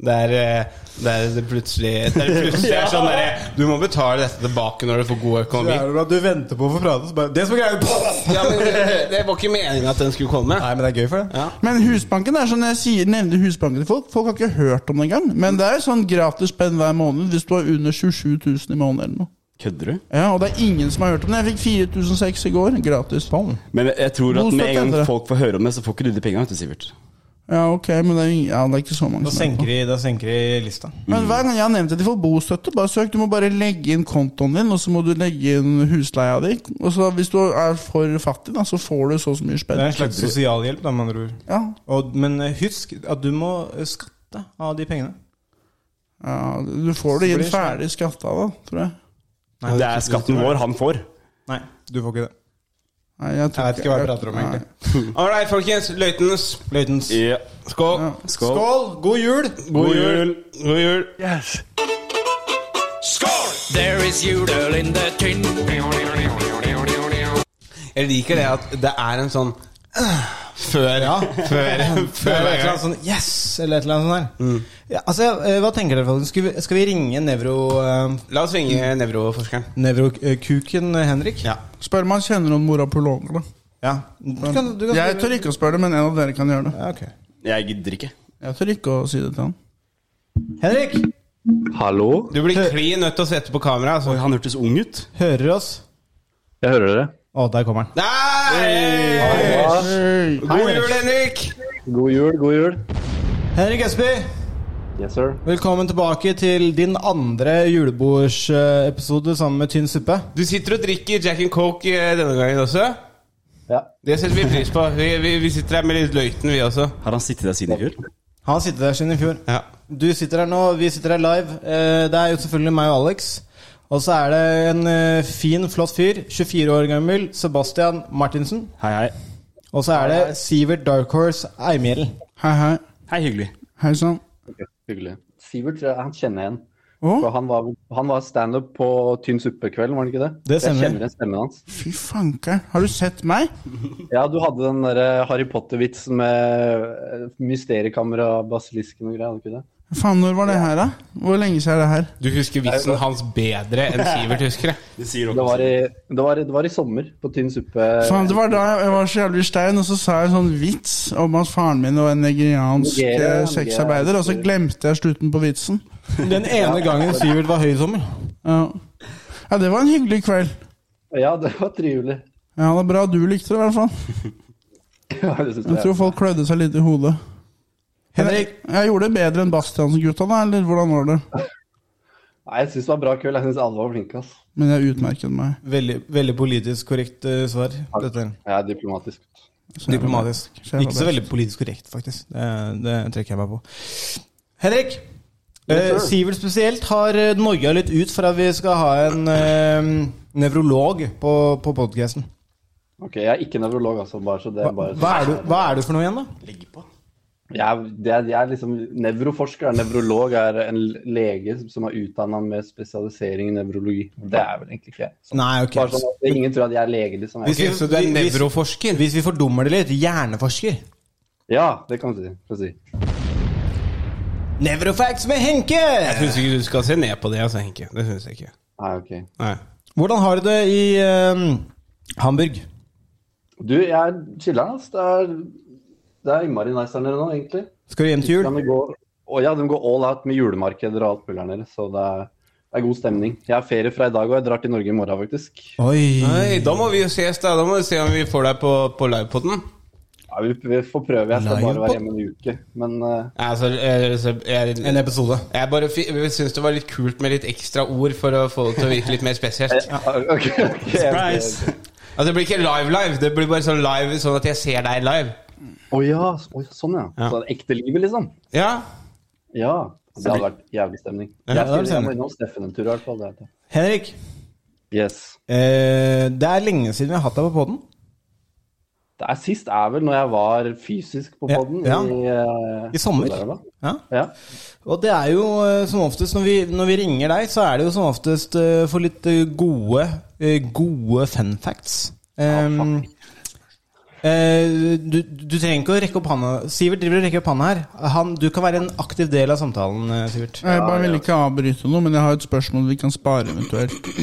S2: Der, eh, der det plutselig Der det plutselig er sånn derre Du må betale dette tilbake når du får god økonomi.
S3: du venter på å få prate, så bare Det som er greia!
S2: Ja, men det, det var ikke meninga at den skulle komme.
S3: Nei, men det er gøy for det.
S2: Ja.
S10: Men Husbanken er sånn jeg sier, nevner Husbanken til folk. Folk har ikke hørt om det engang. Men det er sånn gratis spenn hver måned hvis du har under 27 000 i måneden eller noe.
S8: Kødder du?
S10: Ja, Og det er ingen som har hørt om det. Jeg fikk 4006 i går. Gratis.
S8: Men jeg tror at med
S10: Bostøtte
S8: en gang
S10: heter det.
S8: folk får høre om det, så får ikke du de penga, vet du, Sivert.
S10: Ja, ok, men det er, ingen, ja, det er ikke så mange
S3: Da
S10: som er på.
S3: senker, de, da senker de lista.
S10: Men hver gang jeg har nevnt at de får bostøtte, bare søk. Du må bare legge inn kontoen din, og så må du legge inn husleia di. Og så hvis du er for fattig, da, så får du så og så mye
S3: Det
S10: spenn.
S3: er en slags sosialhjelp, da, med andre ord.
S10: Ja.
S3: Og, men eh, husk at du må eh, skatte av de pengene.
S10: ja, Du får det
S3: Så
S10: inn
S3: blir det
S10: ferdig skatta, da, tror jeg.
S3: Nei,
S8: Det er skatten vår han får.
S3: Nei, du får ikke det.
S10: Nei, jeg, tror
S3: Jeg vet ikke hva jeg prater om, egentlig.
S2: All right, folkens. Løytens.
S3: Løytens.
S8: Ja.
S2: Skål.
S8: Skål.
S3: Skål! God jul!
S2: God jul. God jul.
S11: There is judel in the tin.
S2: Jeg liker det at det er en sånn Før, ja.
S3: <laughs>
S2: Før, Mm.
S3: Det er
S2: før
S3: et eller annet sånn Yes! Eller et eller annet sånt der. Ja, altså, eh, hva tenker dere, folkens? Skal, vi- skal vi ringe nevro... eh,
S2: La oss ringe nevroforskeren.
S3: Nevrokuken eh, Henrik?
S2: Ja.
S10: Spør om han kjenner noen morapologer, da.
S3: ja. Du kan, du kan
S10: Jeg tør ikke å spørre det, men en av dere kan gjøre det.
S3: ja, ok.
S8: Jeg gidder ikke.
S10: Jeg tør ikke å si det til han.
S3: Henrik!
S12: Hallo?
S2: Du blir klin nødt til å sette på kamera. Altså.
S8: Oi, han hørtes ung ut.
S3: Hører du oss?
S12: Jeg hører dere.
S3: Å, der kommer han.
S2: Nei! God jul, Henrik!
S12: God jul, god jul.
S3: Henrik Østby,
S12: Yes, sir.
S3: velkommen tilbake til din andre julebordsepisode sammen med Tynn suppe.
S2: Du sitter og drikker Jack and Coke eh, denne gangen også.
S12: Ja.
S2: Det setter vi pris på. Vi, vi, vi sitter her med litt løyten, vi også.
S8: Har han sittet der siden i fjor?
S3: Han har sittet der siden i fjor.
S2: Ja.
S3: Du sitter her nå, vi sitter her live. Eh, Det er jo selvfølgelig meg og Alex. Og så er det en eh, fin, flott fyr, 24 år gammel, Sebastian Martinsen.
S8: Hei, hei.
S3: Og så er det Sivert Dark Horse Eimhjell.
S10: Hei, hei.
S8: Hei, hyggelig.
S10: Hei sann.
S12: Hyggelig. Sivert tror jeg han kjenner igjen.
S10: Å,
S12: For han var, han var standup på Tynn suppe-kvelden, var han ikke det?
S3: Det
S12: Jeg
S3: stemmer.
S12: kjenner igjen stemmen hans.
S10: fy fanker. Har du sett meg?
S12: Ja, du hadde den der eh, Harry Potter-vitsen med eh, mysteriekamera, basilisken og greier, hadde du ikke det?
S10: Faen, når var det her, da? Hvor lenge siden er det her?
S2: Du husker vitsen hans bedre enn Sivert husker det.
S8: Det sier
S12: Det
S8: dere.
S12: var i, det var i, det var i sommer på Tynn suppe.
S10: Faen, det var da jeg var så jævlig stein, og så sa jeg en sånn vits om at faren min var en nigeriansk
S12: Nigeria,
S10: eh,
S12: Nigeria.
S10: sexarbeider, og så glemte jeg slutten på vitsen.
S3: Den ene gangen Sivert var høy i sommer.
S10: Ja. ja, det var en hyggelig kveld.
S12: Ja, det var trivelig. <laughs>
S10: Ja, det er bra du likte det, i hvert fall.
S12: Ja, det synes
S10: Jeg tror folk klødde seg litt i hodet.
S3: Henrik,
S10: Jeg gjorde det bedre enn Bastiansen-gutta, da, eller hvordan var det?
S12: Nei, jeg syns det var bra kveld. Jeg syns alle var flinke, ass.
S10: Men jeg utmerket meg.
S3: veldig, veldig politisk korrekt eh, svar. Dette.
S12: Jeg er diplomatisk.
S10: Så jeg var
S3: Diplomatisk.
S10: best. jeg var
S3: Ikke så
S10: best.
S3: veldig politisk korrekt, faktisk. Det, det trekker jeg meg på. Henrik,
S12: Yes,
S3: eh,
S12: sir.
S3: Sivert spesielt har eh, noia litt ut for at vi skal ha en eh, nevrolog på, på podkasten.
S12: Ok, jeg er ikke nevrolog, altså. Bare så det
S3: Hva,
S12: er bare...
S3: hva, er du- hva er du for noe igjen, da?
S12: Jeg er, det er, jeg er liksom nevroforsker. Nevrolog er en lege som er utdanna med spesialisering i nevrologi. Det er vel egentlig ikke jeg. Så,
S3: Nei, ok.
S12: bare sånn at det- ingen tror at jeg er lege, liksom. Jeg,
S3: Hvis
S2: Ok,
S3: vi-
S2: så du er
S3: hvis-
S2: nevroforsker?
S3: Hvis vi fordummer det litt, hjerneforsker.
S12: ja, det kan du si. Kan du si.
S3: Nevrofacts med Henke!
S2: Jeg syns ikke du skal se ned på det, altså, Henke. Det syns jeg ikke.
S12: Nei, ok.
S2: Nei.
S3: Hvordan har du det i eh, Hamburg?
S12: Du, jeg er chiller'n, ass. Det er, det er innmari nice der nede nå, egentlig.
S3: Skal du hjem til jul?
S12: Kan det gå- Å ja, de går all out med julemarkeder og alt mulig der nede, så det er, det er god stemning. Jeg har ferie fra i dag, og jeg drar til Norge i morgen, faktisk.
S3: Oi.
S2: Nei, da må vi jo ses, da. Da må vi se om vi får deg på, på livepoden.
S8: Ja, vi, vi får prøve. Jeg skal
S2: Lion
S8: bare
S2: Pod?
S8: være hjemme en uke. Men eh,
S2: Altså, eh, så jeg, en episode. Jeg bare syns det var litt kult med litt ekstra ord for å få det til å virke litt mer spesielt.
S8: eh, <laughs>
S2: Surprise! Altså, det blir ikke live-live, det blir bare sånn live sånn at jeg ser deg live.
S8: Å ja, så- å ja, sånn ja. Så det er ekte livet, liksom?
S2: Ja.
S8: Ja. Det hadde vært jævlig stemning.
S3: Ja, det
S8: jeg
S3: hadde vært
S8: skal jeg
S3: stemning.
S8: må innom Steffen en tur, i hvert fall. Det vet jeg.
S3: Henrik.
S8: Yes.
S3: Eh, det er lenge siden vi har hatt deg på poden.
S8: Det er sist er vel når jeg var fysisk på poden.
S3: ja.
S8: I, eh,
S3: I sommer.
S8: Colorado.
S3: Ja.
S8: Ja.
S3: Og det er jo eh, som oftest når vi, når vi ringer deg, så er det jo som oftest eh, for litt eh, gode, eh, gode fun facts. Ehm, eh, du, du trenger ikke å rekke opp handa. Sivert driver og rekker opp handa her. Han, du kan være en aktiv del av samtalen, eh, Sivert.
S10: Jeg bare vil ikke avbryte noe, men jeg har et spørsmål vi kan spare eventuelt.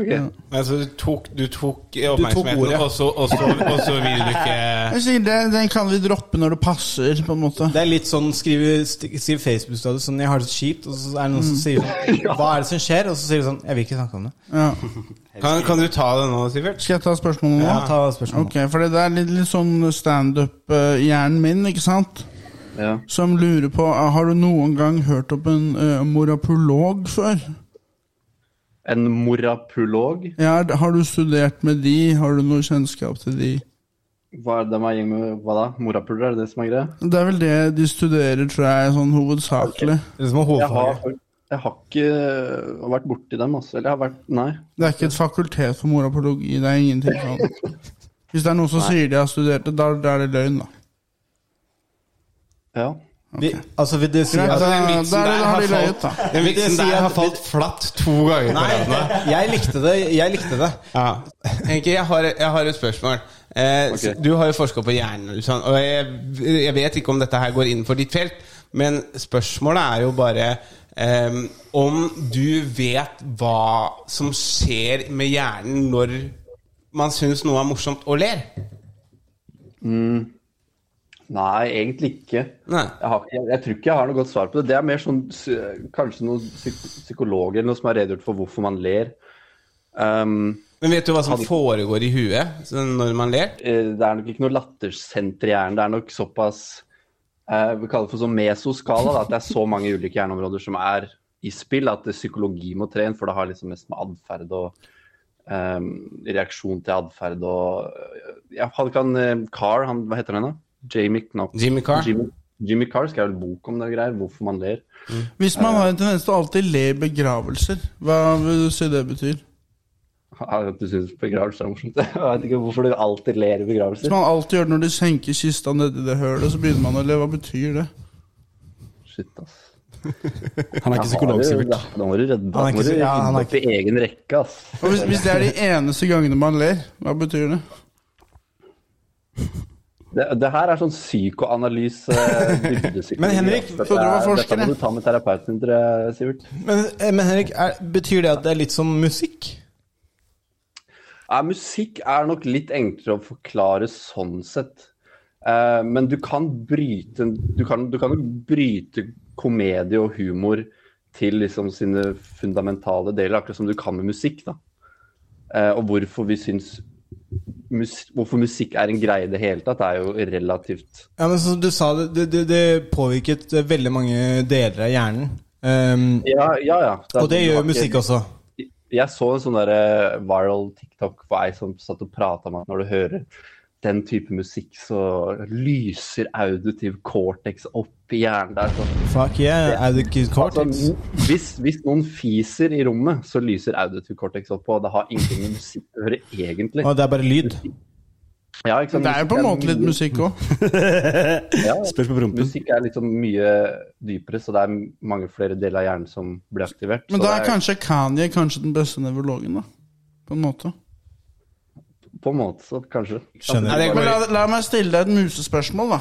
S10: Ja.
S2: Altså, du tok, du tok
S10: Du tok
S2: oppmerksomheten,
S10: ordet.
S2: og, så, og, så, og så vil du ikke
S10: Jeg sier det, Den kan vi droppe når det passer, på en måte.
S3: Det er litt sånn skrive, skrive Facebook-status sånn 'Jeg har det kjipt', og så er det noen
S2: Mm.
S3: som sier
S2: <laughs>
S3: sånn 'Hva er det som skjer?' Og så sier du sånn 'Jeg vil ikke snakke om det'.
S10: Ja.
S2: Kan, kan du ta det nå, Sivert?
S10: Skal jeg ta spørsmålet nå?
S3: Ja, ta spørsmålet.
S10: Ok, for det er litt, litt sånn standup-hjernen min, ikke sant?
S8: Ja.
S10: Som lurer på eh, Har du noen gang hørt om en eh, morapolog før?
S8: En morapulog.
S10: Ja, har du studert med de? Har du noe kjennskap til de?
S8: Hva er det med gjeng med hva da? Morapuler, er det det som er greia?
S10: Det er vel det de studerer, tror jeg, sånn hovedsakelig.
S8: Jeg har, jeg har ikke vært borti dem, altså. Eller jeg har vært Nei.
S10: Det er ikke et fakultet for morapologi. Det er ingenting sånn. Hvis det er noen som
S8: Nei.
S10: sier de har studert det, da, da er det løgn, da.
S8: Ja.
S3: Vi, altså, vil det si
S10: Greit,
S3: at
S10: da- da er det- da har de løyet, da.
S2: Den
S3: Vil det
S2: vitsen
S3: si
S2: der
S3: at-
S2: har falt flatt to ganger på rad nå.
S3: Nei, jeg likte det. Jeg likte det.
S2: Ja. Henke, jeg har, jeg har et spørsmål. Eh, s- Du har jo forska på hjernen, ikke sant? og jeg, jeg vet ikke om dette her går innenfor ditt felt, men spørsmålet er jo bare eh, om du vet hva som skjer med hjernen når man syns noe er morsomt og ler.
S8: Mm. Nei, egentlig ikke. Jeg, har, jeg, jeg tror ikke jeg har noe godt svar på det. Det er mer sånn psy- kanskje noen psyk psykologer eller noe som har redegjort for hvorfor man ler. Um,
S2: Men vet du hva som
S8: Hadde-
S2: foregår i huet sånn når man ler?
S8: eh, det er nok ikke noe lattersenter i hjernen. Det er nok såpass eh, Vi kaller det for sånn mesoskala. Da, at det er så mange ulike hjerneområder som er i spill at det psykologi må tre inn. For det har liksom mest med atferd og eh, reaksjon til atferd og ja, Han kan eh, Carr, han, hva heter han da? Jamie, no,
S2: Jimmy Carr.
S8: Jimmy, Jimmy Carr skrev en bok om det greier, hvorfor man ler.
S10: Hvis man har en tendens til å alltid le i begravelser, hva vil du si det betyr?
S8: Ja, At du syns begravelser er morsomt. <laughs> Jeg vet ikke hvorfor du alltid ler i
S10: Hvis
S8: begravelser.
S10: man alltid gjør det når de senker kista nedi det hølet, så begynner man å le. Hva betyr det?
S8: Shit, ass.
S13: Han er ikke psykolog, Sivert.
S8: Da må du
S10: Han er
S8: redde da må
S10: ikke
S8: du
S10: psy- ja, han
S8: rydde
S10: er
S8: opp i egen rekke, ass.
S10: Og hvis, hvis det er de eneste gangene man ler, hva betyr det?
S8: Det, det her er sånn psykoanalyse dybdepsykologi.
S3: Men Henrik,
S8: Dette er-
S3: trodde du var forsker,
S8: Dette må
S3: jeg.
S8: du ta med terapeuten din, tror jeg, Sivert.
S3: Men, eh, men Henrik, er, betyr det at det er litt som musikk?
S8: Ja, musikk er nok litt enklere å forklare sånn sett. Eh, men du kan bryte Du kan, du kan jo bryte komedie og humor til liksom sine fundamentale deler, akkurat som du kan med musikk. da. Eh, og hvorfor vi syns mus, Hvorfor musikk er en greie i det hele tatt, er jo relativt
S3: Ja, men som du sa, det, det, det, det påvirket eh, veldig mange deler av hjernen. Ehm,
S8: Ja, ja. ja. er
S3: og det
S8: sånn, du
S3: gjør jo
S8: har
S3: musikk
S8: ikke-
S3: også.
S8: Jeg så en sånn der eh, viral TikTok på ei som satt og prata om at når du hører den type musikk, så lyser auditiv cortex opp i hjernen der. Så.
S3: Fuck yeah, audicate cortex.
S8: Altså, hvis, hvis noen fiser i rommet, så lyser auditiv cortex opp, og det har ingenting med musikk å gjøre egentlig.
S3: Og det er bare lyd.
S8: Ja, ikke sant?
S10: Det er jo på en måte litt musikk òg.
S8: Ja,
S13: Spørs på prompen.
S8: musikk er liksom mye dypere, så det er mange flere deler av hjernen som blir aktivert.
S10: Men
S8: så
S10: da
S8: det
S10: er kanskje Kanye kanskje den beste nevrologen, da. På en måte.
S8: På en måte, så kanskje.
S10: Nei, det går- Men la, la meg stille deg et musespørsmål, da.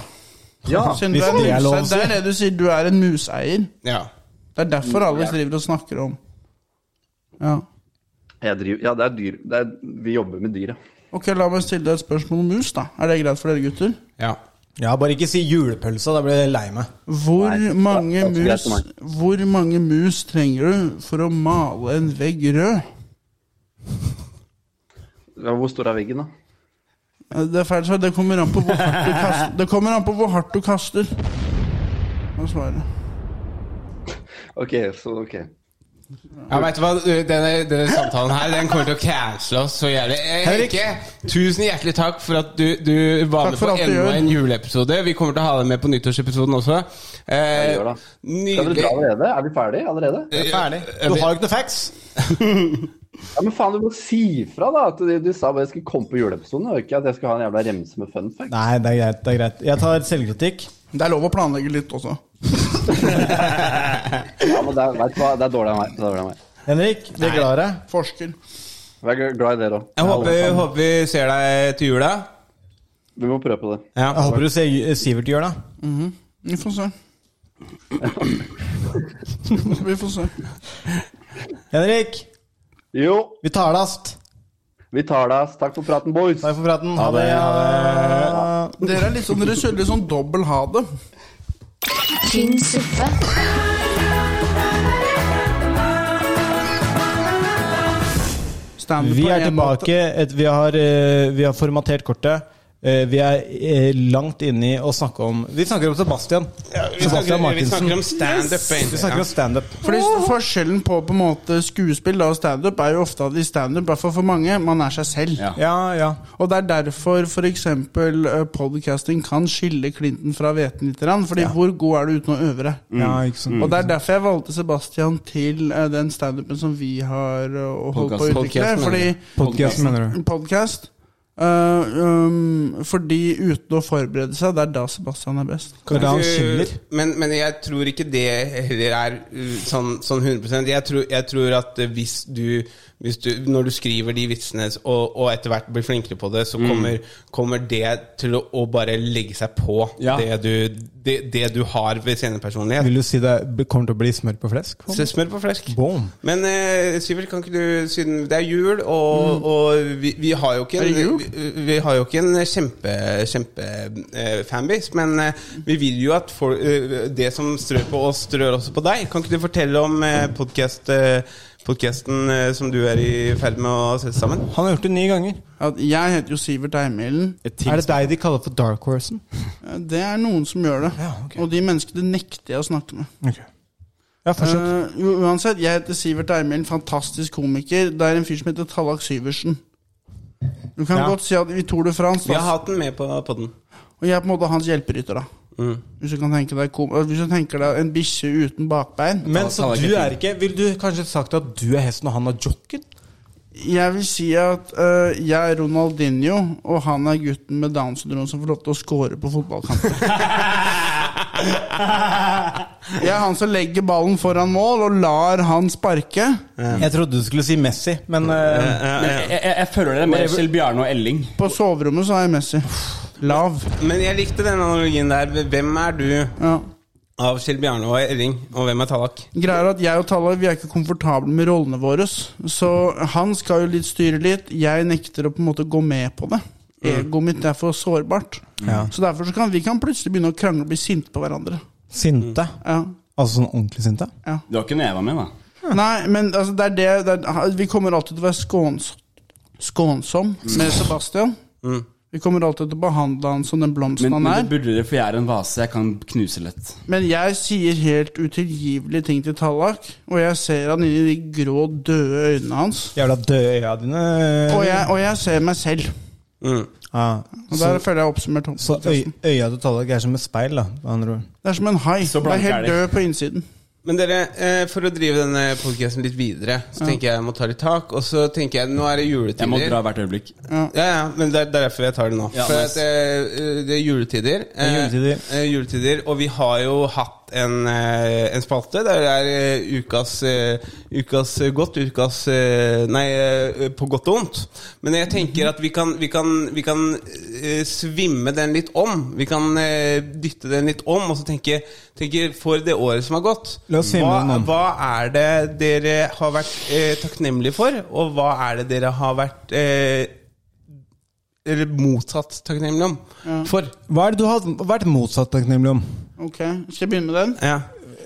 S8: Ja,
S10: Siden
S8: hvis
S10: du er
S8: det er
S10: muse-
S8: lov å si.
S10: det er det du sier, du er en museier.
S2: Ja.
S10: Det er
S3: Mm,
S10: derfor alle
S8: Ja.
S10: driver og snakker om Ja.
S8: Jeg driver, ja, det er dyr. Det er, vi jobber med dyr, ja.
S10: Ok, la meg stille deg et spørsmål om mus, da. Er det greit for dere gutter?
S2: Ja.
S3: Ja, bare ikke si julepølsa, da blir jeg lei meg.
S10: Hvor
S3: Nei,
S10: mange,
S3: det er greit
S10: mus,
S3: for
S10: hvor mange mus trenger du for å male en vegg rød?
S8: Ja, Hvor stor er veggen, da?
S10: Det er feil svar. Det kommer an på hvor hardt du
S3: <laughs>
S10: kaster. Det kommer an på hvor hardt du kaster. Det er svaret.
S12: Ok, så ok.
S2: Ja, vet du hva, denne, denne samtalen her Den kommer til å cancele oss så jævlig. Eh,
S12: Henrik.
S2: Henke, tusen hjertelig takk for at du, du var
S12: Takk
S2: med
S12: for
S2: på
S12: alt du
S2: enda
S12: gjør.
S2: en juleepisode. Vi kommer til å ha deg med på nyttårsepisoden også. Eh,
S12: gjør Skal dere dra
S2: <laughs>
S12: allerede? Er vi ferdig allerede?
S2: Jeg er ferdig.
S12: Du har
S3: jo ikke noe facts.
S12: ja, men faen, du må si ifra, da. At du, du sa bare jeg skulle komme på juleepisoden, og ikke at jeg skulle ha en jævla remse med fun fact.
S3: Nei, det er greit. det er greit Jeg tar selvkritikk.
S10: Det er lov å planlegge litt også.
S12: Ja, men det er, vet du hva, det er dårlig av meg. Det er dårlig av meg.
S3: Henrik, vi er glad i deg.
S10: Forsker.
S12: Jeg er glad i dere òg.
S2: Jeg håper, jeg håper vi ser deg til jula.
S12: Vi må prøve på det.
S3: Jeg håper du ser eh, Sivert gjør det.
S10: Mhm. Vi får
S3: <laughs>
S10: se. Vi får se.
S3: Henrik!
S12: Jo.
S3: Vi talast.
S12: Vi talast. Takk for praten, boys.
S3: Takk for praten. Ha, det.
S10: Dere er litt sånn, dere kjører litt sånn dobbel ha det.
S1: Tynn suppe.
S10: Standup
S3: Vi
S10: på
S3: er
S10: en måte.
S3: tilbake. Et, vi, har, eh, vi har formatert kortet. Eh, vi er eh, langt inne i å snakke om Vi snakker om Sebastian.
S2: vi snakker- vi snakker om stand-up, egentlig,
S3: Vi snakker
S2: ja.
S3: om standup.
S10: Fordi Forskjellen på på en måte skuespill da, og standup er jo ofte at i standup, i hvert fall for mange, man er seg selv. Og det er derfor f.eks. podcasting kan skille Clinton fra hveten litt. grann, Fordi
S3: Ja.
S10: hvor god er du uten å øve deg?
S3: Ja, ikke sant.
S10: Og det er derfor jeg valgte Sebastian til eh, den standupen som vi har eh, og holdt på å
S3: Podcasten.
S10: utvikle.
S3: Podcasten, mener du? Podcasten,
S10: Fordi
S3: mener du?
S10: Podcast. Eh, um, fordi uten å forberede seg, det er da Sebastian er best.
S2: Men, men jeg tror ikke det heller er uh, sånn, sånn 100 jeg tror, jeg tror at uh, hvis du, hvis du Når du skriver de vitsene s- og, og etter hvert blir flinkere på det, så
S8: Mm.
S2: kommer, kommer det til å, å bare legge seg på
S8: Ja.
S2: det, du, det, det du har ved scenepersonlighet.
S3: Vil du si det kommer til å bli smør på flesk?
S2: Så smør på flesk.
S3: Boom.
S2: Men eh, Sivert, kan ikke du, siden det er jul, og, og vi, vi har jo ikke
S3: Mm. Er det
S2: en,
S3: jul?
S2: vi, vi har jo ikke en kjempe, kjempe eh, fanbase, men eh, vi vil jo at folk, eh, det som strør på oss, strør også på deg. Kan ikke du fortelle om eh, podcast, eh, podcasten eh, som du er i ferd med å sette sammen?
S3: Han har gjort det ni ganger.
S10: At jeg heter jo Sivert Eimelen.
S3: Er det deg de kaller for Dark Horsen?
S10: Det er noen som gjør det. Og de menneskene nekter jeg å snakke med.
S3: Ja, fortsett.
S10: Eh, jo, uansett, jeg heter Sivert Eimelen, fantastisk komiker. Det er en fyr som heter Tallak Syversen. Du kan
S2: Ja.
S10: godt si at i Tour de France
S2: Vi
S10: da,
S2: har hatt den med på
S3: <laughs>
S2: podden.
S10: Og jeg er på en måte hans hjelperytter, da.
S2: Mm.
S10: Hvis du kan tenke deg, kom, eh, hvis du tenker deg en bikkje uten bakbein
S3: Men så du er ikke Vil du kanskje sagt at du er hesten og han er jocken?
S10: Jeg vil si at eh, jeg er Ronaldinho, og han er gutten med Downs syndrom som får lov til å score på
S2: <laughs>
S10: fotballkamper. jeg er han som legger ballen foran mål og lar han sparke.
S3: Jeg trodde du skulle si Messi, men eh,
S8: Men jeg, jeg, jeg føler det er mer Kjell Bjarne og Elling.
S10: På soverommet så er jeg Messi. Lav.
S2: Men jeg likte den analogien der. Hvem er du av Kjell Bjarne og Elling, og hvem er Tallak?
S10: Greier at jeg og Talla vi er ikke komfortable med rollene våre. Så han skal jo litt styre litt. Jeg nekter å på en måte gå med på det.
S8: Mm.
S10: Egoet mitt er for sårbart.
S3: Ja.
S10: Så derfor så kan vi kan plutselig begynne å krangle og bli sinte på hverandre.
S3: Sinte?
S10: Ja.
S3: Altså sånn ordentlig sinte?
S8: Du har ikke noe jeg var med, da?
S10: Nei, men altså, det er det, det er, Vi kommer alltid til å være skåns, skånsom med Sebastian.
S8: Mm.
S10: Vi kommer alltid til å behandle han som den blomsten
S8: Men, men det
S10: han er.
S8: burde dere, for jeg er en vase. Jeg kan knuse lett.
S10: Men jeg sier helt utilgivelige ting til Tallak, og jeg ser han inni de grå, døde øynene hans.
S3: Jævla døde øya dine.
S10: Og jeg, og jeg ser meg selv.
S3: Ja.
S10: Og der føler jeg oppsummert opp.
S3: Så øy, øya til Tallak er som et speil, da. Med andre ord.
S10: Det er som en hai.
S3: Så
S10: Det er
S3: blanke er
S10: helt
S3: de.
S10: død på innsiden.
S2: Men dere, eh, for å drive denne podcasten litt videre, så
S10: Ja.
S2: tenker jeg jeg må ta litt tak. Og så tenker jeg, nå er det juletider.
S8: Jeg må dra hvert øyeblikk.
S10: Ja,
S2: ja, men det er det er derfor jeg tar det nå.
S8: Ja,
S2: for
S8: nice.
S2: at, eh, det er juletider.
S8: er juletider.
S2: Eh, eh, juletider. Og vi har jo hatt en, eh, en spalte der det er eh, ukas, eh, ukas eh, godt, ukas eh, Nei, eh, på godt og ondt. Men jeg tenker at vi kan, vi kan, vi kan eh, svimme den litt om. Vi kan eh, dytte den litt om, og så tenke, tenke for det året som har gått.
S3: La oss svimme den
S2: hva,
S3: om.
S2: hva er det dere har vært eh, takknemlige for, og hva er det dere har vært eh, eller motsatt takknemlig om. For
S3: Hva er det du har vært motsatt takknemlig om?
S10: Ok, Skal jeg begynne med den?
S2: Ja.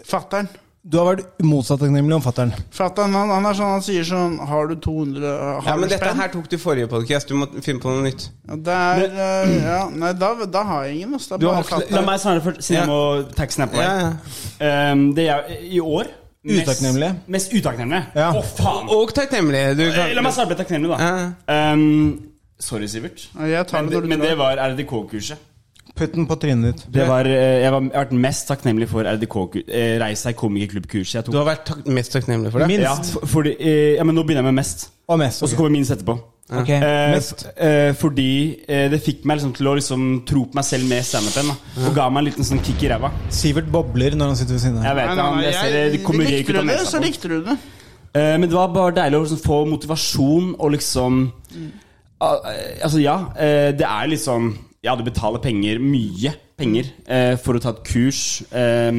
S10: Fattern.
S3: Du har vært motsatt takknemlig om fatter'n.
S10: Fatter'n han, han er sånn, han sier sånn Har du 200 har
S2: Ja, men
S10: du
S2: dette
S10: spenn?
S2: her tok du i forrige podcast. Du må finne på noe nytt.
S10: Ja, det er, eh, ja, nei, da, da har jeg ingen. ass. Det er bare fatter'n.
S6: La meg svare først, siden jeg må takke snap på deg. Um, det er i år mest-
S3: Utakknemlige.
S6: Mest utakknemlige? Å, faen!
S2: Og takknemlige. Du kan-
S6: Eh, La meg starte med takknemlig, da. Um, sorry, Sivert.
S10: Jeg tar det
S6: men,
S10: når du
S6: men
S10: drar.
S6: det var RDK-kurset.
S3: Putt den på trynet ditt.
S6: Det var, eh, jeg, var, jeg har vært mest takknemlig for RDK-kurset. Reis deg komikerklubb-kurset jeg tok.
S2: Du har vært tak mest takknemlig for det?
S6: Ja, for- fordi, eh, ja, men nå begynner jeg med mest.
S3: Og mest,
S6: Og så kommer minst etterpå.
S2: Ja. Ok,
S6: Eh,
S2: mest.
S6: f- eh, fordi eh, det fikk meg liksom til å liksom tro på meg selv med standupen. da. Og ga meg en liten sånn kick i ræva.
S3: Sivert bobler når han sitter ved siden av.
S6: Jeg vet
S10: Nei,
S6: det,
S10: nei,
S6: han-
S10: nei,
S6: jeg
S10: jeg-
S6: ser det kommer ikke
S10: Likte
S6: ut av
S10: du det,
S6: nesa
S10: så
S6: på.
S10: likte du det.
S6: Eh, Men det var bare deilig å liksom få motivasjon og liksom Ah, eh, Altså, ja. eh, Det er liksom Ja, du betaler penger, mye penger, eh, for å ta et kurs eh,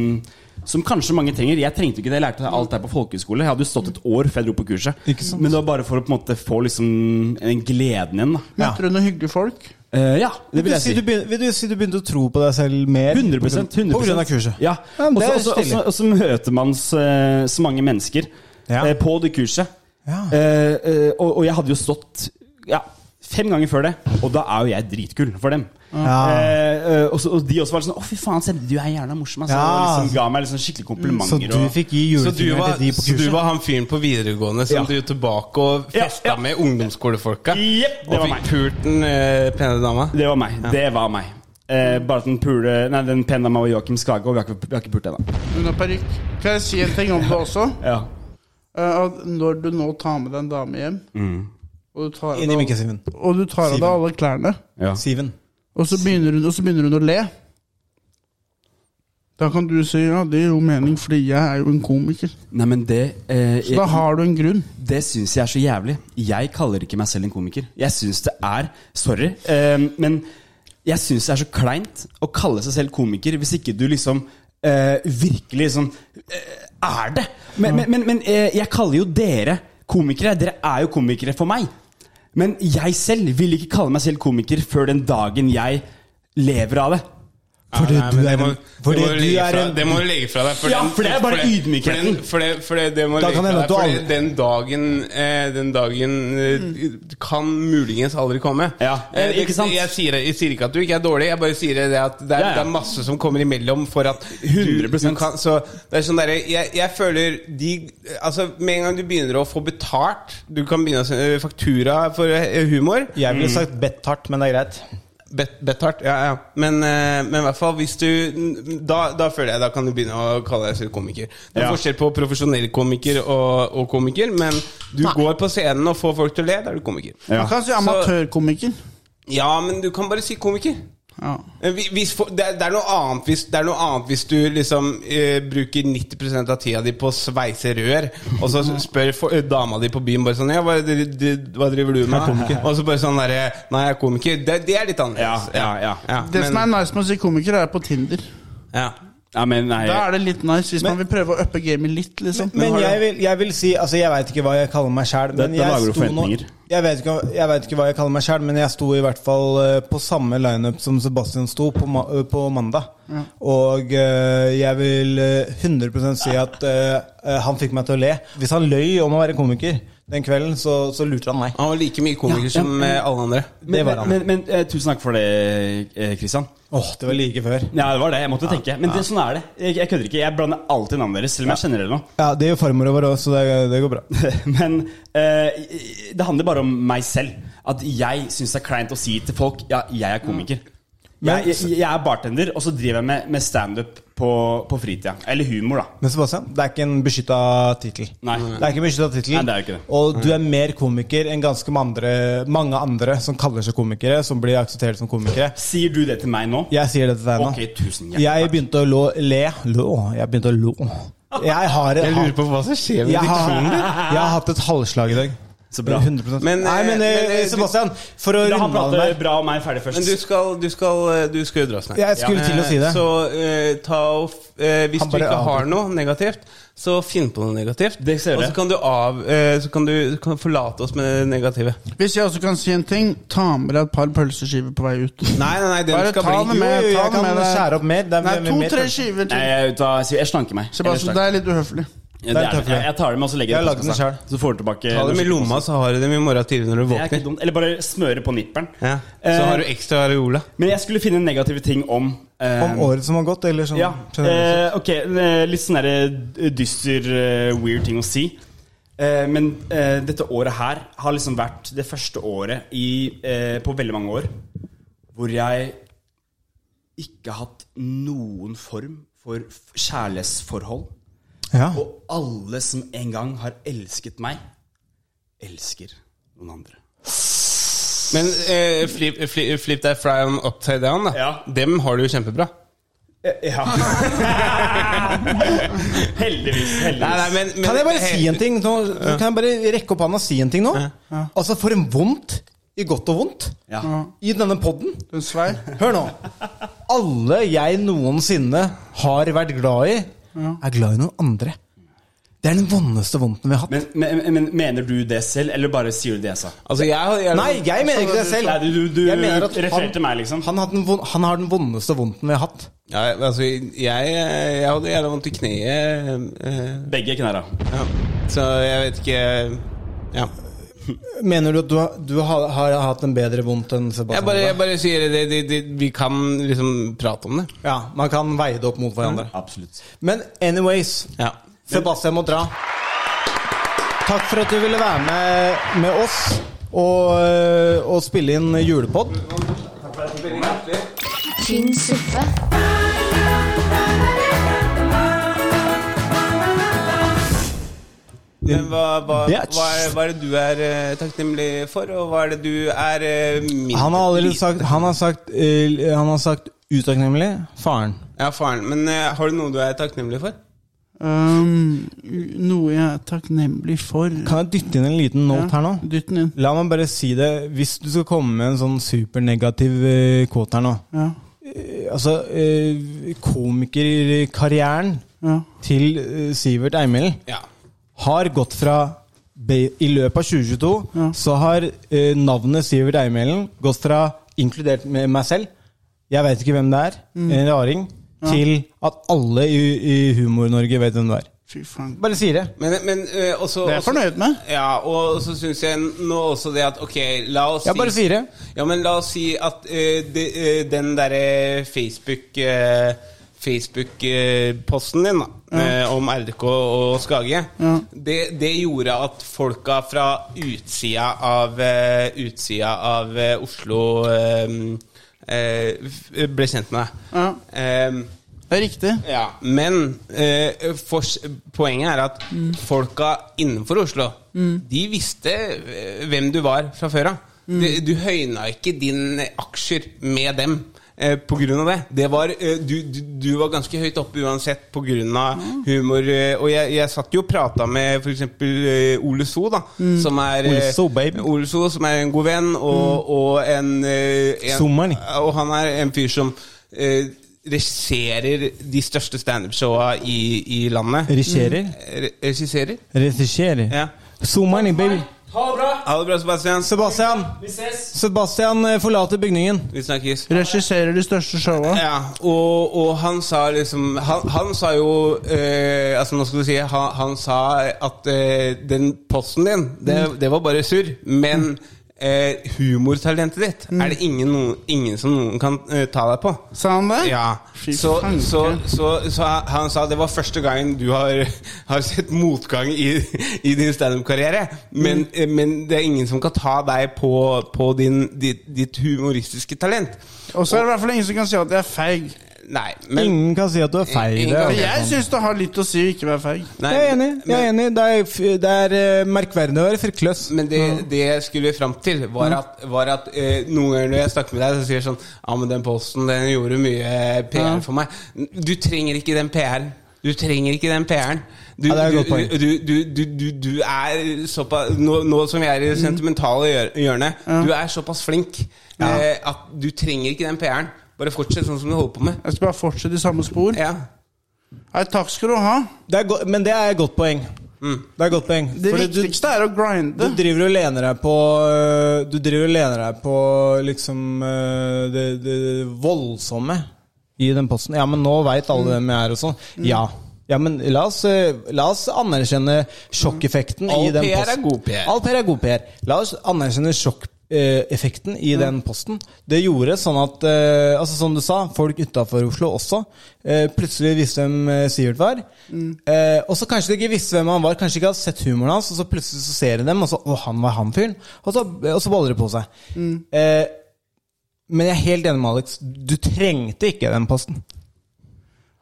S6: som kanskje mange trenger. Jeg trengte ikke det. Jeg lærte alt det her på folkehøyskole. Jeg hadde jo stått et år før jeg dro på kurset. Men det var bare for å på en måte få liksom en gleden igjen, da.
S10: Møter du noen hyggelige folk?
S6: Eh, ja, det
S3: Vil
S6: vil
S3: du,
S6: jeg
S3: si
S6: si.
S3: du begynner, vil du si du begynte å tro på deg selv mer?
S6: 100%, 100%.
S3: På grunn av kurset.
S6: Ja.
S3: Ja, men
S6: Og
S3: det er
S6: så- og
S3: stilig.
S6: så- og så møter man så, så mange mennesker eh, på det kurset. Eh, eh, og, og jeg hadde jo stått ja, fem ganger før det, og da er jo jeg dritkul for dem.
S3: Ja.
S6: Eh, eh, og, så, og de også var sånn 'Å, fy faen, Sebbe, du er jævla morsom'. Altså,
S2: Ja.
S6: og liksom, ga meg liksom skikkelig komplimenter.
S2: Så du
S6: og-
S2: fikk gi Så du var, så du var han fyren på videregående som dro tilbake og festa med ungdomsskolefolka?
S6: det
S2: og
S6: var
S2: fikk
S6: meg.
S2: pult den eh, pene dama?
S6: Det var meg. Det var meg. Eh, bare at den pule Nei, den pene dama var Joakim Skage, og vi har ikke, vi har ikke pult ennå.
S10: Hun har parykk. Kan jeg si en ting om det også?
S6: Ja.
S10: Eh, at når du nå tar med deg en dame hjem, og du tar av
S3: Inn i
S10: deg-
S3: mikkesiven.
S10: og du tar av deg alle klærne,
S3: Siven.
S10: og så, begynner hun, og så begynner hun å le Da kan du si ja, det gir jo mening, fordi jeg er jo en komiker.
S6: Nei, men det eh,
S10: Så da har du en grunn.
S6: Det syns jeg er så jævlig. Jeg kaller ikke meg selv en komiker. Jeg syns det er Sorry, eh, men jeg syns det er så kleint å kalle seg selv komiker hvis ikke du liksom eh, virkelig sånn eh, er det. Men, men, men, men eh, jeg kaller jo dere komikere. Dere er jo komikere for meg. Men jeg selv vil ikke kalle meg selv komiker før den dagen jeg lever av det.
S2: Fordi
S6: du
S2: det
S6: er
S2: må-
S6: en-
S2: det må
S6: fordi
S2: du
S6: du
S2: legge
S6: er
S2: fra-
S6: en-
S2: Det må du legge fra deg.
S6: Ja, for det er bare
S2: for den- for
S6: ydmykheten.
S2: den- For det, for det, det må du
S6: Da
S2: legge
S6: kan
S2: fra
S6: det
S2: deg.
S6: hende at du
S2: Fordi
S6: aldri-
S2: den dagen, eh, den dagen eh, kan muligens aldri komme. Eh, det-
S6: ikke sant?
S2: Jeg, sier, jeg sier ikke at du ikke er dårlig, jeg bare sier det at det er,
S6: Ja, ja.
S2: Det er masse som kommer imellom for at du, du
S6: 100%.
S2: kan Så det er sånn derre jeg, jeg føler de Altså, med en gang du begynner å få betalt Du kan begynne å sende faktura for eh, humor.
S3: Jeg ville
S2: Mm.
S3: sagt betthart, men det er greit.
S2: Bet- Betthard, ja, ja. Men, eh, men i hvert fall, hvis du da, da føler jeg da kan du begynne å kalle deg selv komiker. Det er
S6: Ja.
S2: forskjell på profesjonell komiker og, og komiker, men du går på scenen og får folk til å le, da er du komiker.
S10: Man kan si
S2: Så-
S10: amatørkomiker.
S2: ja, men du kan bare si komiker.
S10: Ja.
S2: Eh, hvi- Hvis, for- det, er- det, er noe annet hvis, det er noe annet hvis du liksom eh, bruker 90 av tida di på å sveise rør, og så spør for, eh, dama di på byen bare sånn ja, hva, dri- dri- hva driver du med? Og så bare sånn derre Nei, jeg er komiker. Det, det er litt annerledes.
S6: Ja, ja,
S2: Ja,
S10: Det
S2: men-
S10: som er nice med å si komiker, er på Tinder.
S2: ja.
S6: Ja, men nei
S10: Da er det litt nice hvis man vil prøve å uppe gamet litt, liksom.
S3: Men jeg vil, jeg vil si Altså, jeg veit ikke hva jeg kaller meg sjæl.
S6: Dette lager du
S3: sto nå-
S6: forventninger.
S3: Jeg vet, ikke, jeg vet ikke hva jeg kaller meg sjæl, men jeg sto i hvert fall eh, på samme lineup som Sebastian sto på, ma eh, på mandag.
S10: Ja.
S3: Og eh, jeg vil eh, 100 si at eh, eh, han fikk meg til å le. Hvis han løy om å være komiker den kvelden, så, så lurte han meg.
S2: Han var like mye komiker
S3: Ja, ja,
S2: som
S3: ja.
S2: eh, alle andre.
S6: Men,
S3: Det var han.
S6: men, men, eh, tusen takk for det, eh, Christian.
S3: Åh, det var like før.
S6: Ja, det var det. Jeg måtte tenke. Men det, sånn er det. Jeg, jeg kødder ikke. Jeg blander alltid navnet deres, selv om jeg kjenner dere nå. <laughs>
S3: Ja, det gjør farmora vår òg, så det, det går bra.
S6: Men eh, det handler bare om meg selv. At jeg syns det er kleint å si til folk ja, jeg er komiker.
S3: Men-
S6: Jeg, jeg, jeg er bartender, og så driver jeg med, med standup på, på fritida. Eller humor, da.
S3: Men Sebastian, det er ikke en beskytta tittel.
S6: Nei.
S3: Det er ikke en beskyttet tittel.
S6: Nei, det er jo ikke det.
S3: Og du er mer komiker enn ganske ma- andre, mange andre som kaller seg komikere, som blir akseptert som komikere.
S6: Sier du det til meg nå?
S3: Jeg sier det til deg nå.
S6: Ok, tusen hjertelig.
S3: Jeg begynte å lo, le. Lå. Jeg begynte å lo. Jeg har
S2: Jeg lurer på hva som skjer med
S3: jeg har,
S2: diksjonen din.
S3: jeg har hatt et halvslag i dag.
S8: Så bra.
S3: 100%.
S2: Men,
S3: Nei, men, eh,
S2: men, eh,
S3: Sebastian, for å
S8: La han
S3: runde av den
S8: prate
S3: der
S8: bra om meg ferdig først.
S2: Men du skal, du skal, eh, du skal jo dra snart.
S3: Jeg skulle til å si det.
S2: Eh, Så eh, ta og f- eh, Hvis
S3: Han
S2: du
S3: bare
S2: ikke
S3: avbryter.
S2: har noe negativt, så finn på noe negativt.
S8: ser
S2: og
S8: jeg.
S2: så kan du, av, eh, så kan du kan forlate oss med det negative.
S10: Hvis jeg også kan si en ting, ta med deg et par pølseskiver på vei ut.
S2: <laughs> Nei, nei, nei, den
S10: Bare
S2: skal
S10: ta
S2: bli-
S10: den
S2: Jo,
S10: med.
S2: jo, jeg
S10: Ta den
S2: kan
S10: med deg.
S2: skjære opp mer. Det er
S10: Nei,
S2: mer- mer
S10: to-tre
S2: pølse.
S10: skiver
S8: Nei,
S10: til.
S8: jeg, er ute av- jeg slanker meg.
S10: Sebastian, det er litt uhøflig.
S8: Ja, det er det. Jeg, jeg tar dem og så legger
S2: Jeg har
S8: det
S2: lagd den selv.
S8: Så får du tilbake
S2: Ta dem i lomma, så har du dem i morgen tidlig når du
S8: Det er ikke Eh,
S2: våkner.
S8: dumt. Eller bare smøre på nipperen.
S2: Ja. Så har du ekstra areola.
S8: Men jeg skulle finne negative ting om eh,
S3: om året som har gått, eller sånn
S8: Ja.
S3: generelt
S8: Eh, ok, eh, litt sånn derre dyster, eh, weird ting å si. Eh, men eh, dette året her har liksom vært det første året i, eh, på veldig mange år hvor jeg ikke har hatt noen form for f- kjærlighetsforhold.
S3: sett? Ja.
S8: eh, Og alle som en gang har elsket meg, elsker noen andre.
S2: Men eh, flip, flip, flip deg from upside down, da.
S8: Ja.
S2: Dem har du jo kjempebra. Eh, <laughs>
S8: Ja. heldigvis. heldigvis.
S2: Nei, nei, men, men,
S3: Kan jeg bare si en ting? Nå, Kan jeg bare rekke opp hånda og si en ting nå? Altså, for en vondt i godt og vondt
S8: Ja.
S3: i denne podden.
S10: En svei.
S3: Hør nå. Alle jeg noensinne har vært glad i, er glad i noen andre. Det er den vondeste vondten vi har hatt.
S8: Men, men, men mener du det selv, eller bare sier du det jeg sa?
S2: Altså, jeg, har- jeg,
S3: Nei, jeg mener ikke det selv.
S8: Nei, du- du- du
S3: Jeg mener at
S8: refererer til meg, liksom.
S3: Han, har den von- han har den vondeste vondten vi har hatt.
S2: Ja, altså, jeg, eh, jeg hadde jævla vondt i kneet. eh,
S8: Begge knærne.
S2: ja. Så jeg vet ikke Ja.
S3: Mener du at du, har- du har, har hatt en bedre vondt enn Sebastian?
S2: Jeg bare,
S3: Hallberg?
S2: jeg bare sier det, det, det. Vi kan liksom prate om det.
S3: Ja, Man kan veie det opp mot hverandre.
S8: Absolutt.
S3: Men anyways
S2: Ja.
S3: Sebastian må dra. Takk for at du ville være med med oss og, eh, og spille inn julepod.
S1: Tynn suppe.
S2: Men hva, hva,
S3: Bitch.
S2: hva, er, hva er det du er eh, takknemlig for, og hva er det du er eh, mindre
S3: Han har allerede sagt Han har sagt, eh, han har sagt utakknemlig. Faren.
S2: Ja, faren. Men eh, har du noe du er takknemlig for?
S10: Um, noe jeg er takknemlig for.
S3: Kan jeg dytte inn en liten note her nå?
S10: Dytt den inn.
S3: La meg bare si det. Hvis du skal komme med en sånn supernegativ eh, quote her nå
S10: Ja.
S3: Eh, Altså, eh, komikerkarrieren
S10: ja.
S3: til eh, Sivert Eimild
S2: Ja.
S3: har gått fra be- I løpet av 2022
S10: Ja.
S3: så har eh, navnet Sivert Eimelen gått fra, inkludert med meg selv Jeg veit ikke hvem det er, en raring, til at alle i, i Humor-Norge vet hvem det er.
S10: Fy faen.
S3: Bare sier det.
S2: Men, men eh, også
S10: Det er jeg fornøyd med.
S2: Ja, og så syns jeg nå også det at Ok, la oss
S3: Jeg bare
S2: si
S3: sier det.
S2: Ja, men la oss si at eh, det, eh, den derre Facebook eh, Facebook-posten din da, eh, om RDK og Skage, det, det gjorde at folka fra utsida av, eh, utsida av eh, Oslo eh, eh, f- ble kjent med deg.
S10: Ja.
S2: Eh,
S10: Det er riktig.
S2: ja, men eh, fors- poenget er at folka innenfor Oslo, de visste eh, hvem du var fra før av. Du, du høyna ikke dine aksjer med dem. eh, På grunn av det. det var, eh, du, du, du var ganske høyt oppe uansett på grunn av humor. eh, Og jeg, jeg satt jo og prata med f.eks. Ole So, da. Som er eh,
S3: Ole So, babe.
S2: Ole So, som er en god venn, og, og en, eh, en
S3: Mm. Sommeren.
S2: og han er en fyr som eh, regisserer de største standup-showa i, i landet. Mm.
S3: Regisserer.
S2: Re regisserer?
S3: Regisserer.
S2: Ja.
S3: So many, baby.
S8: Ha det bra!
S2: Ha det bra, Sebastian.
S3: Sebastian!
S8: Vi ses!
S3: Sebastian eh, forlater bygningen.
S2: Vi snakkes.
S10: Regisserer de største showa.
S2: Ja, og, og han sa liksom Han, han sa jo eh, Altså, nå skal du si Han, han sa at eh, den posten din, det,
S3: Mm.
S2: det var bare surr. Men eh, humortalentet ditt
S3: Mm.
S2: er det ingen, noen- ingen som noen kan eh, ta deg på.
S10: Sa han det?
S2: <laughs> Ja,
S10: Fy
S2: så,
S10: fanken.
S2: så, så, så han sa det var første gangen du har, <laughs> har sett motgang i, <laughs> i din standup-karriere.
S3: Mm.
S2: Men, eh, men det er ingen som kan ta deg på, på din, ditt, ditt humoristiske talent.
S10: Og så er det i hvert fall ingen som kan si at jeg er feig.
S2: Nei, men
S3: Ingen kan si at du er feil.
S2: Ingen
S3: Det
S2: kan-
S10: For
S3: er-
S10: jeg syns det har litt å si å ikke være feig.
S2: nei,
S3: Jeg er enig. jeg er
S2: men-
S3: enig. Det er, f- det er eh, merkverdig å være fryktløs. Mm.
S2: Men det, det jeg skulle fram til, var at, var at eh, noen ganger når jeg snakker med deg, så sier eh, jeg sånn Ja, men den posten, den gjorde mye PR for meg. Du trenger ikke den PR-en. Du trenger ikke den PR-en. Du,
S3: Ja, det er et
S2: du,
S3: godt poeng.
S2: du, du, du, du, du er såpass nå, nå som vi er i det
S3: Mm.
S2: sentimentale hjør- hjørnet, du er såpass flink eh, at du trenger ikke den PR-en. Bare fortsett sånn som du holder på med.
S10: Jeg skal bare fortsette i samme spor. Nei, takk skal du ha.
S3: Det er go- men det er et godt poeng. Det er et godt poeng.
S10: Det viktigste er å grinde.
S3: Du driver og lener deg på øh, Du driver og lener deg på liksom øh, det, det voldsomme i den posten. Ja, men nå veit alle hvem jeg er og sånn. Ja. Ja, men la oss, øh, la oss anerkjenne sjokkeffekten
S2: All
S3: i den
S2: PR er
S3: posten.
S2: god PR.
S3: All PR er god PR. La oss anerkjenne sjokkeffekten
S2: Mm.
S3: i den posten. Det gjorde sånn at, øh, altså som du sa, folk utafor Oslo også øh, plutselig visste hvem øh, Sivert var.
S2: Mm.
S3: Eh, og så kanskje de ikke visste hvem han var, kanskje ikke hadde sett humoren hans, og så plutselig så ser de dem, og så Å, han var han fyren. Og så, og så baller det på seg.
S2: Mm.
S3: Eh, men jeg er helt enig med Alex. Du trengte ikke den posten.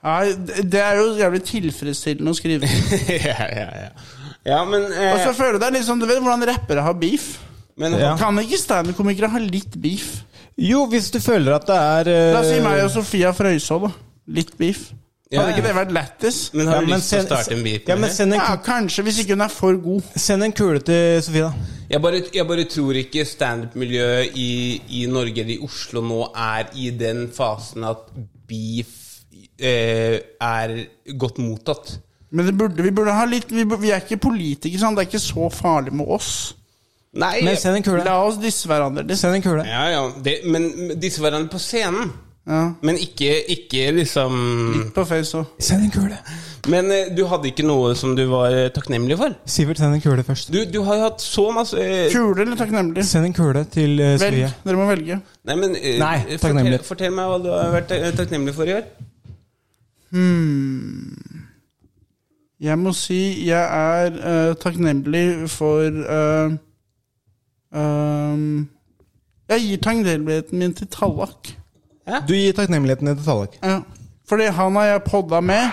S10: Nei, det- det er jo jævlig tilfredsstillende å skrive.
S2: <laughs> ja, ja, ja. Ja, men eh,
S10: Og så føler jeg det er litt sånn, du vet hvordan rappere har beef.
S2: Men-
S3: Ja.
S10: Kan ikke standup-komikere ha litt beef?
S3: Jo, hvis du føler at det er eh,
S10: La oss si meg og Sofia Frøysaa, da. Litt beef.
S2: Ja.
S10: Hadde ikke det vært lættis?
S2: Men har du lyst til å starte en beef
S3: ja, men
S2: det?
S3: send en,
S10: Ja, kanskje, hvis ikke hun er for god.
S3: send en kule til Sofie, da.
S2: Jeg bare, jeg bare tror ikke standup-miljøet i, i Norge eller i Oslo nå er i den fasen at beef eh, er godt mottatt.
S10: Men det burde, vi burde ha litt Vi, bur- vi er ikke politikere, sant? det er ikke så farlig med oss.
S2: Nei,
S3: Men send en kule.
S10: La oss disse hverandre. Det,
S3: Send en kule.
S2: ja, ja, det, men men disse hverandre på scenen.
S10: ja.
S2: Men ikke, ikke liksom
S10: Litt på face òg.
S3: Send en kule.
S2: Men eh, du hadde ikke noe som du var eh, takknemlig for?
S3: Sivert, send en kule først.
S2: Du, du har jo hatt så masse eh,
S10: Kule eller takknemlig?
S3: Send en kule til uh,
S10: Velg.
S3: Sofie.
S10: Dere må velge.
S2: Nei, men eh,
S3: Nei,
S2: fortell,
S3: takknemlig.
S2: fortell meg hva du har vært eh, takknemlig for i år.
S10: Jeg må si jeg er eh, takknemlig for eh, ehm, Jeg gir takknemligheten min til Tallak.
S3: Du gir takknemligheten din til Tallak.
S10: Ja. Fordi han har jeg podda med.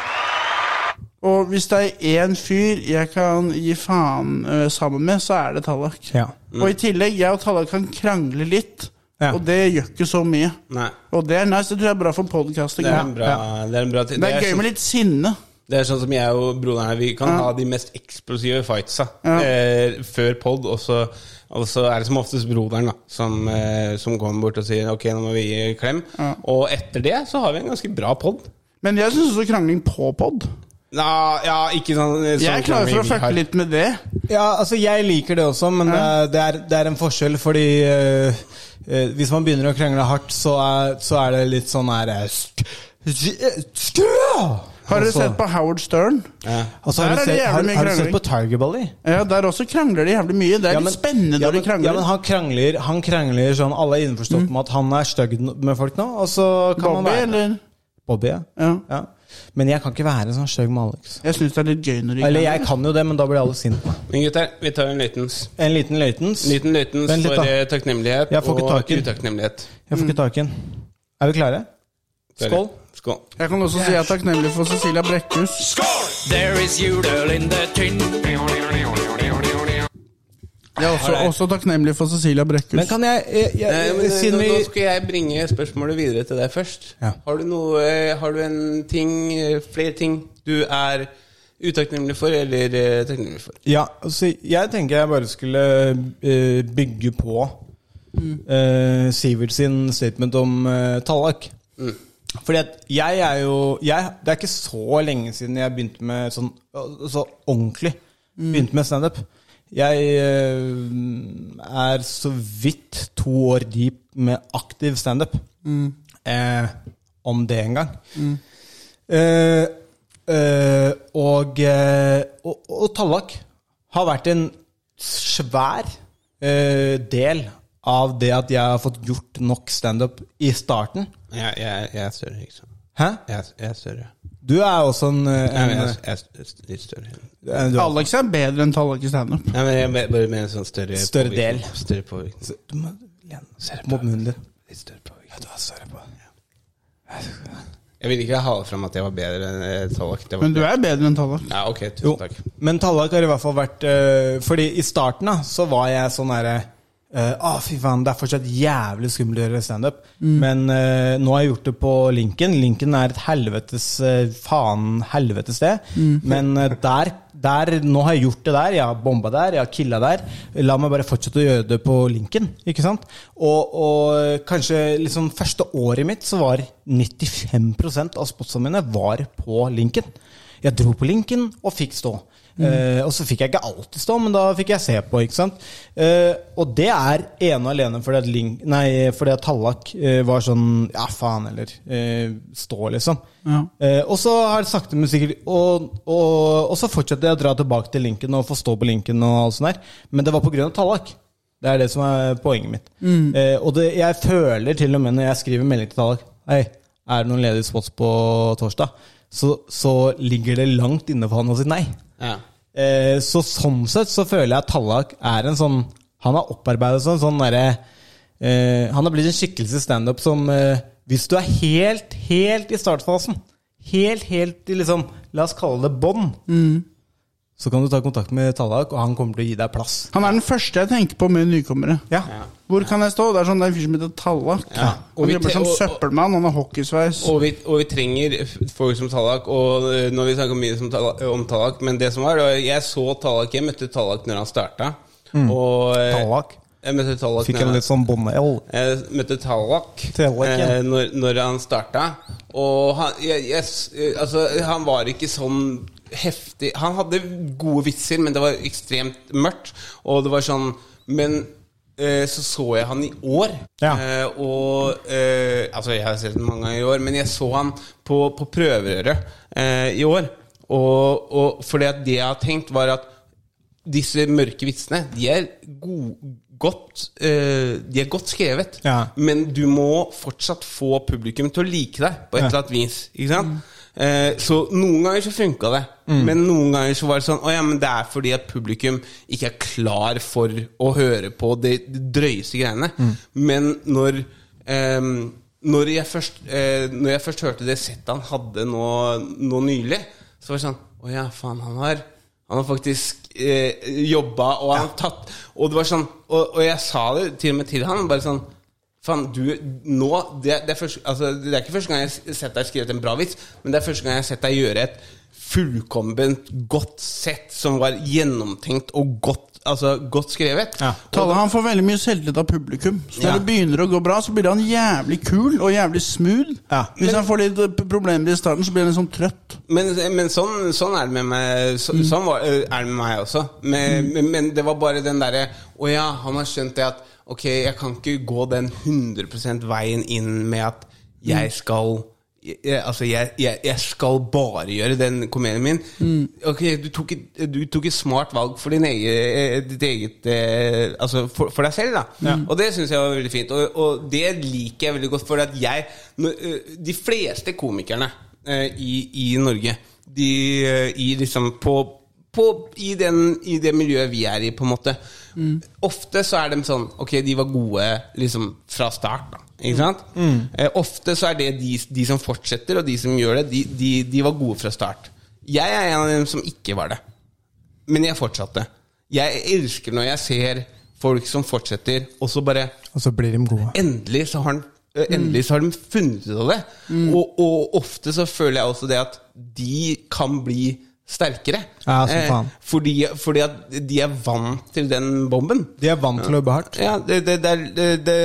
S10: Og hvis det er én fyr jeg kan gi faen eh, sammen med, så er det Tallak.
S3: Ja.
S10: Og i tillegg, jeg og Tallak kan krangle litt,
S3: Ja.
S10: og det gjør ikke så mye.
S2: Nei.
S10: Og det er nice, det tror jeg er bra for podcasting.
S2: Det er
S10: Ja.
S2: en bra, det er en bra ti-
S10: Det er
S2: sånn-
S10: gøy med litt sinne.
S2: Det er sånn som jeg og broderen her, vi kan ha de mest eksplosive fightsa eh, før pod, og så, og så er det som oftest broderen da, som, eh, som kommer bort og sier ok, nå må vi gi klem. Og etter det så har vi en ganske bra pod.
S10: Men jeg syns også krangling på pod.
S2: Ja, ja, ikke sånn, sånn
S10: Jeg er klar
S2: klem
S10: for å
S2: vi
S10: fucke
S2: har.
S10: litt med det.
S3: Ja, altså jeg liker det også, men det er, det er, det er en forskjell, fordi eh, eh, hvis man begynner å krangle hardt, så er, så er det litt sånn her eh, sk- skrå!
S10: Har dere
S3: Altså-
S10: sett på Howard Stern?
S2: Ja.
S3: altså, har,
S10: Der
S3: du
S10: er det
S3: sett,
S10: jævlig
S3: har,
S10: mye
S3: har du sett
S10: krangling.
S3: på Tiger Bally?
S10: Ja, Der også krangler de jævlig mye. Det er litt spennende
S3: ja,
S10: når de
S3: men, ja,
S10: krangler. Mm.
S3: men han krangler, han krangler sånn Alle er innforstått med at han er stygg no- med folk nå, og så kan han
S10: Bobby,
S3: være
S10: eller?
S3: Bobby, ja.
S10: Ja.
S3: ja. Men jeg kan ikke være sånn stygg med Alex.
S10: Jeg syns det er litt gøy når de
S3: Eller jeg kan jo det, men da blir alle sinte på meg.
S2: Men gutter, vi tar en løytens.
S3: En liten løytens.
S2: Liten løytens
S3: Vent litt,
S2: for
S3: da.
S2: eh, takknemlighet
S3: Jeg får ikke
S2: og
S3: tak i den.
S2: utakknemlighet.
S3: Jeg får ikke tak i den. Er vi klare? Skål.
S2: Skål.
S10: Jeg kan også si jeg er takknemlig for Cecilia Brekkhus.
S11: There is jodel in the tin.
S10: Jeg er også, også takknemlig for Cecilia Brekkhus.
S3: Men kan jeg, jeg, jeg,
S2: Nei, men, eh,
S3: Siden
S2: nå,
S3: vi
S2: nå skal jeg bringe spørsmålet videre til deg først.
S3: Ja.
S2: Har, du noe, eh, har du en ting, eh, flere ting du er utakknemlig for eller eh, takknemlig for?
S3: Ja, altså, jeg tenker jeg bare skulle eh, bygge på eh, Sivert sin statement om eh, Tallak. Fordi at jeg er jo jeg, Det er ikke så lenge siden jeg begynte med sånn Så ordentlig begynte med standup. Jeg eh, er så vidt to år deep med aktiv standup. Eh, om det en gang. Eh, eh, og, eh, og, og Tallak har vært en svær eh, del av det at jeg har fått gjort nok standup i starten.
S2: Jeg, er større, ikke sant.
S3: Hæ?
S2: Jeg, er større.
S3: Du er også en, eh, en
S2: er litt større.
S3: eh, du er-
S10: Alex er bedre enn Tallak i standup.
S2: Nei, men jeg bare mener en sånn større
S3: Større del.
S2: påvirkning. Større påvirkning.
S3: Du må lene deg mot munnen din.
S2: Litt større påvirkning.
S3: Du er større på
S2: Jeg ville ikke ha fram at jeg var bedre enn eh, Tallak. Det var-
S10: Men du er bedre enn Tallak.
S2: Ja, ok, tusen
S3: Jo,
S2: takk.
S3: eh, men Tallak har i hvert fall vært øh, Fordi i starten da, så var jeg sånn herre eh, ah, fy faen, det er fortsatt jævlig skummelt å gjøre standup. Men eh, nå har jeg gjort det på Lincoln. Lincoln er et helvetes eh, faen helvetes sted.
S10: Mm.
S3: Men eh, der, der, nå har jeg gjort det der. Jeg har bomba der, jeg har killa der. La meg bare fortsette å gjøre det på Lincoln. Ikke sant? Og, og kanskje liksom første året mitt så var 95 av spotsene mine var på Lincoln. Jeg dro på Lincoln og fikk stå.
S10: Mm.
S3: Eh, og så fikk jeg ikke alltid stå, men da fikk jeg se på. ikke sant? Eh, og det er ene og alene fordi at, Ling, nei, fordi at Tallak eh, var sånn Ja, faen, eller eh, stå, liksom.
S10: Ja.
S3: Eh, og så har det sakte, men sikkert og, og, og så fortsatte jeg å dra tilbake til linken og få stå på linken. og alt sånt der. Men det var pga. Tallak. Det er det som er poenget mitt.
S10: Mm.
S3: Eh, og det, jeg føler til og med når jeg skriver melding til Tallak Hei, er det noen ledige spots på torsdag, så, så ligger det langt inne for han å si nei. Eh, så sånn sett så føler jeg at Tallak er en sånn Han har opparbeidet seg en sånn derre eh, Han har blitt en skikkelse i standup som eh, Hvis du er helt, helt i startfasen, helt, helt i liksom La oss kalle det bånd, så kan du ta kontakt med Tallak, og han kommer til å gi deg plass.
S10: Han er den første jeg tenker på med nykommere. Hvor kan jeg stå? Det er sånn, det er en fyr som heter Tallak.
S2: Ja. Og
S10: Han
S2: vi
S10: jobber
S2: te-
S10: som
S2: og- og-
S10: søppelmann, han har hockeysveis.
S2: Og vi, og vi trenger f- folk som Tallak. Og eh, når vi snakker mye som Tallak, om Tallak Men det som var, det var jeg så Tallak Jeg møtte Tallak når han starta.
S3: Mm.
S2: Og, eh,
S3: Tallak?
S2: Jeg møtte Tallak
S3: Fikk
S2: når
S3: en
S2: han-
S3: litt sånn båndel.
S2: Jeg Eh, møtte Tallak
S3: Tallak, ja.
S2: eh, når, når han starta. Og han, jeg, jeg, s- eh, altså, han var ikke sånn heftig Han hadde gode vitser, men det var ekstremt mørkt. Og det var sånn Men eh, så så jeg han i år. Eh, og eh, Altså, jeg har sett ham mange ganger i år, men jeg så han på, på prøverøret eh, i år. Og, og fordi at det jeg har tenkt, var at disse mørke vitsene, de er go godt eh, De er godt skrevet,
S3: Ja.
S2: men du må fortsatt få publikum til å like deg på et
S3: Ja.
S2: eller annet vis. Ikke sant? Eh, så noen ganger så funka det,
S3: Mm.
S2: men noen ganger så var det sånn Å ja, men det er fordi at publikum ikke er klar for å høre på de, de drøyeste greiene.
S3: Mm.
S2: Men når ehm, når, jeg først, eh, når jeg først hørte det settet han hadde nå, nå nylig, så var det sånn Å ja, faen, han har Han har faktisk eh, jobba, og han har tatt Og det var sånn og, og jeg sa det til og med til han, bare sånn Faen, du Nå det, det, er først, altså, det er ikke første gang jeg har sett deg skrevet en bra vits, men det er første gang jeg har sett deg gjøre et fullkomment godt sett som var gjennomtenkt og godt, altså, godt skrevet.
S10: Talle, han får veldig mye selvtillit av publikum. Så når
S2: Ja.
S10: det begynner å gå bra, så blir han jævlig kul og jævlig smooth. Hvis han får litt eh, p- problemer i starten, så blir han litt sånn trøtt.
S2: Men, men sånn, sånn er det med meg så, Sånn var, er det med meg også. Men, men, men det var bare den derre Å ja, han har skjønt det at Ok, jeg kan ikke gå den 100 veien inn med at jeg skal jeg, jeg- altså jeg, jeg, jeg skal bare gjøre den komedien min. Ok, du tok, et, du tok et smart valg for din egen, ditt eget eh, Altså for, for deg selv, da. Og det syns jeg var veldig fint. Og, og det liker jeg veldig godt. For at jeg når, eh, De fleste komikerne eh, i, i Norge de, eh, i liksom på, på, i, den, I det miljøet vi er i, på en måte. Ofte så er de sånn Ok, de var gode liksom fra start, da. Ikke sant? Eh, ofte så er det de, de som fortsetter, og de som gjør det, de, de, de var gode fra start. Jeg er en av dem som ikke var det. Men jeg fortsatte. Jeg elsker når jeg ser folk som fortsetter, og så bare
S3: Og så blir de gode.
S2: Endelig så har, han, eh, endelig så har de funnet ut av det.
S3: Mm.
S2: Og, og ofte så føler jeg også det at de kan bli sterkere. Eh,
S3: Ja, som faen.
S2: fordi, fordi at de er vant til den bomben.
S3: De er vant til å jobbe hardt.
S2: Ja, det, det, det, er- det, det,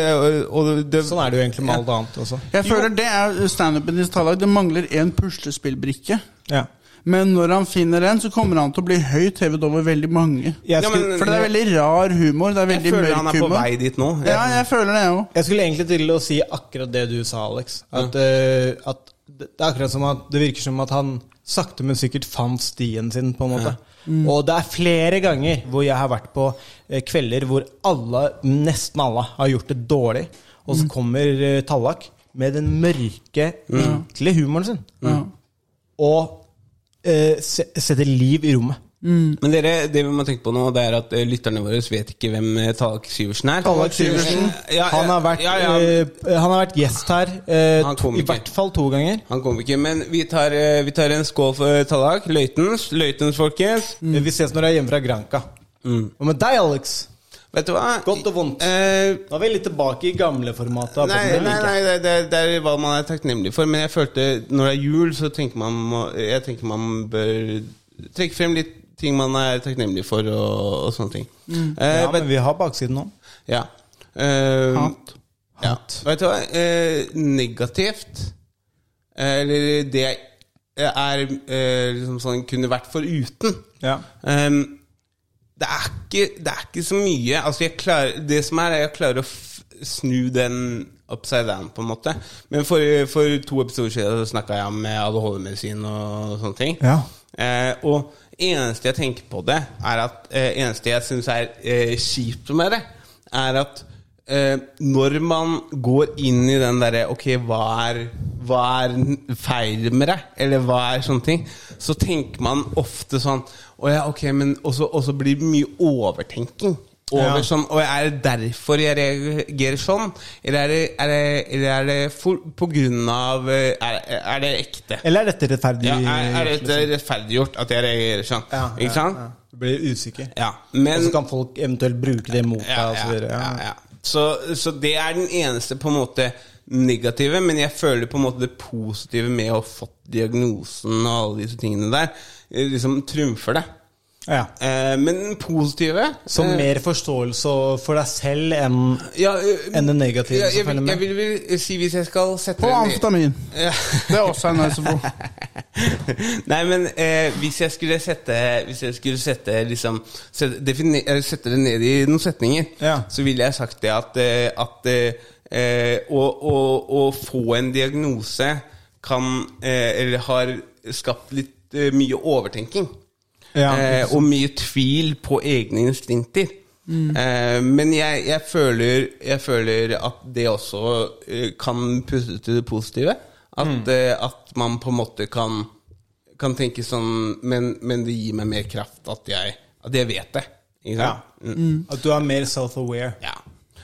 S2: og det
S3: Sånn er det jo egentlig med alt annet også.
S10: Jeg føler det er standupen i Tallag. Det mangler én puslespillbrikke.
S3: Ja.
S10: Men når han finner en, så kommer han til å bli høyt hevet over veldig mange.
S3: Jeg skulle- Ja, men-
S10: For det er veldig rar humor. Det er veldig
S2: Jeg føler
S10: mørk
S2: han er på
S10: humor.
S2: vei dit nå.
S10: Ja, jeg føler det, jeg òg.
S3: Jeg skulle egentlig til å si akkurat det du sa, Alex. At, eh, at det det er akkurat som at det virker som at han sakte, men sikkert fant stien sin, på en måte.
S10: Mm.
S3: Og det er flere ganger hvor jeg har vært på eh, kvelder hvor alle, nesten alle, har gjort det dårlig, og
S2: Mm.
S3: så kommer eh, Tallak med den mørke, enkle humoren sin. Og eh, se, setter liv i rommet.
S2: Men dere, det vi må tenke på nå, det er at eh, lytterne våre vet ikke hvem eh, Tallak Syversen er.
S3: Tallak Syversen.
S2: Eh, ja,
S3: Han har
S2: ja,
S3: vært,
S2: ja, ja.
S3: eh, han har vært gjest her eh,
S2: Han
S3: to,
S2: kom
S3: i
S2: ikke.
S3: hvert fall to ganger.
S2: Han kom ikke, men vi tar, eh, vi tar en skål for eh, Tallak. Løytens. Løytens, folkens. Mm.
S3: Vi ses når jeg er hjemme fra Granca. Hva med deg, Alex?
S2: Vet du hva?
S3: Godt og vondt.
S2: Nå
S3: er vi litt tilbake i gamleformatet. av
S2: Nei,
S3: podden,
S2: nei,
S3: eller
S2: nei
S3: ikke?
S2: det, det, det er hva man er takknemlig for. Men jeg følte når det er jul, så tenker man må- Jeg tenker man bør trekke frem litt ting man er takknemlig for, og, og sånne ting.
S3: Mm.
S2: Eh,
S3: Ja, men vi har baksiden nå.
S2: Ja. Eh, Ja. Vet du hva? Eh, negativt eh, Eller det jeg er eh, liksom sånn kunne vært foruten. Ehm, det, er ikke, det er ikke så mye Altså jeg klarer, Det som er, er jeg klarer å f snu den upside down, på en måte. Men for, for to episoder siden snakka jeg om ADHD-medisin og sånne ting.
S3: Ja.
S2: Eh, og eneste jeg tenker på det, er at eh, eneste jeg syns er eh, kjipt med det, er at eh, når man går inn i den derre Ok, hva er, hva er n- feil med deg? Eller hva er sånne ting? Så tenker man ofte sånn «Å ja, ok, men Og så og så blir det mye overtenking. Over
S3: Ja.
S2: sånn, og Er det derfor jeg reagerer sånn? Eller er det, er det, eller er det for, på grunn av eh, Er, er det ekte?
S3: Eller er dette rettferdig?
S2: Ja, er, er det rettferdiggjort at jeg reagerer sånn? ikke sant?
S3: Ja, Du blir usikker.
S2: Men-
S3: og så kan folk eventuelt bruke det mot deg.
S2: Ja,
S3: og så
S2: ja,
S3: videre.
S2: ja, ja. Så, så det er den eneste på en måte negative, men jeg føler på en måte det positive med å ha fått diagnosen og alle disse tingene der, eh, liksom trumfer det.
S3: Ja.
S2: Eh, men den positive
S3: Så
S2: eh,
S3: mer forståelse for deg selv enn
S2: ja, eh,
S3: enn det negative
S2: ja, jeg,
S3: som følger
S2: vil- jeg
S3: med?
S2: vil vel si hvis jeg skal sette
S10: På
S2: en-
S10: amfetamin. Det er også en nice
S2: <laughs>
S10: å få.
S2: Nei, men eh, hvis jeg skulle sette Hvis jeg skulle sette liksom sette, defini- eh, sette det ned i noen setninger, så ville jeg sagt det at, eh, at eh, eh, å, å, å få en diagnose kan eh, Eller har skapt litt eh, mye overtenking.
S3: Ja.
S2: eh, og mye tvil på egne instinkter.
S3: Mm.
S2: Eh, men jeg, jeg, føler, jeg føler at det også eh, kan puste til det positive. At,
S3: Mm.
S2: eh, at man på en måte kan, kan tenke sånn men, men det gir meg mer kraft at jeg, at jeg vet det. Ikke
S3: Ja.
S2: sant?
S3: Mm. At du er mer self-aware.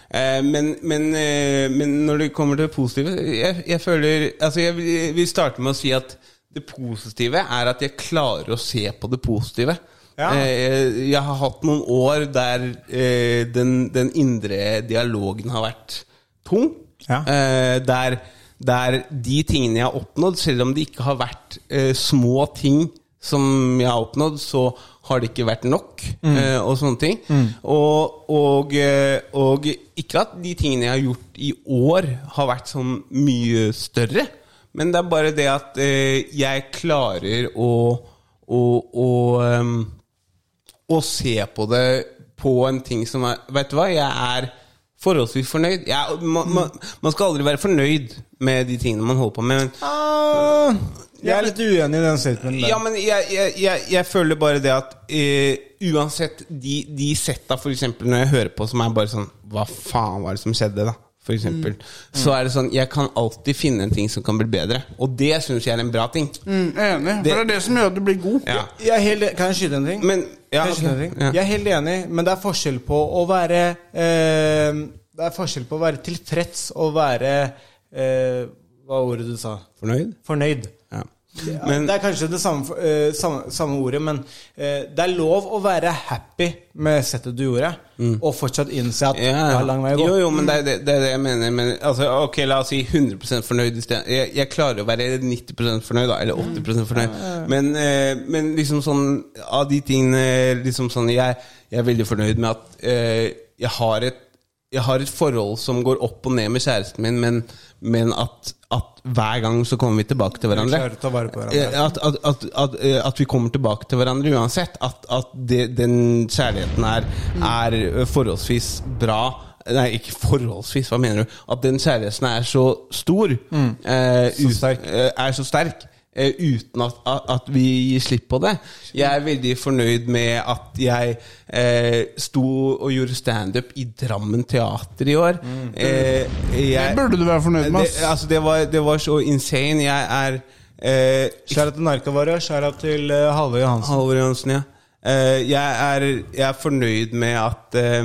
S2: Eh, Men, men, eh, men når det kommer til det positive Jeg, jeg føler Altså, jeg vil- vil starte med å si at det positive er at jeg klarer å se på det positive.
S3: Ja.
S2: Eh, Jeg har hatt noen år der eh, den, den indre dialogen har vært tung. Eh, Der, der de tingene jeg har oppnådd, selv om det ikke har vært eh, små ting som jeg har oppnådd, så har det ikke vært nok,
S3: Mm.
S2: eh, og sånne ting.
S3: Mm.
S2: Og, og, eh, og ikke at de tingene jeg har gjort i år, har vært sånn mye større, men det er bare det at eh, jeg klarer å, å, å ehm, å se på det på en ting som er Vet du hva, jeg er forholdsvis fornøyd. Jeg, er- man, man, man skal aldri være fornøyd med de tingene man holder på med. Men,
S3: Ah, jeg er litt uenig i den statementen. der.
S2: ja, men jeg, jeg, jeg, jeg føler bare det at eh, uansett de, de setta, for eksempel, når jeg hører på, som er bare sånn Hva faen var det som skjedde, da? For eksempel. Så er det sånn Jeg kan alltid finne en ting som kan bli bedre. Og det syns jeg er en bra ting.
S10: Mm, jeg er enig. For
S2: Det-
S10: det er det som gjør at du blir god.
S2: Ja.
S3: Jeg er helt, kan jeg skyte en ting?
S2: ja,
S3: kan jeg, skyte en
S2: ok.
S3: ting?
S2: Ja.
S3: jeg er helt enig, men det er forskjell på å være eh, Det er forskjell på å være tilfreds og være eh, Hva var ordet du sa?
S2: Fornøyd?
S3: Fornøyd.
S2: Ja.
S3: Det er- det er kanskje det samme, eh, samme, samme ordet, men eh, det er lov å være happy med settet du gjorde, og fortsatt innse at det er lang vei å gå.
S2: Mm. Jo, jo, men det er det, det, er det jeg mener. Men, altså, ok, La oss si 100 fornøyd. i sted. Jeg, jeg klarer å være 90 fornøyd, da, eller 80 fornøyd. Men, eh, men liksom sånn av de tingene liksom sånn, jeg, jeg er veldig fornøyd med at eh, jeg, har et, jeg har et forhold som går opp og ned med kjæresten min, men, men at, at hver gang så kommer vi tilbake til
S3: Vi
S2: hverandre.
S3: klarer å ta vare på hverandre.
S2: Eh, At, at, at, at, eh, at vi kommer tilbake til hverandre uansett. At, at det, den kjærligheten er, er eh, forholdsvis bra. Nei, ikke forholdsvis, hva mener du? At den kjærligheten er så stor. eh, ut- eh, er så sterk. eh, uten at, at, at vi gir slipp på det. Jeg er veldig fornøyd med at jeg eh, sto og gjorde standup i Drammen teater i år. Eh, jeg,
S10: Det burde du være fornøyd med, ass.
S2: det, altså, det, var, det var så insane. Jeg er eh,
S3: Skjæra til narkovare, skjæra til eh, Halvor Johansen.
S2: Halvor Johansen, ja. Eh, jeg, er, jeg er fornøyd med at eh,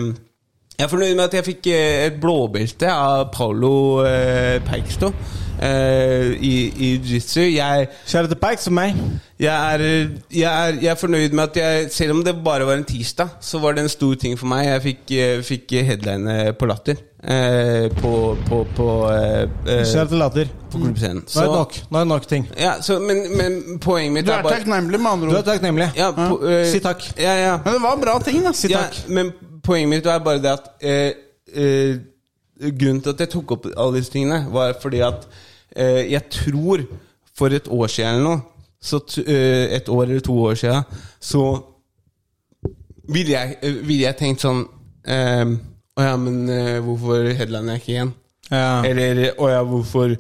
S2: Jeg er fornøyd med at jeg fikk eh, et blåbelte av Paolo eh, Peiksto. eh, i, i jiu-jitsu. Jeg, jeg, er, jeg, er, jeg er fornøyd med at jeg, selv om det bare var en tirsdag, så var det en stor ting for meg. Jeg fikk, eh, fikk headline på Latter. eh, på på, på eh, eh,
S3: Kjære til latter.
S2: På klubbscenen.
S3: Nå er det nok. Nå er det nok ting.
S2: Ja, så, men, men poenget mitt
S10: Du er
S2: bare
S10: takknemlig, med andre
S3: Du
S10: ord.
S3: er takknemlig.
S2: ja, po, eh,
S3: Si takk.
S2: Ja, ja.
S10: Men det var bra ting, da. Si
S2: ja,
S10: takk.
S2: Men poenget mitt er bare det at eh, eh, Grunnen til at jeg tok opp alle disse tingene, var fordi at eh, jeg tror for et år siden eller noe så t eh, Et år eller to år siden så ville jeg, eh, ville jeg tenkt sånn eh, Å ja, men eh, hvorfor headliner jeg ikke igjen?
S3: Ja.
S2: Eller å ja, hvorfor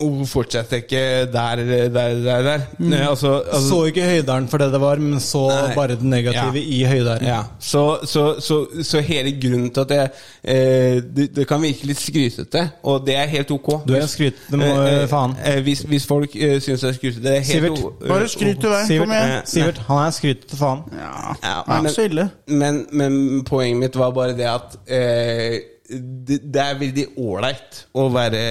S2: Hvorfor fortsetter jeg ikke der, der, der, der? Eh, altså, altså,
S3: Så ikke høydaren for det det var, men så
S2: Nei.
S3: bare det negative
S2: Ja.
S3: i høydaren.
S2: Ja, så, så, så, så hele grunnen til at jeg eh, det, det kan virke litt skrytete, og det er helt ok.
S3: Du er skrytete, må
S2: Eh, eh,
S3: faen.
S2: eh, hvis, hvis folk eh, syns jeg er skrytete, det er helt
S3: Sivert,
S2: o-
S10: Bare skryt til deg.
S3: Sivert,
S10: Kom igjen.
S2: Eh,
S3: Sivert, han er skrytete faen.
S10: Ja,
S2: Ja,
S10: det er
S2: men-
S10: ikke så ille.
S2: Men, men poenget mitt var bare det at eh, det, det er veldig ålreit å være,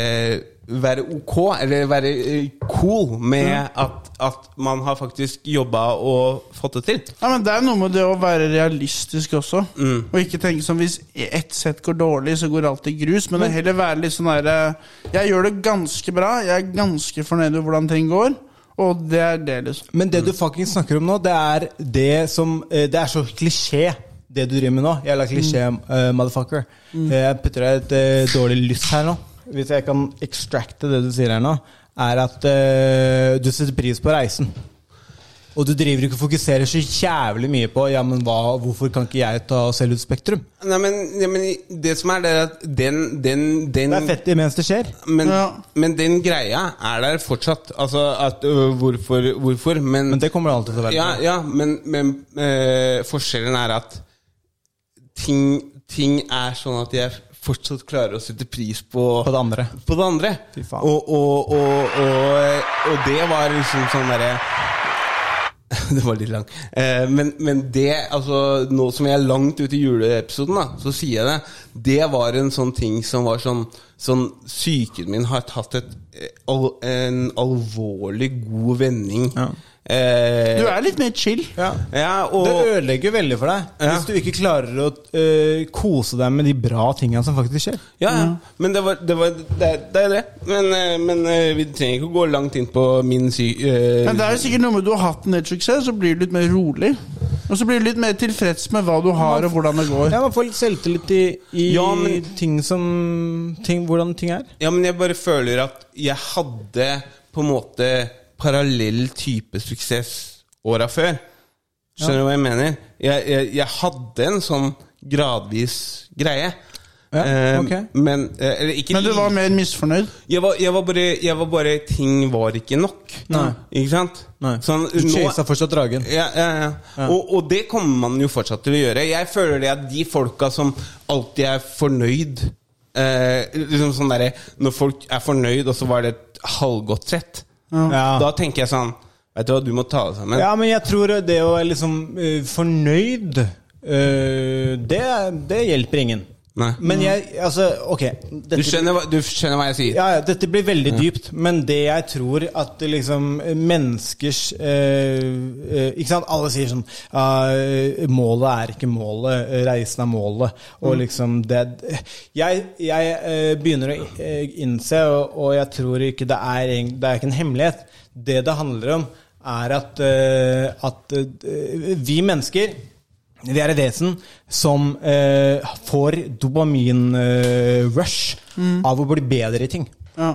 S2: være ok, eller være eh, cool med at, at man har faktisk jobba og fått det til.
S10: Ja, men Det er noe med det å være realistisk også. Og ikke tenke sånn hvis ett sett går dårlig, så går alt i grus. Men, det heller være litt sånn derre Jeg gjør det ganske bra. Jeg er ganske fornøyd med hvordan ting går. Og det er det, liksom.
S3: Men det du fuckings snakker om nå, det er det som eh, Det er så klisjé, det du driver med nå. Jævla klisjé,
S10: Mm.
S3: eh, motherfucker. Eh, Jeg putter deg et eh, dårlig lyss her nå. Hvis jeg kan extracte det du sier her nå, er at eh, du setter pris på reisen. Og du driver ikke og fokuserer så jævlig mye på Ja, men hva, hvorfor kan ikke jeg ta og selge ut Spektrum?
S2: Nei, men, nei, men det som er, det er at den, den, den
S3: Det er fett imens det skjer.
S2: Men,
S10: Ja.
S2: men den greia er der fortsatt. Altså at øh, hvorfor, hvorfor, men,
S3: Men det kommer det alltid til å være.
S2: ja, ja, men, men øh, forskjellen er at ting, ting er sånn at jeg fortsatt klarer å sette pris på
S3: På det andre.
S2: på det andre.
S3: Fy faen.
S2: Og, og, og, og, og det var liksom sånn derre <laughs> det var litt lang. Eh, men, men det, altså nå som jeg er langt ute i juleepisoden, da, så sier jeg det. Det var en sånn ting som var sånn Sånn Psyken min har tatt et, eh, al, en alvorlig god vending.
S3: Ja.
S2: Eh,
S10: Du er litt mer chill.
S2: ja, og
S3: Det ødelegger veldig for deg
S2: Ja.
S3: hvis du ikke klarer å eh, kose deg med de bra tinga som faktisk skjer.
S2: Ja, ja. Men det, var, det, var, det, det er det. Men, eh, men eh, vi trenger ikke å gå langt inn på min sy... eh,
S10: Men det er jo sikkert noe med du har hatt en del suksess, så blir du litt mer rolig. Og så blir du litt mer tilfreds med hva du har, og hvordan det går.
S3: Ja, Man får litt selvtillit i, i
S2: Ja, men-
S3: ting som ting, Hvordan ting er.
S2: Ja, men jeg bare føler at jeg hadde på en måte parallell type suksess åra før. Skjønner du hva jeg mener? Jeg, jeg, jeg hadde en sånn gradvis greie.
S3: Ja,
S2: Eh,
S3: ok.
S2: Men eh, Eller ikke
S10: Men du var
S2: like-
S10: mer misfornøyd.
S2: jeg var, jeg, var bare, jeg var bare Ting var ikke nok.
S3: Nei.
S2: Ikke sant? Sånn,
S3: du
S2: nå-
S3: chasa fortsatt dragen.
S2: ja, ja, ja. Og, og det kommer man jo fortsatt til å gjøre. Jeg føler det at de folka som alltid er fornøyd eh, liksom sånn derre, Når folk er fornøyd, og så var det et halvgodt sett,
S3: Ja.
S2: da tenker jeg sånn Vet du hva, du må ta deg sammen.
S3: Ja, men jeg tror det å være liksom eh, fornøyd eh, det, det hjelper ingen.
S2: Nei.
S3: Men jeg Altså, ok.
S2: Du,
S3: dette-
S2: skjønner hva, du skjønner hva jeg sier?
S3: ja, ja, dette blir veldig dypt, men det jeg tror at det liksom menneskers eh, eh, Ikke sant, alle sier sånn eh, Målet er ikke målet, eh, reisen er målet. Og liksom det Jeg, jeg eh, begynner å eh, innse, og, og jeg tror ikke det er, egent- det er ikke en hemmelighet. Det det handler om, er at, eh, at eh, vi mennesker vi er et vesen som eh, får dopamin-rush av å bli bedre i ting.
S10: Ja.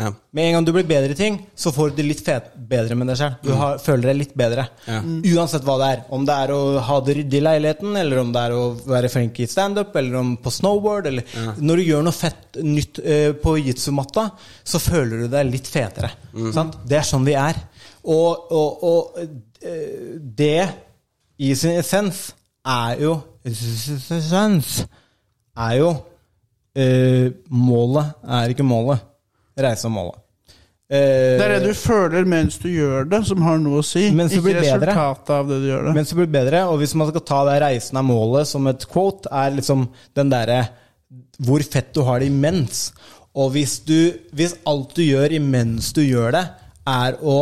S2: Ja.
S3: Med en gang du blir bedre i ting, så får du det litt fet bedre med deg selv. Du har, føler deg litt bedre.
S2: Ja.
S3: Uansett hva det er. Om det er å ha det ryddig i leiligheten, eller om det er å være flink i standup, eller om på snowboard, eller Når du gjør noe fett nytt eh, på jitsu-matta, så føler du deg litt fetere. Sant? Det er sånn vi er. Og, og, og eh, det i sin essens er jo Essens er jo eh, Målet er ikke målet. Reise er målet. Eh,
S10: Det er det du føler mens du gjør det, som har noe å si.
S3: Mens du
S10: Ikke
S3: blir bedre.
S10: resultatet av det du gjør det.
S3: Mens det blir bedre, og hvis man skal ta det reisen er målet som et quote, er liksom den derre hvor fett du har det imens. Og Og hvis, du, hvis alt du gjør imens du gjør det, er å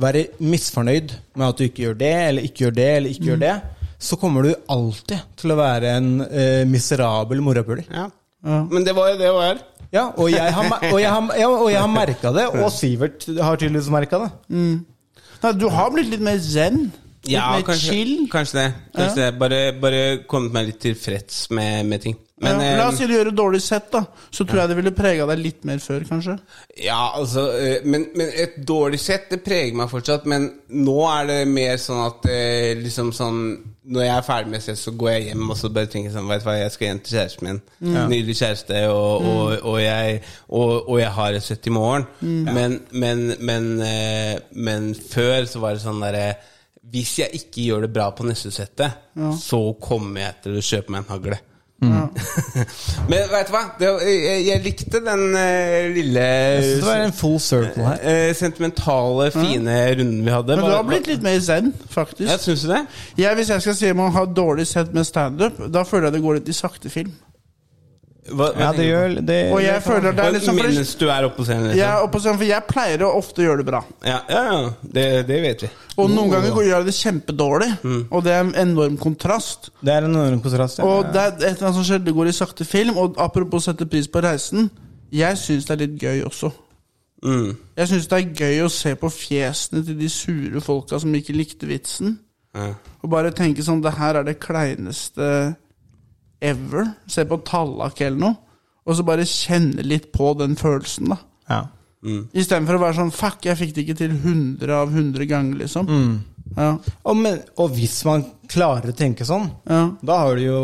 S3: være misfornøyd med at du ikke gjør det, eller ikke gjør det, eller ikke gjør det, så kommer du alltid til å være en eh, miserabel morapuler.
S2: Men det var jo det hun er.
S3: Ja, og jeg har, mer- og jeg har, ja, og jeg har merka det, og Sivert har tydeligvis merka det.
S10: Nei, du har blitt litt mer zen. Litt
S2: Ja,
S10: mer
S2: kanskje,
S10: chill.
S2: kanskje det. Kanskje
S10: Ja.
S2: det. Bare, bare kommet meg litt tilfreds med, med ting. Men
S10: ja, la
S2: eh,
S10: oss si du gjør et dårlig sett, da. Så tror jeg det ville prega deg litt mer før, kanskje.
S2: Ja, altså eh, Men, men et dårlig sett, det preger meg fortsatt. Men nå er det mer sånn at eh, liksom sånn Når jeg er ferdig med sett, så går jeg hjem og så bare tenker sånn Vet du hva, jeg skal hjem til kjæresten min.
S14: Mm.
S2: Nydelig kjæreste, og, og,
S3: Mm.
S2: og, jeg, og, og jeg har et sett i morgen.
S14: Mm.
S2: Men, men, men, eh, men før så var det sånn derre Hvis jeg ikke gjør det bra på neste settet,
S14: Ja.
S2: så kommer jeg til å kjøpe meg en hagle. <laughs>
S14: Mm.
S2: Men vet du hva? Det, jeg, jeg likte den eh, lille
S3: Jeg synes det var en full circle her.
S2: Eh, sentimentale, fine runden vi hadde.
S10: Mm. Men du
S2: Var-
S10: har blitt litt mer zen, faktisk.
S2: Ja, synes du det?
S10: Jeg, hvis jeg skal si om å ha dårlig sett med standup, da føler jeg det går litt i sakte film.
S2: hva, hva
S10: Ja, det
S2: tenker du?
S10: gjør- det- Og jeg føler det er litt sånn-
S2: Mens du er oppe på scenen? Liksom.
S10: Jeg, er oppe og ser- for jeg pleier å ofte gjøre det bra.
S2: Ja, ja, ja. Det, det vet vi.
S10: Og noen ganger går- gjør jeg det kjempedårlig, og det er en enorm kontrast.
S3: Det er en enorm kontrast, ja.
S10: Og det er et eller annet som skjer, det går i sakte film. Og apropos sette pris på reisen, jeg syns det er litt gøy også.
S2: Mm.
S10: Jeg syns det er gøy å se på fjesene til de sure folka som ikke likte vitsen.
S2: Ja.
S10: Og bare tenke sånn Det her er det kleineste ever. Se på Tallak eller noe. Og så bare kjenne litt på den følelsen, da.
S3: Ja.
S10: Istedenfor å være sånn Fuck, jeg fikk det ikke til 100 av 100 ganger, liksom.
S3: Og, men, og hvis man klarer å tenke sånn, da har du jo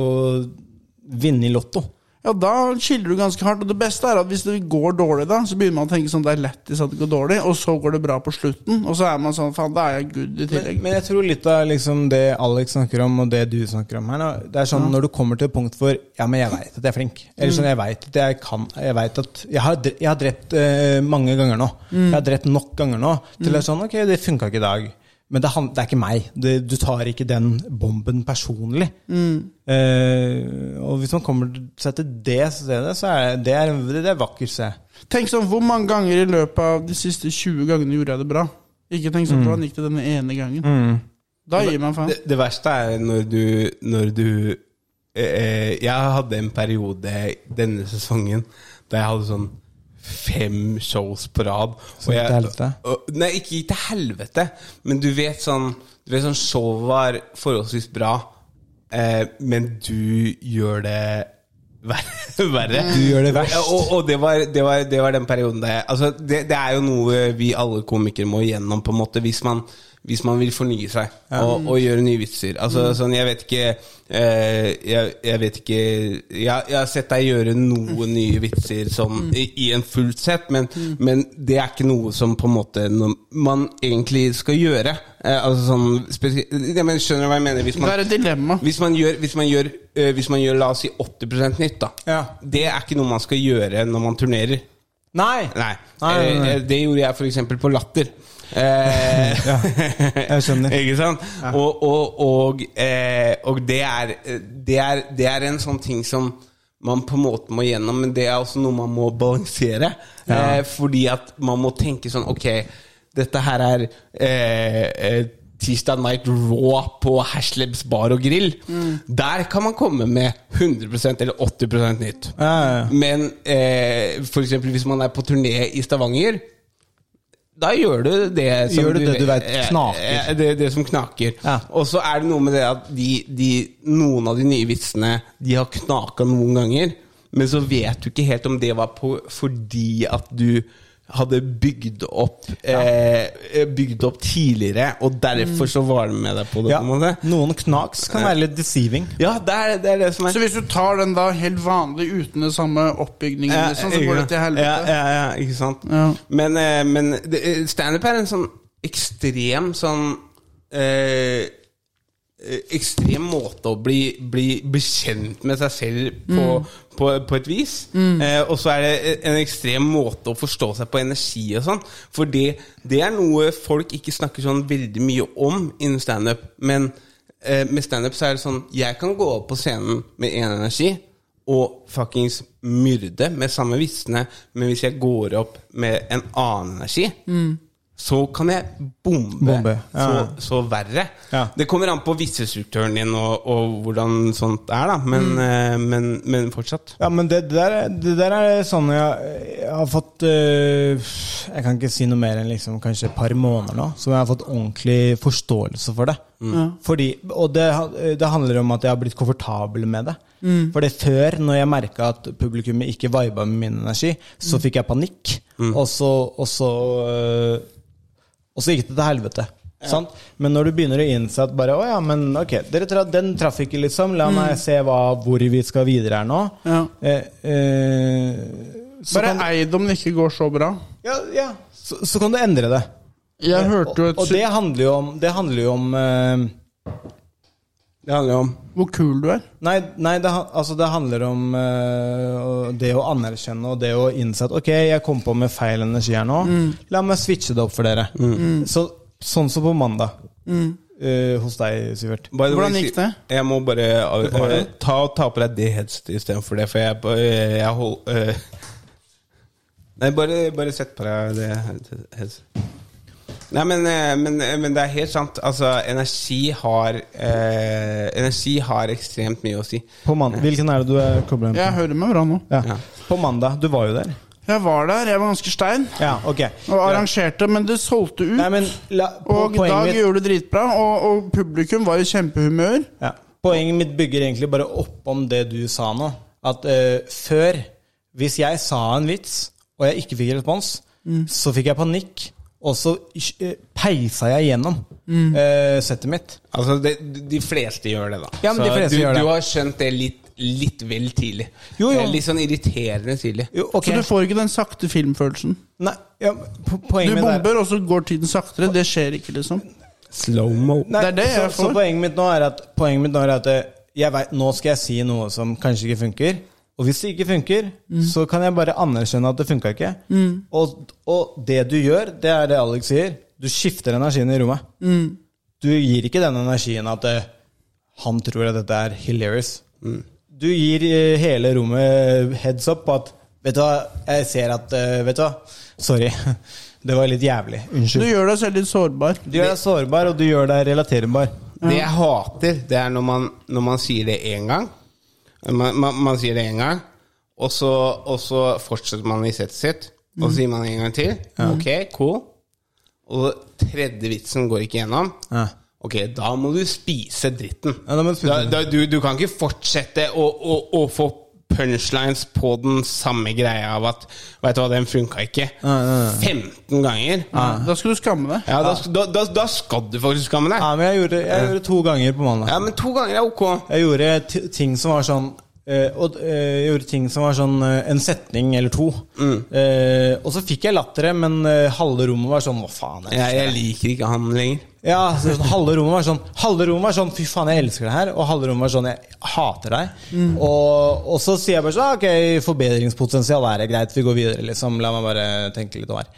S3: vunnet i Lotto.
S10: Ja, da skiller du ganske hardt. Og det beste er at hvis det går dårlig, da, så begynner man å tenke sånn Det er lættis at det går dårlig, og så går det bra på slutten. Og så er man sånn Faen, da er jeg good i tillegg.
S3: Men, men jeg tror litt av liksom det Alex snakker om, og det du snakker om her nå, Det er sånn
S10: Ja.
S3: når du kommer til et punkt hvor Ja, men jeg veit at jeg er flink. Eller sånn,
S10: Mm.
S3: jeg veit at jeg kan Jeg vet at Jeg har, dre- jeg har drept eh, mange ganger nå.
S10: Mm.
S3: Jeg har drept nok ganger nå til det
S10: Mm.
S3: er sånn Ok, det funka ikke i dag. Men det, han- det er ikke meg. Det, du tar ikke den bomben personlig.
S10: Mm.
S3: Eh, og hvis man kommer seg til det stedet, så er det, det, det er vakkert sted.
S10: Tenk sånn Hvor mange ganger i løpet av de siste 20 gangene gjorde jeg det bra? Ikke tenk sånn
S2: Mm.
S10: Hvordan gikk det denne ene gangen? Da gir man faen.
S2: Det, det verste er når du, når du eh, eh, Jeg hadde en periode denne sesongen da jeg hadde sånn fem shows på rad. og
S3: Så til
S2: jeg-
S3: helvete?
S2: og- Nei, ikke til helvete, men du vet sånn Du vet sånn showet var forholdsvis bra, eh, men du gjør det verre. <laughs> verre.
S3: Du gjør det verst.
S2: Ja, og, og det, var, det, var, det var den perioden der jeg- altså, det, det er jo noe vi alle komikere må igjennom, på en måte, hvis man, hvis man vil fornye seg
S14: Ja.
S2: og, og gjøre nye vitser. Altså, sånn, jeg vet ikke eh, jeg, jeg vet ikke jeg, jeg har sett deg gjøre noen nye vitser sånn, i, i en fullt sett, men, men det er ikke noe som på en måte no, man egentlig skal gjøre. Eh, altså sånn spesi- jeg mener, Skjønner du hva jeg mener? Hvis man,
S10: Det er et dilemma.
S2: Hvis man gjør, hvis man gjør, eh, hvis man gjør la oss si 80 nytt, da. Det er ikke noe man skal gjøre når man turnerer.
S3: Nei!
S2: Nei.
S3: Nei, nei, nei.
S2: Eh, Det gjorde jeg f.eks. på Latter. Eh,
S3: jeg skjønner.
S2: <laughs> Ikke sant? Og, og, og, eh, og det, er, det, er, det er en sånn ting som man på en måte må gjennom, men det er også noe man må balansere.
S14: Ja.
S2: Eh, fordi at man må tenke sånn Ok, dette her er eh, eh, Tirsdag Night Raw på Hashlebs bar og grill.
S3: Mm.
S2: Der kan man komme med 100 eller 80 nytt. Men eh, f.eks. hvis man er på turné i Stavanger, da gjør du det som
S3: Gjør du det du vet
S2: eh,
S3: knaker.
S2: eh, Det, det som knaker. Og så er det noe med det at de, de, noen av de nye vitsene De har knaka noen ganger, men så vet du ikke helt om det var på, fordi at du hadde bygd opp eh, Bygd opp tidligere, og derfor så var det med deg på det.
S3: Mm. Ja,
S2: på en måte.
S3: Noen knaks kan være litt deceiving.
S2: Ja, det er det, er det som er
S10: Så hvis du tar den da helt vanlig uten den samme oppbygningen,
S2: Ja,
S3: sånn
S10: liksom, så går det til helvete.
S2: Eh, Ja, ja, ja ikke sant. Men, eh, men det- eh, standup er en sånn ekstrem sånn eh, eh, Ekstrem måte å bli, bli bekjent med seg selv på,
S14: Mm.
S2: på, på et vis. Eh, og så er det en ekstrem måte å forstå seg på energi og sånn. For det, det er noe folk ikke snakker sånn veldig mye om innen standup. Men eh, med standup så er det sånn Jeg kan gå opp på scenen med én energi, og fuckings myrde med samme visne, men hvis jeg går opp med en annen energi,
S10: Mm.
S2: så kan jeg bombe,
S3: Bombe, ja.
S2: så, så verre. Det kommer an på vissestrukturen din og, og hvordan sånt er, da. Men,
S10: Mm.
S2: eh, men, men fortsatt.
S3: Ja, men det, det, der, er- det der er sånn jeg, jeg har fått eh, Jeg kan ikke si noe mer enn liksom, kanskje et par måneder nå, så jeg har fått ordentlig forståelse for det.
S10: Mm. Ja.
S3: Fordi, og det, det handler om at jeg har blitt komfortabel med det.
S10: Mm.
S3: For det før, når jeg merka at publikummet ikke viba med min energi, så
S10: Mm.
S3: fikk jeg panikk. Og så, og så eh, og så gikk det til helvete. Sant? Men når du begynner å innse at bare, å ja, men ok, dere tra den traff ikke, liksom. La
S10: Mm.
S3: meg se hva, hvor vi skal videre her nå. Eh, eh, så,
S10: Bare
S3: kan,
S10: ei det om det ikke går så bra.
S3: Ja, så, så kan du endre det.
S10: Jeg hørte jo et
S3: og, og det handler jo om Det handler jo om eh, Det handler om
S10: Hvor kul du er?
S3: Nei, nei det, han- altså det handler om eh, det å anerkjenne og det å innse at ok, jeg kom på med feil energi her nå.
S10: Mm.
S3: La meg switche det opp for dere.
S10: Mm.
S3: Så, sånn som på mandag.
S10: Mm.
S3: Eh, hos deg, Sivert.
S2: By the
S10: Hvordan
S2: way,
S10: gikk
S2: si-
S10: det?
S2: Jeg må bare
S10: Du får
S2: eh,
S10: det.
S2: ta, ta på deg det headsetet istedenfor det, for jeg, jeg, jeg hold, eh, <laughs> Nei, bare, bare sett på deg det headsetet. Nei, men, eh, men, men det er helt sant. Altså, energi har eh, Energi har ekstremt mye å si.
S3: På man Hvilken er det du er koblet inn på?
S10: Jeg hører meg bra nå.
S3: Ja. På mandag. Du var jo der.
S10: Jeg var der, jeg var ganske stein. Og arrangerte, men det solgte ut. og
S3: poenget
S10: Dag
S3: mitt-
S10: gjorde det dritbra, og, og publikum var i kjempehumør.
S3: Ja. Poenget mitt bygger egentlig bare opp om det du sa nå. At eh, før, hvis jeg sa en vits, og jeg ikke fikk respons,
S10: Mm.
S3: så fikk jeg panikk, og så eh, peisa jeg gjennom
S10: Mm.
S3: eh, settet mitt.
S2: Altså, det, de fleste gjør det, da.
S3: Ja, men de fleste
S2: du,
S3: gjør det.
S2: du har skjønt det litt, litt vel tidlig.
S3: Jo, jo.
S2: Eh, Litt sånn irriterende tidlig.
S10: Så du får ikke den sakte filmfølelsen.
S3: Nei, ja, po
S10: Du
S3: poenget mitt er-
S10: bomber, og så går tiden saktere. Det skjer ikke, liksom.
S2: Slow-mo.
S3: Nei,
S10: Det er det
S3: så,
S10: jeg
S3: så
S10: får.
S3: poenget mitt nå er at, poenget mitt nå, er at eh, jeg vet, nå skal jeg si noe som kanskje ikke funker. Og hvis det ikke funker, så kan jeg bare anerkjenne at det funka ikke.
S10: Mm.
S3: Og, og det du gjør, det er det Alex sier. Du skifter energien i rommet.
S10: Mm.
S3: Du gir ikke den energien at eh, han tror at dette er hilarious. Du gir eh, hele rommet heads up på at Vet du hva, jeg ser at eh, Vet du hva, sorry. <laughs> Det var litt jævlig.
S10: Du
S3: Unnskyld.
S10: gjør deg selv litt sårbar.
S3: Du gjør deg sårbar, og du gjør deg relaterbar.
S2: Det jeg hater, det er når man, når man sier det én gang. Man, man, man sier det én gang, og så, og så fortsetter man i settet sitt. Og så
S10: Mm.
S2: sier man det en gang til.
S10: Ja.
S2: Ok, cool. Og tredje vitsen går ikke gjennom.
S3: Ja.
S2: Ok, da må du spise dritten.
S3: da må du spise
S2: da, du, du kan ikke fortsette å, å, å få punchlines på den samme greia av at Vet du hva, den funka ikke.
S3: Nei, nei, nei.
S2: 15 ganger.
S10: Da skal du skamme deg.
S2: Ja, da, da, da, da skal du faktisk skamme deg.
S3: Ja, men jeg gjorde, jeg gjorde to ganger på mandag.
S2: Ja, men to ganger er ok.
S3: Jeg gjorde t ting som var sånn eh, og, eh, jeg gjorde ting som var sånn eh, en setning eller to.
S2: Mm.
S3: Eh, og så fikk jeg latteret, men eh, halve rommet var sånn Hva faen er det?
S2: Jeg, jeg liker ikke han lenger.
S3: Ja, så sånn, halve rommet var sånn Halve rommet var sånn Fy faen, jeg elsker det her. Og halve rommet var sånn Jeg hater deg. Og, og så sier jeg bare sånn «Ah, Ok, forbedringspotensial er det greit. Vi går videre, liksom. La meg bare tenke litt over.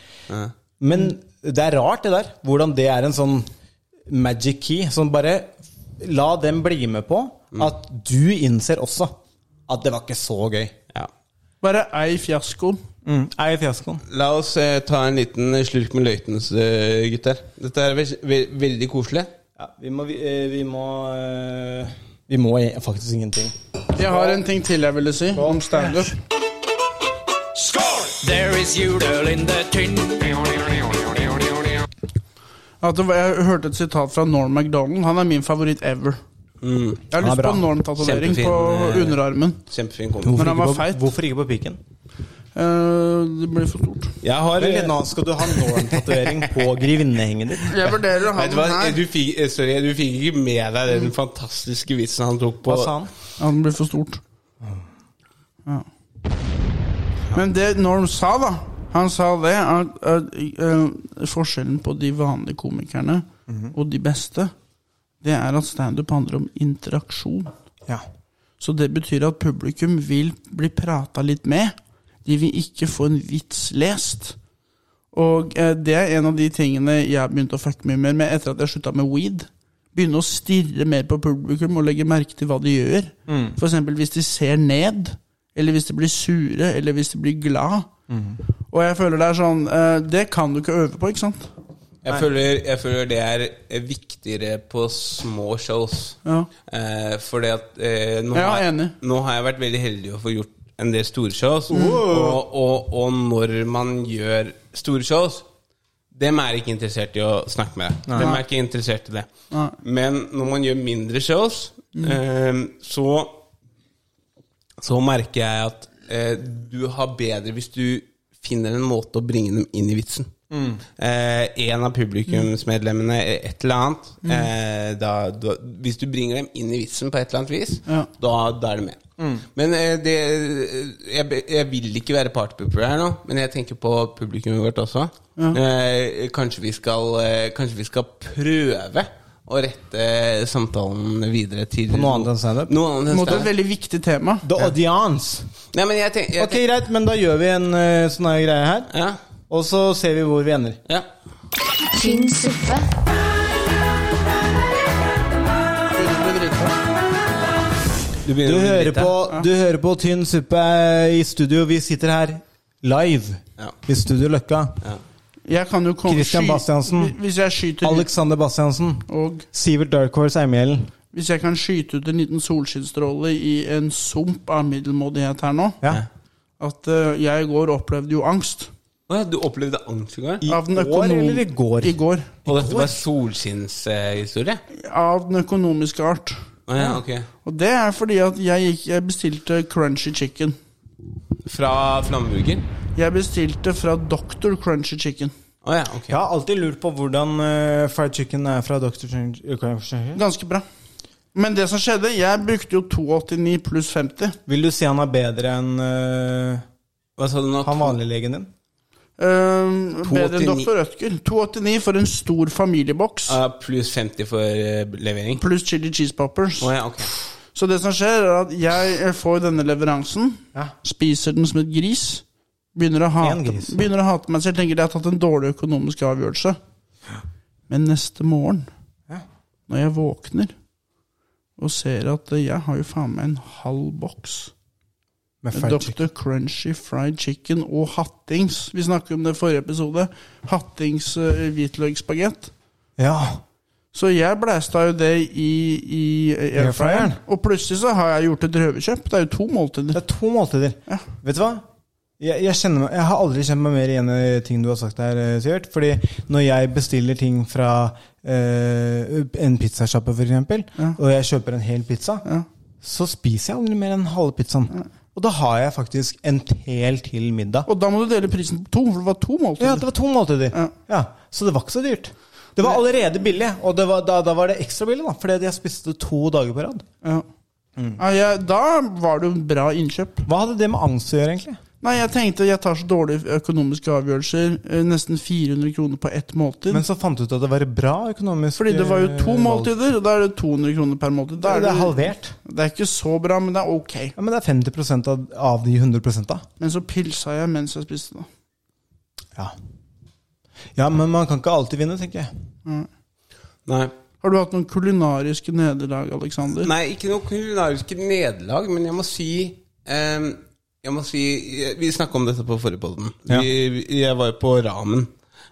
S3: Men det er rart, det der. Hvordan det er en sånn magic key. Sånn bare La dem bli med på at du innser også at det var ikke så gøy.
S2: Ja.
S10: Bare ei fiasko.
S3: Mm. Er fiaskoen.
S2: La oss eh, ta en liten slurk med løytens, eh, gutter. Dette er ve ve veldig koselig.
S3: Ja, vi må Vi, eh, vi må, eh, vi må i- faktisk ingenting.
S10: Jeg har en ting til jeg ville si om standup.
S11: There is judøl in the tin.
S10: At det var- Jeg hørte et sitat fra Norm MacDonald. Han er min favoritt ever. Jeg har
S3: Mm. Han er
S10: lyst
S3: bra.
S10: på Norm-tatovering på
S2: Kjempefin, eh,
S10: underarmen.
S2: Kjempefin kommentar.
S10: Når han var
S3: på,
S10: feit.
S3: hvorfor ikke på piken?
S10: Eh, det blir for stort.
S2: Jeg har
S3: Vent litt nå, Skal du ha Norn-tatovering på grevinnehengen ditt?
S10: Jeg vurderer å ha
S2: Vet du hva,
S10: den her.
S2: du fikk, eh, sorry, du fikk ikke med deg den fantastiske vitsen han tok på
S3: Hva sa han?
S10: Ja, den blir for stort. Ja. Men det Norm sa, da Han sa det at, at eh, forskjellen på de vanlige komikerne og de beste, det er at standup handler om interaksjon.
S3: Ja.
S10: Så det betyr at publikum vil bli prata litt med. De vil ikke få en vits lest. Og eh, det er en av de tingene jeg har begynt å fucke mye mer med etter at jeg slutta med weed. begynne å stirre mer på publikum og legge merke til hva de gjør.
S3: Mm.
S10: For eksempel hvis de ser ned, eller hvis de blir sure, eller hvis de blir glad.
S3: Mm.
S10: Og jeg føler det er sånn eh, Det kan du ikke øve på, ikke sant?
S2: Jeg føler, jeg føler det er eh, viktigere på små shows.
S10: Ja.
S2: Eh, fordi at eh, nå,
S10: Ja,
S2: har,
S10: enig.
S2: nå har jeg vært veldig heldig å få gjort en del store shows.
S10: Mm.
S2: Og, og, og når man gjør store shows, dem er ikke interessert i å snakke med deg.
S10: Nei.
S2: Dem er ikke interessert i det.
S10: Nei.
S2: Men når man gjør mindre shows,
S10: Mm.
S2: eh, så så merker jeg at eh, du har bedre hvis du finner en måte å bringe dem inn i vitsen.
S3: Mm.
S2: Eh, en av publikumsmedlemmene, eh, et eller annet.
S3: Mm.
S2: Eh, da, da, hvis du bringer dem inn i vitsen på et eller annet vis,
S3: Ja.
S2: da, da er de med.
S3: Mm.
S2: Men eh, det, jeg, be- jeg vil ikke være partypooper her nå, men jeg tenker på publikummet vårt også.
S10: Ja.
S2: Eh, kanskje, vi skal, eh, kanskje vi skal prøve å rette samtalen videre til
S3: På noe annet enn standup?
S2: Noe annet enn
S10: Mot et
S2: standup.
S10: veldig viktig tema.
S3: The audience.
S2: Nei, men jeg tenker, jeg
S3: Ok, greit, men da gjør vi en eh, sånn her greie her. Og så ser vi hvor vi ender.
S2: Ja.
S1: Tynsuppe.
S2: Du,
S3: hører på, du hører på Tynn suppe eh, i studio. Vi sitter her live i Studio Løkka.
S10: Jeg kan jo komme
S3: Christian
S10: sky-
S3: Bastiansen.
S10: Hvis- Hvis jeg skyter
S3: Alexander Bastiansen.
S10: Og
S3: Sivert Dark Horse Eimhjellen.
S10: hvis jeg kan skyte ut en liten solskinnsstråle i en sump av middelmådighet her nå At eh, jeg i går opplevde jo angst.
S2: Å ja, du opplevde angst i går?
S10: Av den økonom- I går.
S2: Og dette var solskinnshistorie?
S10: Av den økonomiske art.
S2: Å ja, ok.
S10: Og det er fordi at jeg, gikk, jeg bestilte crunchy chicken.
S2: Fra Flammeburger?
S10: Jeg bestilte fra Dr. Crunchy Chicken.
S3: Jeg har alltid lurt på hvordan eh, fried chicken er fra Dr. Chicken.
S10: Ganske bra. Men det som skjedde, jeg brukte jo 289 pluss 50.
S3: Vil du si han er bedre enn eh,
S2: Hva sa du nå?
S3: han vanlige legen din?
S10: Ehm, bedre enn
S2: 289.
S10: Dr. Rødtger. 289 for en stor familieboks.
S2: Ja, pluss 50 for eh, levering?
S10: Pluss chili cheese poppers.
S2: Å ja, ok.
S10: Så det som skjer, er at jeg eh, får denne leveransen, spiser den som et gris, begynner å
S3: En
S10: hate,
S3: gris.
S10: Begynner å hate meg selv, tenker jeg har tatt en dårlig økonomisk avgjørelse. Men neste morgen,
S3: Ja.
S10: når jeg våkner og ser at eh, jeg har jo faen meg en halv boks
S3: Med
S10: med
S3: fried
S10: Dr. Crunchy fried chicken og hattings. Vi snakket om det i forrige episode. Hattings eh, hvitløksbaguett.
S3: Ja.
S10: Så jeg blæsta jo det i, i airfryeren.
S3: Airfryeren.
S10: Og plutselig så har jeg gjort et røverkjøp. Det er jo to måltider.
S3: Det er to måltider. Vet du hva? Jeg, jeg, kjenner meg, jeg har aldri kjent meg mer igjen i ting du har sagt her, eh, Sivert. Fordi når jeg bestiller ting fra eh, en pizzasjappe, for eksempel, og jeg kjøper en hel pizza, så spiser jeg aldri mer enn halve pizzaen. Og da har jeg faktisk en hel til middag.
S10: Og da må du dele prisen på to, for det var to måltider.
S3: Ja, det var to måltider. Ja. Så det var ikke så dyrt. Det var allerede billig, og det var, da, da var det ekstra billig, da, fordi at jeg spiste to dager på rad.
S10: Ja.
S3: Mm.
S10: Ja, jeg, da var det jo en bra innkjøp.
S3: Hva hadde det med angst å gjøre, egentlig?
S10: Nei, jeg tenkte jeg tar så dårlige økonomiske avgjørelser. eh, Nesten 400 kroner på ett måltid.
S3: Men så fant du ut at det var bra økonomisk
S10: Fordi det var jo to
S3: eh, valg.
S10: måltider, og da er det 200 kroner per måltid. Da
S3: Det er halvert.
S10: Det er ikke så bra, men det er ok.
S3: Ja, Men det er 50 av, av de 100 da.
S10: Men så pilsa jeg mens jeg spiste, da.
S3: Ja. ja, men man kan ikke alltid vinne, tenker jeg.
S10: Mm.
S2: Nei.
S10: Har du hatt noen kulinariske nederlag, Aleksander?
S2: Nei, ikke noe kulinariske nederlag, men jeg må si ehm, Jeg må si eh, Vi snakka om dette på forrige podden.
S3: Ja.
S2: Vi, vi- jeg var jo på Ramen.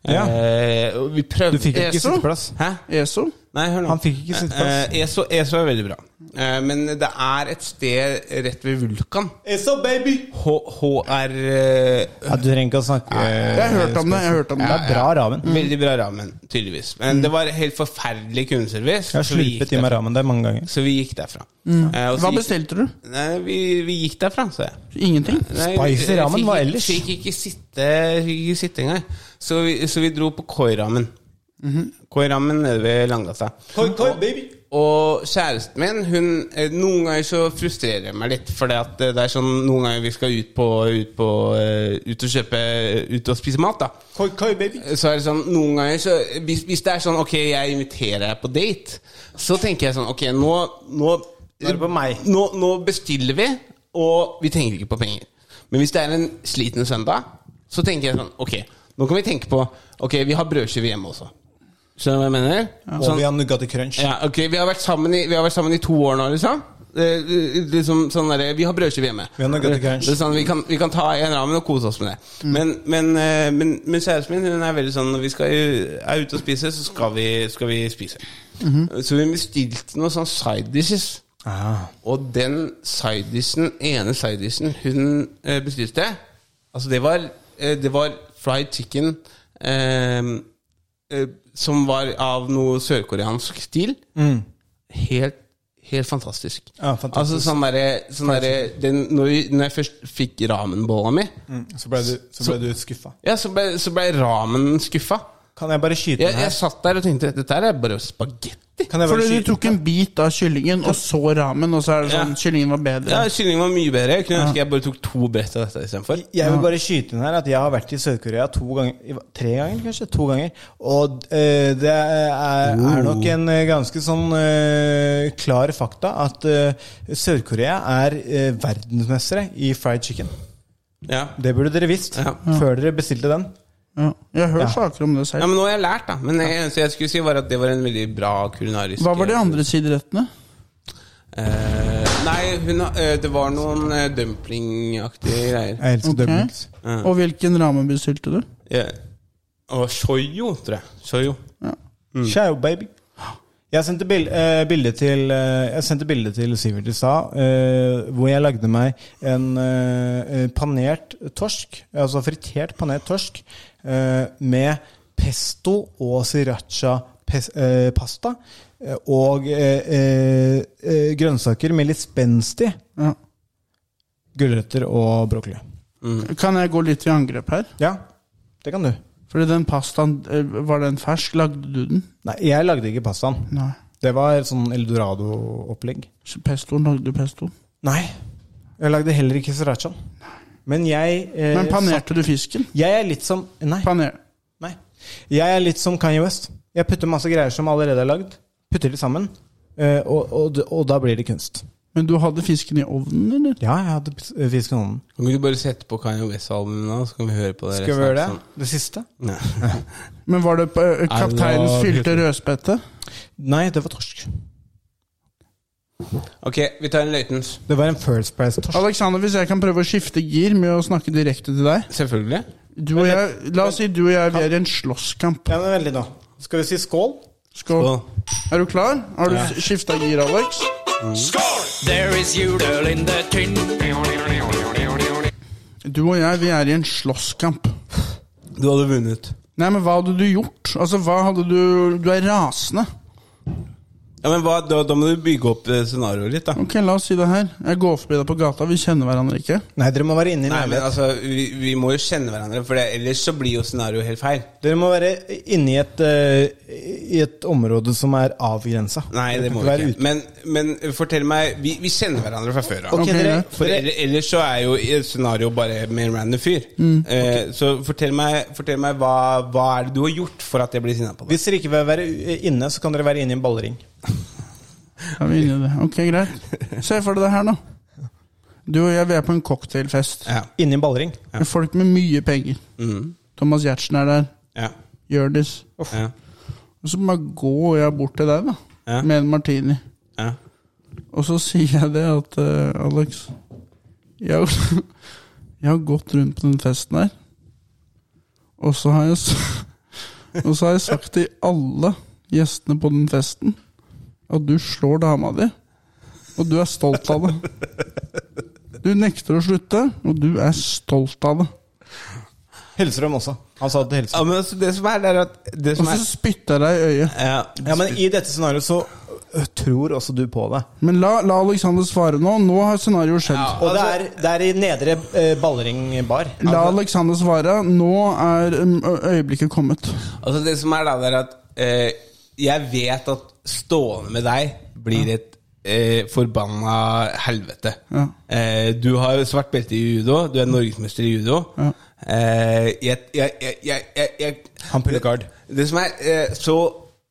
S3: Ja.
S2: Eh, og vi prøvde
S3: Du fikk ikke
S2: ESO?
S3: sitteplass.
S2: Hæ?
S10: ESO?
S2: Nei, hør nå.
S3: Han fikk ikke sitteplass.
S2: Eh, ESO, ESO er veldig bra. Eh, men det er et sted rett ved Vulkan.
S3: ESO, baby!
S2: H HR eh,
S3: Ja, du trenger ikke å snakke eh,
S10: Jeg har hørt om det. jeg har hørt om
S3: Det
S10: det.
S3: er bra ramen.
S2: Mm.
S3: Mm.
S2: Veldig bra ramen, tydeligvis. Men det var helt forferdelig kundeservice.
S3: Jeg har
S2: så vi gikk
S3: slurpet i meg ramen der mange ganger.
S2: der- Så vi gikk derfra.
S10: Mm.
S2: Eh, og så
S10: Hva
S2: gikk-
S10: bestilte du?
S2: Nei, vi, vi gikk derfra, sa jeg.
S10: Ingenting?
S2: Nei,
S3: Spicy ramen,
S2: jeg fikk-
S3: hva ellers?
S2: Fikk ikke sitte, fikk ikke sitte engang. Så vi, så vi dro på Koi-ramen.
S3: Mhm.
S2: Koi-ramen nede ved Langgata. Og kjæresten min, hun eh, Noen ganger så frustrerer jeg meg litt. For det er sånn noen ganger vi skal ut på Ut, på, eh, ut og kjøpe Ut og spise mat, da.
S3: Koi, koi, baby.
S2: Så er det sånn, noen ganger så, hvis, hvis det er sånn Ok, jeg inviterer deg på date, så tenker jeg sånn Ok, nå Nå,
S3: er det på meg.
S2: nå, nå bestiller vi, og vi tenker ikke på penger. Men hvis det er en sliten søndag, så tenker jeg sånn Ok, nå kan vi tenke på Ok, vi har brødskive hjemme også. Skjønner du hva jeg mener?
S3: Og vi har Nugatti Crunch.
S2: Ja, ok, vi har, vært sammen i, vi har vært sammen i to år nå, liksom. Eh, liksom sånn derre- vi har brødskive hjemme.
S3: Vi har Nugatti Crunch. Mm.
S2: Det er sånn, vi, kan, vi kan ta en ramen og kose oss med det. Men, men, eh, men, men kjæresten min hun er veldig sånn når vi skal, er ute og spiser, så skal vi, skal vi spise.
S3: Mm-hmm.
S2: Så vi bestilte noen sånn side dishes.
S3: Ah.
S2: Og den side dishen, ene side dishen hun eh, bestilte, altså det var, eh, det var fried chicken eh, eh, som var av noe sørkoreansk stil.
S3: Mm.
S2: Helt, helt fantastisk.
S3: Ja, fantastisk.
S2: Altså sånn derre sånn derre- den- når, vi- når jeg først fikk ramenbolla mi,
S3: Mm. Så ble du, så ble du skuffa.
S2: ja, så ble, så ble ramen skuffa.
S3: Kan jeg bare skyte
S2: Jeg,
S3: den her?
S2: jeg satt der og tenkte dette her er bare spagetti.
S3: Kan jeg bare
S10: Fordi du
S3: skyte
S10: tok en bit av kyllingen, og så ramen, og så er det sånn
S2: Ja.
S10: Kyllingen var bedre.
S2: Ja, Kyllingen var mye bedre. Jeg kunne ønske jeg bare tok to brett av dette istedenfor.
S3: Jeg vil bare skyte inn her at jeg har vært i Sør-Korea to ganger Tre ganger, kanskje? To ganger. Og eh, det er, er nok en eh, ganske sånn eh, klar fakta at eh, Sør-Korea er eh, verdensmestere i fried chicken.
S2: Ja.
S3: Det burde dere visst før dere bestilte den.
S10: Ja. Jeg hører
S3: Ja.
S10: saker om det
S2: Ja,
S10: selv.
S2: men nå har jeg lært, da. Men det eneste jeg skulle si, var at det var en veldig bra kulinarisk
S10: Hva var de andre siderettene?
S2: Eh, Nei, hun, har- eh, det var noen eh, dumplingaktige greier.
S3: Jeg elsker
S10: Ok.
S3: dumplings.
S2: Ja.
S10: Og hvilken ramen bestilte du?
S2: Ja. Og shoyo, tror jeg. Shoyo.
S3: Ciao, baby. Jeg sendte bil, eh, bilde til eh, Jeg sendte bilde til Sivert i stad, eh, hvor jeg lagde meg en eh, eh, panert torsk, altså fritert panert torsk, eh, med pesto og sriracha pes, eh, pasta. eh, Og eh, eh, eh, grønnsaker med litt spenst i.
S10: Ja.
S3: Gulrøtter og brokkoli.
S2: Mm.
S10: Kan jeg gå litt i angrep her?
S3: Ja, det kan du.
S10: Fordi den pastaen, eh, var den fersk? Lagde du den?
S3: Nei, jeg lagde ikke pastaen.
S10: Nei.
S3: Det var sånn eldorado-opplegg.
S10: Pestoen lagde du pestoen.
S3: Nei. Jeg lagde heller ikke srirachaen. Men jeg eh,
S10: Men panerte du fisken?
S3: satt- Jeg er litt som Nei.
S10: Paner.
S3: nei. Jeg er litt som Kanye West. Jeg putter masse greier som allerede er lagd, putter de sammen, eh, og, og, d- og da blir det kunst.
S10: Men du hadde fisken i ovnen, eller?
S3: Ja, jeg hadde pis- eh, fisken i hånden.
S2: Kan ikke du bare sette på Kanye West-albumet nå, så kan vi høre på det?
S3: Skal vi gjøre det? Det siste?
S2: Nei. <laughs>
S10: Men var det eh, kapteinens fylte rødspette?
S3: Nei, det var torsk.
S2: Ok, vi tar en løytens.
S3: Det var en First Price-torsk.
S10: Alexander, hvis jeg kan prøve å skifte gir med å snakke direkte til deg
S2: Selvfølgelig.
S10: du og jeg, La oss si du og jeg vi er i en slåsskamp.
S3: Ja, men Vent litt, nå. Skal vi si skål?
S10: Skål. Er du klar? Har du skifta gir, Alex?
S11: There is judøl in the tin.
S10: Du og jeg, vi er i en slåsskamp.
S2: Du hadde vunnet.
S10: Nei, men hva hadde du gjort? Altså, hva hadde du Du er rasende.
S2: Ja, men hva, da, da må du bygge opp eh, scenarioet litt, da.
S10: Ok, la oss si det her. Jeg går forbi deg på gata, vi kjenner hverandre ikke.
S3: Nei, dere må være inne i
S2: Nei, men
S3: leilighet.
S2: altså, vi, vi må jo kjenne hverandre, for det, ellers så blir jo scenarioet helt feil.
S3: Dere må være inne i et, eh, i et område som er avgrensa.
S2: Nei, det må vi ikke. Men, men fortell meg Vi, vi kjenner hverandre fra før av.
S3: Ok,
S10: Ok,
S3: dere,
S10: ja.
S2: For
S3: dere,
S2: ell- ellers så er jo i et scenario bare med en random fyr.
S10: Mm.
S2: Eh, så fortell meg, fortell meg hva, hva er det du har gjort for at jeg blir sinna på deg?
S3: Hvis dere ikke vil være u- inne, så kan dere være inne i en ballring.
S10: Da er vi inne i det. Ok, greit. Se for deg det her, nå. Du og jeg, vi er på en cocktailfest.
S2: Ja.
S3: Inne i en ballring.
S10: Med folk med mye penger.
S2: Mm.
S10: Thomas Giertsen er der.
S2: Ja.
S10: Hjørdis.
S2: Ja.
S10: Og så bare går jeg bort til deg, da.
S2: Ja.
S10: Med en martini.
S2: Ja.
S10: Og så sier jeg det at eh, Alex jeg, har- <laughs> jeg har gått rundt på den festen her, og så har jeg s- <laughs> Og så har jeg sagt til alle gjestene på den festen at du slår dama di, og du er stolt av det. Du nekter å slutte, og du er stolt av det.
S3: Hellstrøm også. Han sa det til
S2: Ja,
S3: Hellstrøm.
S2: men altså, det som er, det er at det
S10: Og
S2: som
S10: så
S2: er,
S10: spytter jeg deg i øyet.
S2: ja,
S3: Ja, men i dette scenarioet så ø, tror også du på det.
S10: Men la, la Alexander svare nå. Nå har scenarioet skjedd.
S2: Ja.
S3: Og det er, det er i nedre ø, ballringbar.
S10: La Alexander svare. Nå er um, ø- øyeblikket kommet.
S2: altså, det som er da, det er at eh, jeg vet at stående med deg blir et eh, forbanna helvete.
S10: Ja.
S2: Eh, du har jo svart belte i judo, du er norgesmester i judo.
S10: Ja.
S2: Eh, jeg, jeg, jeg, jeg, jeg, jeg
S3: Han puller guard.
S2: Det som er eh, så,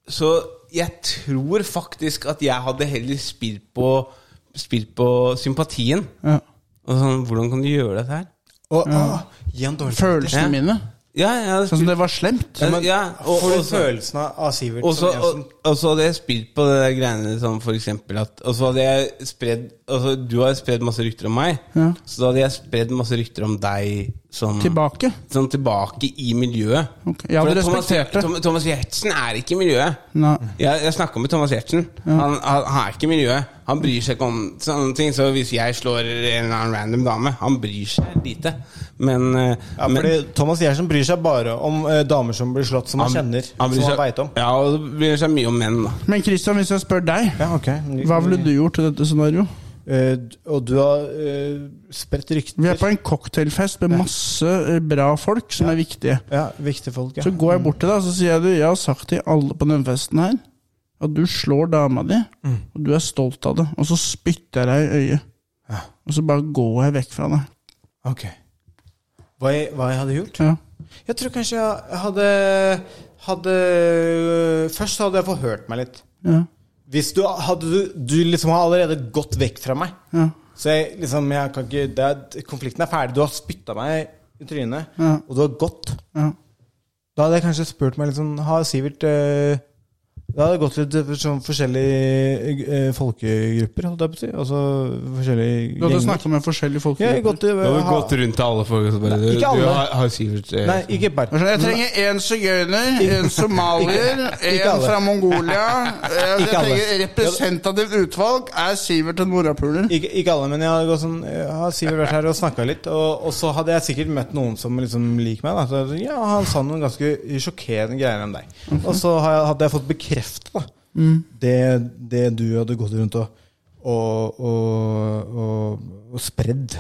S2: så jeg tror faktisk at jeg hadde heller spilt på Spilt på sympatien.
S10: Ja.
S2: Og sånn, Hvordan kan du gjøre dette her?
S3: Og, å, gi han dårlig
S10: Følelsene
S2: Ja.
S10: mine. Sånn som det var slemt.
S2: Ja, men- ja, og-
S3: Får du
S2: og så-
S3: følelsen av av Sivert
S2: Og så
S3: som Jensen?
S2: og- og så hadde jeg spilt på det der greiene som for eksempel at Og så hadde jeg spredd altså, Du har spredd masse rykter om meg,
S10: Ja.
S2: så da hadde jeg spredd masse rykter om deg som
S10: Tilbake?
S2: Sånn tilbake i miljøet.
S10: Jeg hadde
S2: For Thomas-
S10: respektert det.
S2: Tom- Thomas Giertsen er ikke i miljøet.
S10: Nei.
S2: Jeg, jeg snakka med Thomas Giertsen. Han, han, han er ikke i miljøet. Han bryr seg ikke om sånne ting. Så hvis jeg slår en eller annen random dame Han bryr seg lite. Men, eh,
S3: Ja,
S2: men
S3: fordi Thomas Giertsen bryr seg bare om eh, damer som blir slått, som han, kjenner.
S2: han bryr
S3: som
S2: seg,
S3: han vet om.
S2: Ja, og det bryr seg mye om menn, da.
S10: Men Christian, hvis jeg spør deg, hva ville du gjort i dette scenarioet?
S3: og du har spredt rykter.
S10: Vi er på en cocktailfest med masse eh, bra folk som er viktige.
S3: Ja, viktige folk, ja.
S10: Så går jeg bort til deg og så sier jeg, du, jeg har sagt til alle på den festen her at du slår dama di,
S3: Mm.
S10: og du er stolt av det. Og så spytter jeg deg i øyet. Og så bare går jeg vekk fra deg.
S3: Ok. Hva jeg, hva jeg hadde gjort?
S10: Ja.
S3: Jeg tror kanskje jeg hadde, hadde Først hadde jeg forhørt meg litt.
S10: Ja.
S3: Hvis du hadde Du, du liksom har allerede gått vekk fra meg.
S10: Ja.
S3: Så jeg liksom jeg kan ikke det er, Konflikten er ferdig. Du har spytta meg i trynet,
S10: Ja.
S3: og du har gått.
S10: Ja.
S3: Da hadde jeg kanskje spurt meg litt sånn Har Sivert eh, Da hadde jeg gått litt for sånn forskjellige eh, folkegrupper, holdt jeg på å si. Altså forskjellige
S10: Du hadde snakket med forskjellige folk.
S3: Ja, jeg har gått til-
S2: Da har vi
S3: Eh, ha-
S2: gått rundt til alle folk og så bare
S3: Nei, ikke
S2: Du,
S3: alle.
S2: du har, har Sivert eh,
S3: Nei, ikke bare
S10: Altså, Jeg trenger én sigøyner, én somalier,
S3: Ikke- ikke
S10: én
S3: alle.
S10: fra Mongolia. Altså,
S3: <laughs>
S10: Jeg
S3: Ikke alle.
S10: trenger representativt utvalg. Er Sivert en morapuler?
S3: Ikke, ikke alle, men jeg hadde gått sånn Jeg har Sivert vært her og snakka litt. Og, og så hadde jeg sikkert møtt noen som liksom liker meg. Da. Så, jeg sånn, ja, han sa noen ganske sjokkerende greier om deg. Og så har jeg- hadde jeg fått bekrefta
S10: Mm.
S3: det, det du hadde gått rundt og, og, og, og, og spredd.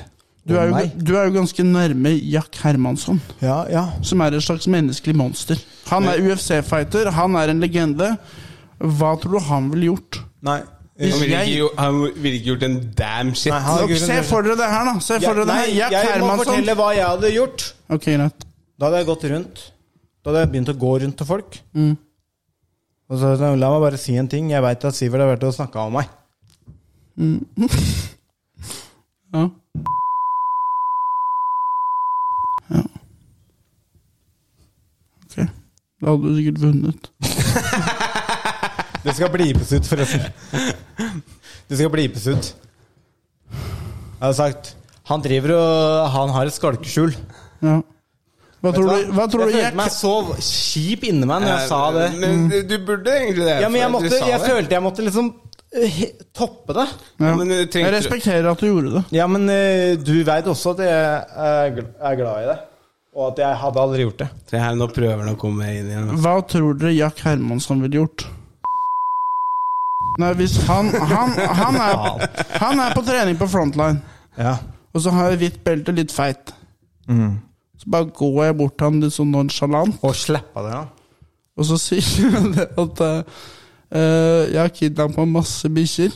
S10: Du er,
S3: om
S10: jo,
S3: meg.
S10: du er jo ganske nærme Jack Hermansson, som er et slags menneskelig monster. Han er UFC-fighter, han er en legende. Hva tror du han ville gjort?
S3: Nei.
S2: Han
S10: Hvis
S2: ville ikke,
S10: jeg
S2: gjo- han ville ikke gjort en damn shit.
S10: Nok, Se for dere det her, da. Se for
S3: Ja,
S10: dere det
S3: nei,
S10: her.
S3: jeg
S10: Jack
S3: må fortelle
S10: Hermansson.
S3: hva jeg hadde gjort.
S10: Ok, greit.
S3: Da hadde jeg gått rundt. Da hadde jeg begynt å gå rundt til folk. Og så, sa jeg, la meg bare si en ting. Jeg veit at Sivert har vært og snakka om meg.
S10: Mm. ja. Ja. Ok. Da hadde du sikkert vunnet.
S3: Det skal blipes ut, forresten. Det skal blipes ut. Jeg hadde sagt Han driver og Han har et skalkeskjul.
S10: Ja. Hva
S3: Vet
S10: tror
S3: du
S10: du, hva tror
S3: Jeg
S10: du Jack-
S3: følte meg så kjip inni meg når
S2: Eh,
S3: jeg sa det. Mm.
S2: Men du- du burde egentlig det.
S3: Ja, men jeg,
S2: for at du
S3: måtte,
S2: sa
S3: jeg
S2: det.
S3: følte jeg måtte liksom eh, he- toppe det.
S10: Ja.
S2: Ja, men, eh, trengte
S10: Jeg
S2: du-
S10: respekterer at du gjorde det.
S3: Ja, men eh, du veit også at jeg er gl- er glad i deg. Og at jeg hadde aldri gjort det.
S2: Se her, nå prøver han å komme inn igjen.
S10: Hva tror dere Jack Hermansson ville gjort? Nei, hvis han Han, han, er, han er på trening på frontline,
S3: Ja.
S10: og så har jeg hvitt belte, litt feit. Så bare går jeg bort til han litt sånn nonchalant,
S2: <laughs>
S3: Og slappa det, ja.
S10: og så sier <laughs> jeg det at eh, eh, jeg har kidnappa masse bikkjer.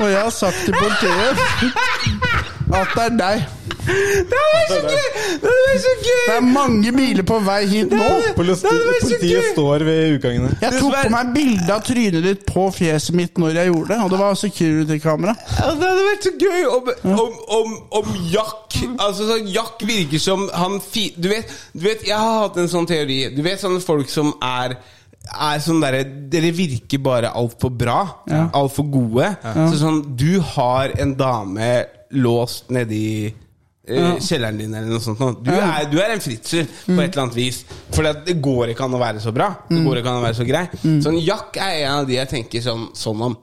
S10: og jeg har sagt til politiet at det er deg. Det er mange biler på vei hit nå.
S3: Politiet står ved utgangene.
S10: Jeg tok på meg bilde av trynet ditt på fjeset mitt når jeg gjorde det, og det var security-kamera.
S2: Ja, Altså, Det hadde vært så gøy om, om, om, om Jack Altså sånn, Jack virker som han fi, du, vet, du vet, jeg har hatt en sånn teori Du vet sånne folk som er er sånn derre Dere virker bare altfor bra.
S10: Ja.
S2: Altfor gode. Så sånn Du har en dame låst nedi eh,
S10: Ja.
S2: kjelleren din eller noe sånt. nå. Du,
S10: Ja. Mm.
S2: er, du er en fritzel på et eller annet vis. For det, det går ikke an å være så bra. Det går ikke an å være så grei.
S10: Mm.
S2: Sånn Jack er en av de jeg tenker sånn, sånn om.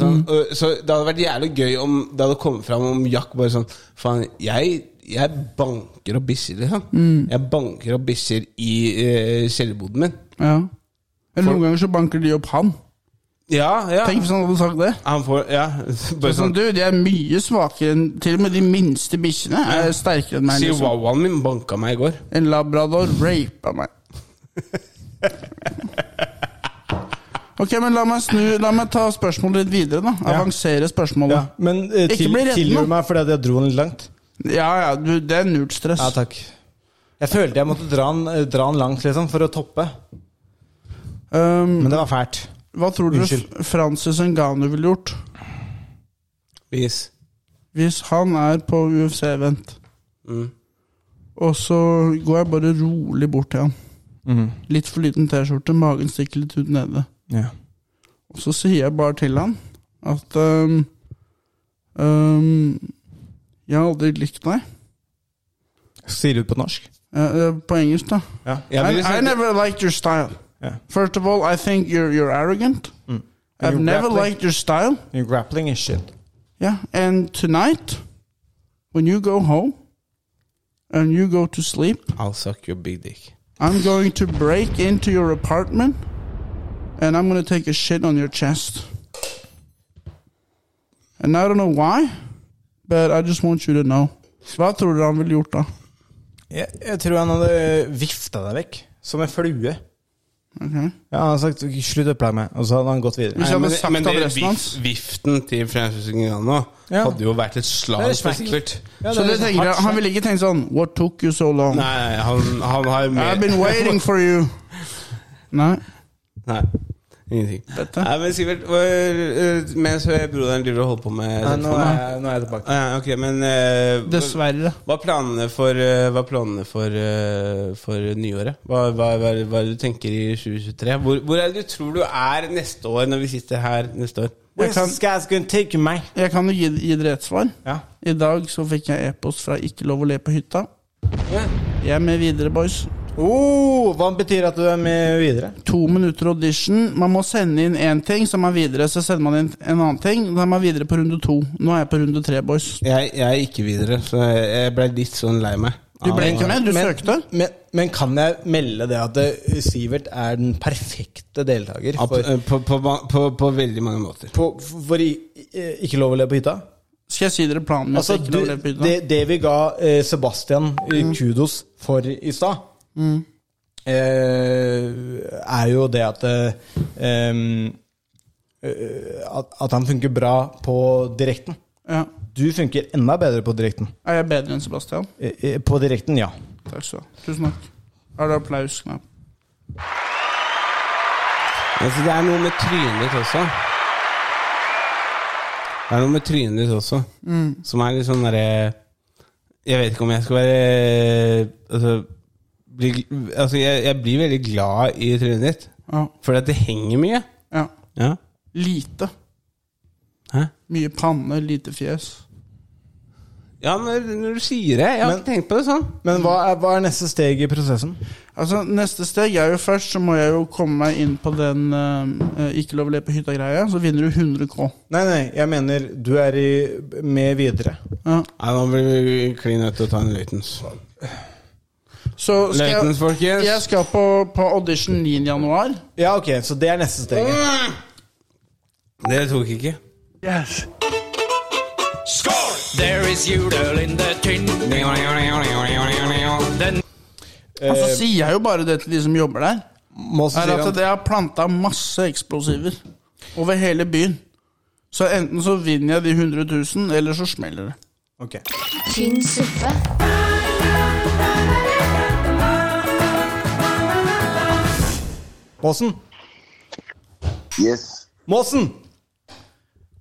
S10: Mm.
S2: Sånn, ø, Så det hadde vært jævlig gøy om det hadde kommet fram om Jack bare sånn Faen, jeg, jeg banker opp bikkjer, liksom.
S10: Mm.
S2: Jeg banker opp bikkjer i eh, kjellerboden min.
S10: Ja. Men noen ganger så banker de opp han.
S2: Ja, ja.
S10: Tenk hvis han hadde sagt det.
S2: Han får Ja. Bare
S10: Sånn,
S2: sånn
S10: du, De er mye svakere enn Til og med de minste bikkjene er sterkere enn meg. Liksom.
S2: Chihuahuaen min banka meg i går.
S10: En labrador rapa meg. Ok, men La meg snu, la meg ta spørsmålet litt videre. da Avansere
S3: Ja,
S10: spørsmålet.
S3: men eh,
S10: Ikke
S3: til,
S10: bli redd nå.
S3: tilgir du meg fordi at jeg dro den litt langt?
S10: Ja, ja, du, det er null stress.
S3: Ja, takk. Jeg følte jeg måtte dra den, eh, dra den langt, liksom, for å toppe.
S10: Um,
S3: Men det var fælt.
S10: Hva tror dere
S3: Unnskyld.
S10: F- Francis Ngannou ville gjort
S2: Vis.
S10: hvis han er på UFC-event?
S3: Mm.
S10: Og så går jeg bare rolig bort til han.
S3: Mhm.
S10: Litt for liten T-skjorte, magen stikker litt ut nede.
S3: Ja.
S10: Og så sier jeg bare til han at ehm, ehm, Jeg har aldri likt deg.
S3: Sier du det på norsk?
S10: Eh, eh, på engelsk, da.
S3: Ja, men
S10: I,
S3: hvis jeg-
S10: I never liked your style.
S3: Ja.
S10: First of all, I think you're, you're arrogant.
S3: Mm.
S10: I've
S3: You're
S10: never
S3: grappling.
S10: liked your style.
S3: Your grappling is shit.
S10: Yeah, and tonight, when you go home and you go to sleep,
S2: I'll suck your big dick.
S10: I'm going to break into your apartment and I'm going to take a shit on your chest. And I don't know why, but I just want you to know. Hva tror dere han ville gjort da?
S3: Jeg, jeg tror han hadde vifta deg vekk, som en flue.
S10: Ok.
S3: Ja, han hadde sagt 'slutt å plage meg', og så hadde han gått videre.
S2: Nei, men- men det vif- Viften til Fremskrittspartiet Gnana
S3: Ja.
S2: hadde jo vært et slag
S3: Det er
S2: for
S3: smekk.
S2: Sikkert.
S3: Ja, det
S10: Så
S3: er
S10: dere
S3: liksom
S10: tenker,
S3: hardt
S10: at han ville ikke tenkt sånn What took you so long?
S2: Nei, han, han har mer
S10: I've been waiting
S3: <laughs>
S10: for you. Nei.
S2: Nei, ingenting. Nei, men Sivert, hvor- eh, mens broderen driver og holder på med
S3: Ja, nå,
S2: telefonen,
S3: er
S2: da.
S3: jeg, nå er jeg tilbake.
S2: Ja, ok, men eh, hva-
S10: Dessverre.
S2: Hva er planene for, eh, hva er planene for, eh, for nyåret? Hva, hva, hva, er- hva er det du tenker i 2023? Hvor, hvor er det du tror du er neste år, når vi sitter her neste år?
S10: Jeg kan-
S3: guy's gonna take me?
S10: Jeg kan jo gi, gi dere et svar.
S3: Ja.
S10: I dag så fikk jeg e-post fra Ikke lov å le på hytta. Jeg er med videre, boys.
S3: Oh, hva betyr at du er med videre?
S10: To minutter audition. Man må sende inn én ting, så er man videre. Så sender man inn en annen ting, da er man videre på runde to. Nå er jeg på runde tre, boys.
S2: Jeg, jeg er ikke videre, så jeg ble litt sånn lei meg.
S10: Du ble ikke
S2: Av-
S10: med, du
S3: Men-
S10: søkte.
S3: Men, men kan jeg melde det at eh, Sivert er den perfekte deltaker
S2: av-
S3: for,
S2: eh, på, på, på, på, på veldig mange måter.
S3: på, for i, eh, ikke lov å le på hytta?
S10: Skal jeg si dere planen min?
S3: Altså,
S10: for ikke
S3: du,
S10: lov å le på hytta?
S3: det, det vi ga eh, Sebastian eh, kudos for i stad,
S10: Mm.
S3: eh, er jo det at eh, em, eh, at, at han funker bra på direkten.
S10: Ja.
S3: Du funker enda bedre på direkten.
S10: Er jeg bedre enn Sebastian?
S3: Eh, eh, På direkten, ja.
S10: Takk skal du ha. Tusen takk. Er det applausknapp?
S2: Altså, det er noe med trynet ditt også. Det er noe med trynet ditt også, som er litt sånn derre Jeg vet ikke om jeg skal være Altså, bli, altså jeg, jeg blir veldig glad i trynet ditt,
S10: Ja.
S2: fordi at det henger mye.
S10: ja.
S2: Ja.
S10: Lite.
S2: Hæ?
S10: Mye panne, lite fjes.
S2: Ja, når, når du sier det. Jeg har
S3: Men-
S2: ikke tenkt på det sånn.
S3: Men hva er, hva er neste steg i prosessen?
S10: Altså, Neste steg er jo først, så må jeg jo komme meg inn på den eh, ikke lov å le på hytta-greia. Så vinner du 100 K.
S3: Nei, nei, jeg mener du er i, med videre.
S10: Ja.
S2: Nei, nå blir vi klin nødt til å ta en løytens.
S10: Så skal jeg,
S2: Løytens, folkens.
S10: jeg skal på, på audition 9. januar.
S3: Ja, ok, så det er neste steg.
S2: Det tok ikke.
S10: Yes.
S11: There is judøl in the tin. Den
S10: Og så sier jeg jo bare det til de som jobber der,
S3: Må også
S10: er
S3: si
S10: at
S3: han-
S10: jeg har planta masse eksplosiver over hele byen. Så enten så vinner jeg de 100 000, eller så smeller det.
S3: Ok.
S1: Tynn suppe.
S3: Måsen!
S14: Yes.
S3: Måsen!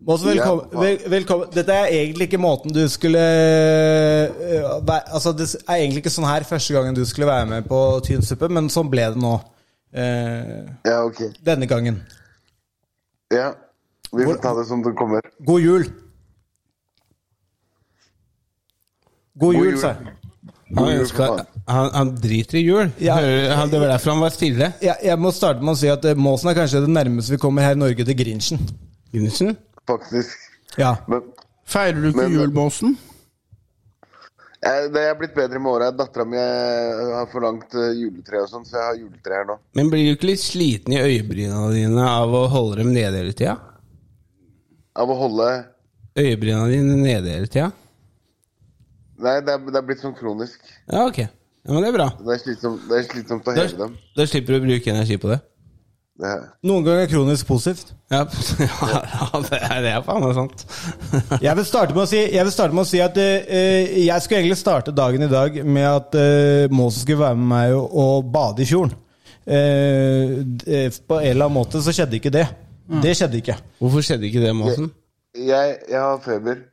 S3: Måsen, velkommen.
S14: Ja.
S3: Vel, velkommen. Dette er egentlig ikke måten du skulle øh, væ- Altså, det er egentlig ikke sånn her første gangen du skulle være med på Tynn suppe, men sånn ble det nå. eh,
S14: Ja, ok.
S3: denne gangen.
S14: Ja. Vi får ta det som det kommer.
S3: God jul! God jul, sa jeg.
S2: Han,
S14: God jul,
S2: ønsker-
S14: for faen.
S2: han, han driter i jul.
S3: Ja.
S2: Hører- han- Det var derfor han var stille.
S3: jeg. Jeg må starte med å si at eh, Måsen er kanskje det nærmeste vi kommer her i Norge til Grinchen.
S2: Gundersen?
S14: Faktisk.
S3: Ja.
S14: Men
S10: Feirer du ikke
S14: Men-
S10: julebåsen?
S14: jeg, Eh, det er blitt bedre med åra. Dattera mi har forlangt eh, juletre og sånn, så jeg har juletre her nå.
S2: Men blir du ikke litt sliten i øyebryna dine av å holde dem nede hele tida?
S14: Av å holde
S2: Øyebryna dine nede hele tida?
S14: Nei, det er, det er blitt sånn kronisk.
S2: Ja, ok. Ja, men det er bra.
S14: Det er slitsomt, det er slitsomt å
S2: Da,
S14: heve dem.
S2: da slipper du å bruke energi på det.
S14: Det,
S3: Noen ganger er kronisk positivt.
S2: Ja, <laughs> ja det er det er faen meg sant.
S3: Jeg vil starte med å si, jeg vil starte med å si at eh, jeg skulle egentlig starte dagen i dag med at eh, Måsen skulle være med meg og, og bade i fjorden. Eh, d- eh, på en eller annen måte så skjedde ikke det. Det skjedde ikke.
S2: Hvorfor skjedde ikke det, Måsen?
S14: jeg, jeg har feber.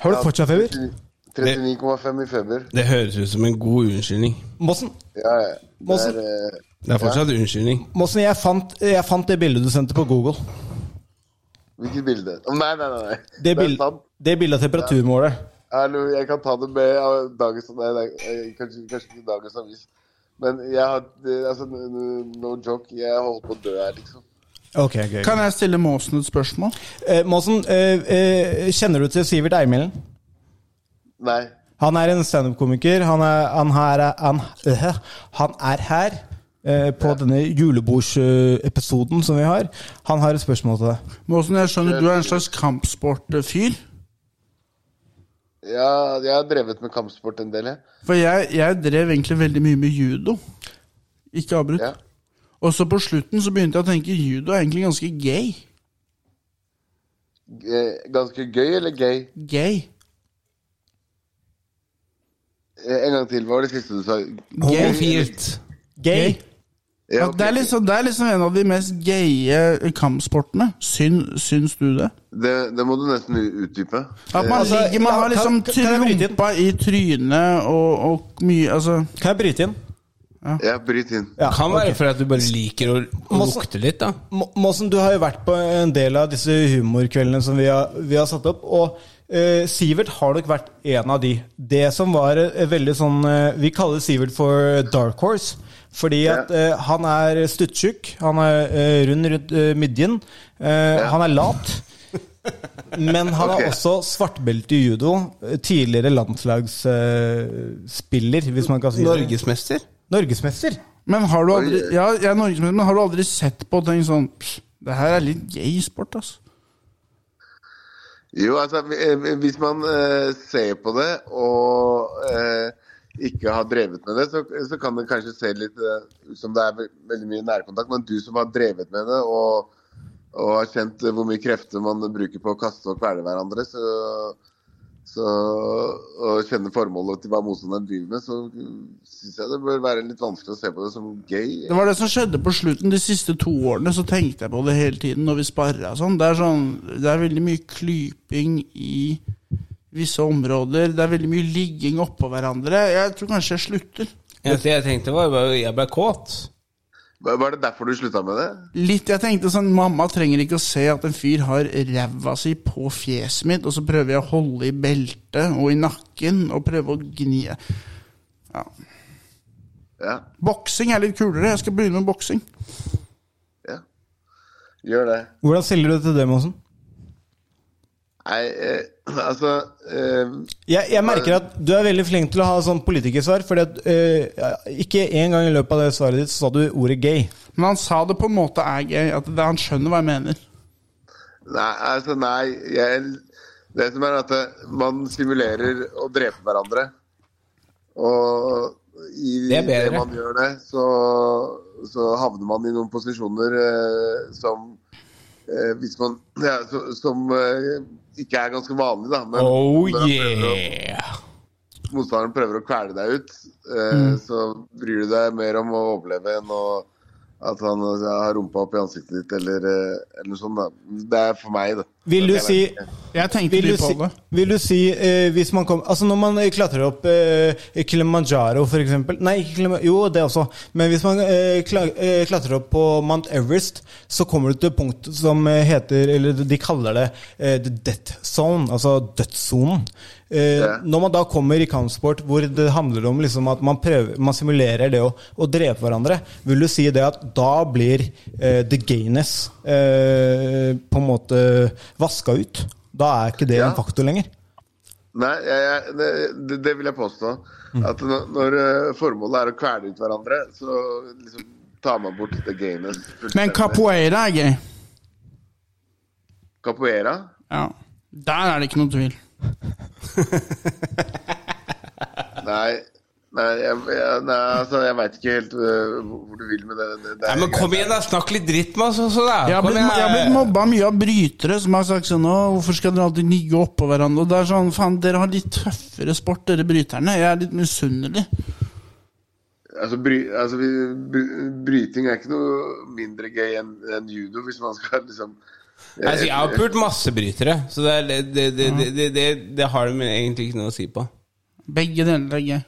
S3: Har du fortsatt feber?
S8: 39,5 i feber.
S2: Det høres ut som en god unnskyldning.
S3: Mossen,
S8: Ja, ja. det
S3: Mossen.
S8: er, eh,
S2: Det er fortsatt unnskyldning.
S3: Mossen jeg, fant, jeg fant det bildet du sendte på Google.
S8: Hvilket bilde? Å, nei, nei, nei. nei.
S3: Det,
S8: er
S3: bil,
S8: sant.
S3: det bildet av temperaturmålet.
S8: Hallo, jeg kan ta det med av dagens Nei, nei eh, kanskje, kanskje ikke dagens avis. Men jeg har det- Altså, n- n- no joke. Jeg holder på å dø her, liksom.
S3: Ok, gøy.
S10: Kan jeg stille Måsen et spørsmål?
S3: Eh, Måsen, eh, eh, kjenner du til Sivert Eimilden?
S8: Nei.
S3: Han er en standup-komiker. Han, er- han, her er- han, øh, han er her eh, på denne julebordsepisoden som vi har. Han har et spørsmål til deg.
S10: Måsen, jeg skjønner du er en slags kampsportfyr.
S8: Jeg, jeg har drevet med kampsport en del, jeg.
S10: For jeg, jeg drev egentlig veldig mye med judo. Ikke avbrutt. Og så på slutten så begynte jeg å tenke judo er egentlig ganske gay.
S8: G- Ganske gøy eller gay?
S10: Gay.
S8: Eh, En gang til. Hva var det siste du sa?
S2: Homofilt.
S3: Gay.
S8: Ja,
S10: At det, er liksom, det er liksom en av de mest gaye kampsportene. Syn, syns du det?
S8: Det, det må du nesten u- utdype.
S10: At man
S8: Eh,
S10: ligger, man har liksom rumpa i trynet og, og mye altså.
S3: Kan jeg bryte inn?
S8: Ja, bryt inn.
S2: kan være for at du bare liker å lukte litt, da.
S3: Mo- Måsen, du har jo vært på en del av disse humorkveldene som vi har, vi har satt opp. Og eh, Sivert har nok vært en av de. Det som var eh, veldig sånn eh, Vi kaller Sivert for Dark Horse. Fordi at eh, han er stuttjukk, han er eh, rund rundt eh, midjen, eh, han er lat. Men han
S8: Ok.
S3: er også svartbelte i judo. eh, Tidligere landslagsspiller, hvis man kan si det.
S2: Norgesmester?
S3: Norgesmester.
S10: Men har du aldri ja, jeg er norgesmester, men har du aldri sett på og tenkt sånn "Pff, Det her er litt gay sport, ass.
S8: Jo, altså eh, hvis man eh, ser på det og eh, ikke har drevet med det, så, så kan det kanskje se litt eh, ut som det er ve veldig mye nærkontakt. Men du som har drevet med det og, og har kjent eh, hvor mye krefter man bruker på å kaste og kvele hverandre, så, så, og kjenner formålet til hva motstanderen driver med, så syns jeg det bør være litt vanskelig å se på det som gøy.
S10: Det var det som skjedde på slutten de siste to årene. Så tenkte jeg på det hele tiden når vi sparra og sånn. Det er sånn. Det er veldig mye klyping i visse områder. Det er veldig mye ligging oppå hverandre. Jeg tror kanskje jeg slutter.
S2: Det jeg tenkte var bare jeg ble kåt.
S8: Var var det derfor du slutta med det?
S10: Litt, jeg tenkte sånn, Mamma trenger ikke å se at en fyr har ræva si på fjeset mitt, og så prøver jeg å holde i beltet og i nakken og prøve å gni ja.
S8: Ja,
S10: Boksing er litt kulere. Jeg skal begynne med boksing.
S8: gjør det.
S3: Hvordan stiller du til det, Måsen?
S8: Nei, eh, <clears throat> altså eh,
S3: Jeg, jeg merker at du er veldig flink til å ha sånn politikersvar. Fordi at eh, Ikke en gang i løpet av det svaret ditt så sa du ordet gay.
S10: Men han sa det på en måte er gøy. At det, han skjønner hva jeg mener.
S8: Nei, altså nei jeg, Det som er at det- man simulerer å drepe hverandre. Og i
S2: Det er bedre.
S8: det man gjør det, så, så havner man i noen posisjoner eh, som eh, hvis man, ja, så, Som eh, ikke er ganske vanlig, da. Men
S2: Oh
S8: når han prøver
S2: yeah!
S8: å- motstanderen prøver å kvele deg ut, eh,
S2: Mm.
S8: så bryr du deg mer om å overleve enn å at han eh, har rumpa opp i ansiktet ditt, eller, eh, eller noe sånt. da. Det er for meg, da.
S3: Vil du
S8: Jeg vet
S3: si
S8: ikke.
S10: Jeg tenkte
S3: vil du
S10: litt på
S3: si,
S10: det.
S3: vil du si eh, hvis man kom, altså Når man eh, klatrer opp eh, Kilimanjaro, for eksempel Nei, ikke Kilima- jo, det også. Men hvis man eh, kla, eh, klatrer opp på Mount Everest, så kommer du til punktet som eh, heter Eller de kaller det eh, the death zone, altså dødssonen. Eh, Når man da kommer i kampsport hvor det handler om liksom at man, prøver, man simulerer det å, å drepe hverandre, vil du si det at da blir eh, the gayness eh, på en måte vaska ut? Da er ikke det en faktor lenger.
S8: Nei, jeg, jeg, det- det, det vil jeg påstå.
S3: Mm.
S8: At når, når eh, formålet er å kvele ut hverandre, så liksom tar man bort det gamet.
S10: Men capoeira er gøy.
S8: Capoeira?
S10: Ja. Der er det ikke noen tvil.
S8: Nei. Nei, jeg, jeg, nei, altså, jeg veit ikke helt eh, hvor du vil med det. det, det
S2: Nei, men kom igjen, da! Snakk litt dritt med oss også, da!
S10: Jeg har
S2: Kom
S10: blitt, jeg har blitt mobba mye av brytere som har sagt sånn Å, hvorfor skal dere alltid ligge oppå hverandre? Og det er sånn, faen, dere har litt tøffere sport, dere bryterne. Jeg er litt misunnelig.
S8: Altså, bry, altså vi, bry- Bryting er ikke noe mindre gøy enn enn judo, hvis man skal liksom
S2: Altså, jeg har pult masse brytere, så det, er, det, det, det, det, det, det har de egentlig ikke noe å si på.
S10: Begge deler er gøy.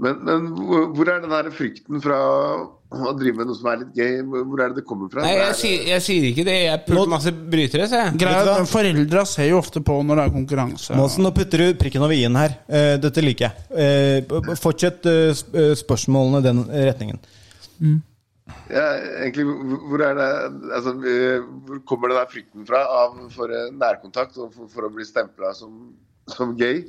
S8: Men, men hvor hvor er den her frykten fra å drive med noe som er litt gøy? Hvor hvor er det det kommer fra?
S2: Nei,
S8: Er
S2: jeg
S8: det-
S2: sier, jeg sier ikke det. Jeg pulte masse brytere, sa jeg.
S10: Greia,
S2: Vet du
S10: er
S2: hva?
S10: at Foreldra ser jo ofte på når det er konkurranse.
S3: Måsen, nå putter du prikken over i-en her. Eh, Dette liker jeg. Eh, b- b- Fortsett eh, sp- eh, spørsmålene i den eh, retningen.
S8: Ja, egentlig, hvor- hvor er det altså, eh, Hvor kommer den der frykten fra av for eh, nærkontakt og for, for å bli stempla som, som gay?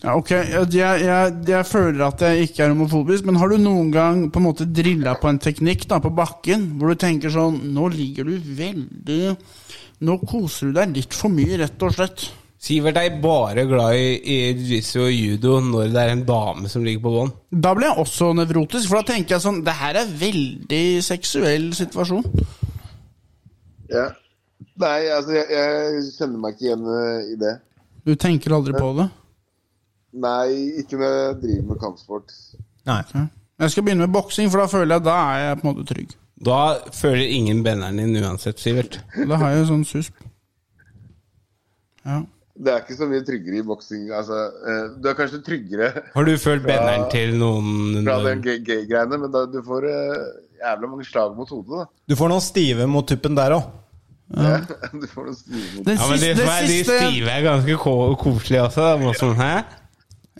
S10: Ja, ok, jeg, jeg, jeg føler at jeg ikke er homofobisk, men har du noen gang på en måte drilla på en teknikk da, på bakken, hvor du tenker sånn Nå ligger du veldig Nå koser du deg litt for mye, rett og slett.
S2: Sivert er bare glad i, i jiu-jitsu og judo når det er en dame som ligger på bånn.
S10: Da blir jeg også nevrotisk, for da tenker jeg sånn Det her er veldig seksuell situasjon.
S8: Ja. Nei, altså, jeg, jeg kjenner meg ikke igjen eh, i det.
S10: Du tenker aldri på det?
S8: Nei, ikke når jeg driver med kampsport.
S3: Nei.
S10: Jeg skal begynne med boksing, for da føler jeg da er jeg på en måte trygg.
S2: Da føler ingen benderen din uansett, Sivert.
S10: Da har jeg jo sånn susp.
S8: Det er ikke så mye tryggere i boksing. Altså, eh, du er kanskje tryggere <laughs>
S2: Har du følt
S8: Fra-
S2: benderen til noen eh,
S8: fra den gay- gay-greiene, men da, du får eh, jævla mange slag mot hodet, da.
S3: Du får noen stive mot tuppen der òg.
S8: Du får noen stive mot
S10: Den
S2: Ja, men de, som
S10: siste- den
S2: er, de
S10: siste-
S2: stive er ganske ko koselige også. da, må Sånn, hæ?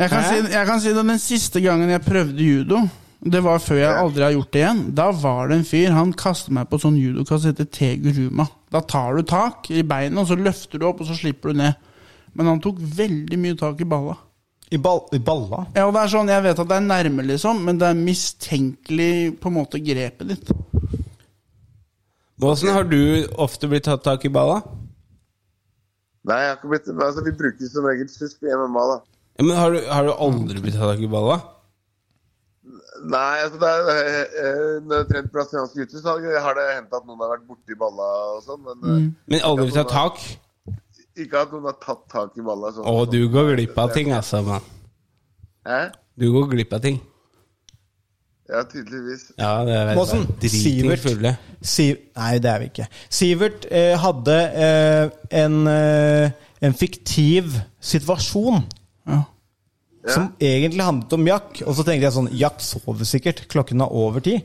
S10: Jeg kan,
S2: Hæ?
S10: si, jeg kan si det, Den siste gangen jeg prøvde judo, det var før jeg aldri har gjort det igjen. Da var det en fyr han kastet meg på sånn judokasse som heter Teguruma. Da tar du tak i beinet, og så løfter du opp, og så slipper du ned. Men han tok veldig mye tak i balla.
S3: I, ball, I balla?
S10: Ja, og det er sånn, Jeg vet at det er nærme, liksom, men det er mistenkelig på en måte grepet ditt.
S2: Åssen har du ofte blitt tatt tak i balla?
S8: <laughs> Nei, jeg har ikke blitt men altså, Vi bruker som regel susp i MMA, da.
S2: Ja, men har du, har du aldri blitt tatt tak i balla?
S8: Nei, altså, det er, eh, eh, når jeg har trent brasiliansk jiu-jitsu, så har jeg- har det hendt at noen har vært borti balla og sånn, men eh,
S10: Mm.
S2: Men aldri tatt tak?
S8: ikke at noen har tatt tak i balla. Sånn,
S2: Å, du går glipp av ting, altså, mann.
S8: Hæ?
S2: Du går glipp av ting.
S8: Ja, tydeligvis.
S2: Ja, det er
S3: Måsen, Sivert Siv, Nei, det er vi ikke. Sivert eh, hadde eh, en, eh, en fiktiv situasjon. Som egentlig handlet om Jack. Og så tenkte jeg sånn Jack sover sikkert. Klokken er over ti.